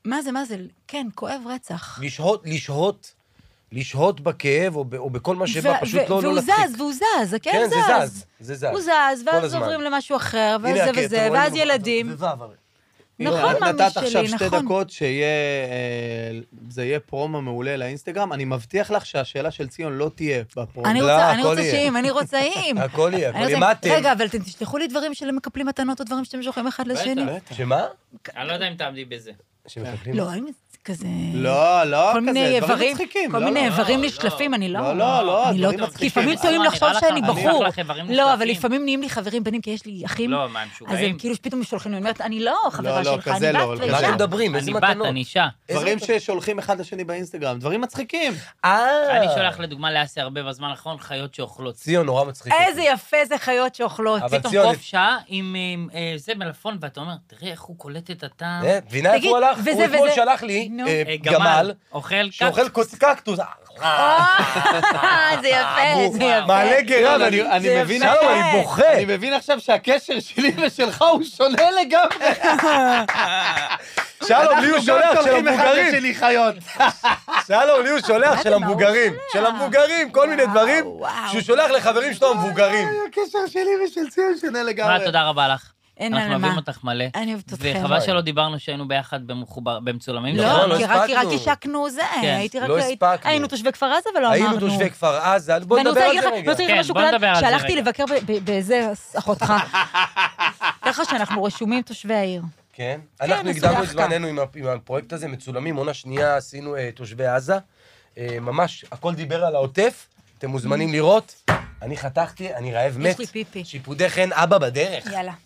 S5: מה זה, מה זה, כן, כואב רצח.
S1: לשהות, לשהות, לשהות בכאב או ב- או בכל מה שבא,
S5: ו-
S1: פשוט
S5: ו-
S1: לא לא
S5: והוא
S1: להצחיק.
S5: זז, והוא זז, הכאב
S1: כן,
S5: זז.
S1: זה זז, זה זז.
S5: הוא זז,
S1: כל
S5: ואז
S1: הזמן.
S5: עוברים למשהו אחר,
S1: הנה,
S5: ואז זה
S1: הכאב,
S5: וזה,
S1: אתם רואים,
S5: ואז
S1: זה- זה
S5: ילדים.
S1: וו, אבל-
S5: נכון,
S4: את
S5: מאמי
S4: נתת עכשיו
S5: שלי,
S4: שתי
S5: נכון.
S4: דקות שיהיה, אה, זה יהיה פרומו מעולה לאינסטגרם. אני מבטיח לך שהשאלה של ציון לא תהיה בפרומו.
S5: אני
S1: לא,
S5: רוצה, אני
S1: הכל
S5: רוצה
S1: יהיה.
S5: שאם, אני רוצה אם.
S1: הכל יהיה, הכל יהיה.
S5: אני רוצה-
S1: מה אתם?
S5: רגע, אבל אתם תשלחו לי דברים של מקפלים מתנות או דברים שאתם שולחים אחד לשני.
S4: בטח.
S1: שמה?
S2: אני לא יודע אם תעמדי בזה.
S1: שמקבלים?
S5: לא, אין כזה...
S4: לא, לא
S5: כל מיני
S4: כזה, דברים
S5: איברים,
S4: מצחיקים.
S5: כל
S4: לא,
S5: מיני
S4: לא.
S5: איברים
S2: לא.
S5: נשלפים, אני לא...
S4: לא, לא, לא,
S5: אני לא...
S4: דברים
S5: כי
S4: מצחיקים.
S5: לפעמים
S2: אז
S5: טועים
S2: מה,
S5: לחשוב
S2: נראה לך-
S5: שאני
S2: אני
S5: בחור.
S2: אשלח לך איברים
S5: לא, אבל
S2: נשלפים.
S5: לפעמים נהיים לי חברים, בנים, כי יש לי אחים.
S2: לא, מה, הם
S5: אז
S2: משוגעים?
S5: הם כאילו פתאום שולחים לי, אני אומרת, אני לא
S4: לא,
S5: חברה
S4: לא,
S5: שלך, אני
S4: כזה לא,
S1: מה
S4: אבל
S5: בת
S4: כזה
S1: אתם
S5: ואישה.
S4: לא.
S1: מדברים? איזה
S2: אני
S1: מתנות?
S2: בת, אני אישה.
S1: איזה
S4: דברים
S1: מתנות?
S4: ששולחים אחד לשני באינסטגרם, דברים מצחיקים.
S1: אה.
S2: אני שולח לדוגמה לאסי הרבה בזמן האחרון חיות שאוכלות.
S1: ציון נורא
S4: לא.
S1: מצחיק. אותי.
S5: איזה יפה זה חיות שאוכלות.
S1: אבל
S2: פתאום
S1: ציון-
S2: קוף שעה עם עם, אה, זה מלפון, ואתה אומר, תראה איך הוא קולט את הטעם.
S1: אה, את מבינה איפה
S5: תגיד,
S1: הוא הלך?
S5: וזה-
S1: הוא אתמול
S5: וזה-
S1: שלח לי
S5: נו.
S1: אה,
S2: אה,
S1: גמל
S2: אוכל
S1: שאוכל קוץ קקטוס. אה,
S5: אה, זה יפה,
S1: הוא
S5: זה יפה. כן,
S1: מעלה גרה, ואני
S4: אה, אני- אני
S5: לא, זה
S4: מבין
S5: יפה.
S1: שלום, אני בוכה.
S4: אני מבין עכשיו שהקשר שלי ושלך הוא שונה לגמרי. לא,
S1: שלום, לי הוא
S5: לא
S1: שולח של
S4: אנחנו גם שולחים אחד
S1: המבוגרים.
S4: לשני חיות.
S1: שלום, לי הוא שולח של
S5: מה הוא
S1: המבוגרים.
S5: שולח?
S1: של המבוגרים, כל מיני
S5: וואו,
S1: דברים
S5: וואו. אה, לא
S1: שהוא שולח לחברים שלו המבוגרים.
S4: הקשר אה, שלי ושל ציון שונה
S2: מה,
S4: לגמרי.
S2: תודה רבה לך.
S5: אין
S2: אנחנו
S5: על מה.
S2: אוהבים אותך מלא.
S5: אני אוהבת אתכם.
S2: וחבל שלא דיברנו שהיינו ביחד במחובר, במצולמים.
S1: נכון,
S5: לא,
S1: לא
S5: כי רק- כי רק
S1: הספקנו.
S5: השקנו זה,
S2: כן,
S5: הייתי רק...
S1: לא
S5: הייתי-
S1: הספקנו.
S5: היינו תושבי כפר עזה ולא אמרנו.
S1: היינו תושבי כפר עזה, בוא
S5: ואני
S1: נדבר
S5: רוצה
S1: על
S5: להגיד
S1: זה
S5: לך,
S1: רגע.
S5: לא צריך
S2: כן,
S5: משהו
S2: בוא
S5: כלל,
S2: נדבר על זה
S5: שהלכתי
S2: רגע.
S5: לבקר ב- ב- באיזה אחותך. ככה שאנחנו רשומים תושבי העיר.
S1: כן, אנחנו
S5: מסודח
S1: הקדמנו את
S5: כך.
S1: זמננו עם ה- עם הפרויקט הזה, מצולמים, עונה שנייה עשינו אה, תושבי עזה. אה, ממש, הכל דיבר על העוטף, אתם מוזמנים לראות. אני חתכתי, אני רעב מת.
S5: Mm. לי פיפי.
S1: שיפודי חן, אבא בדרך.
S5: יאללה.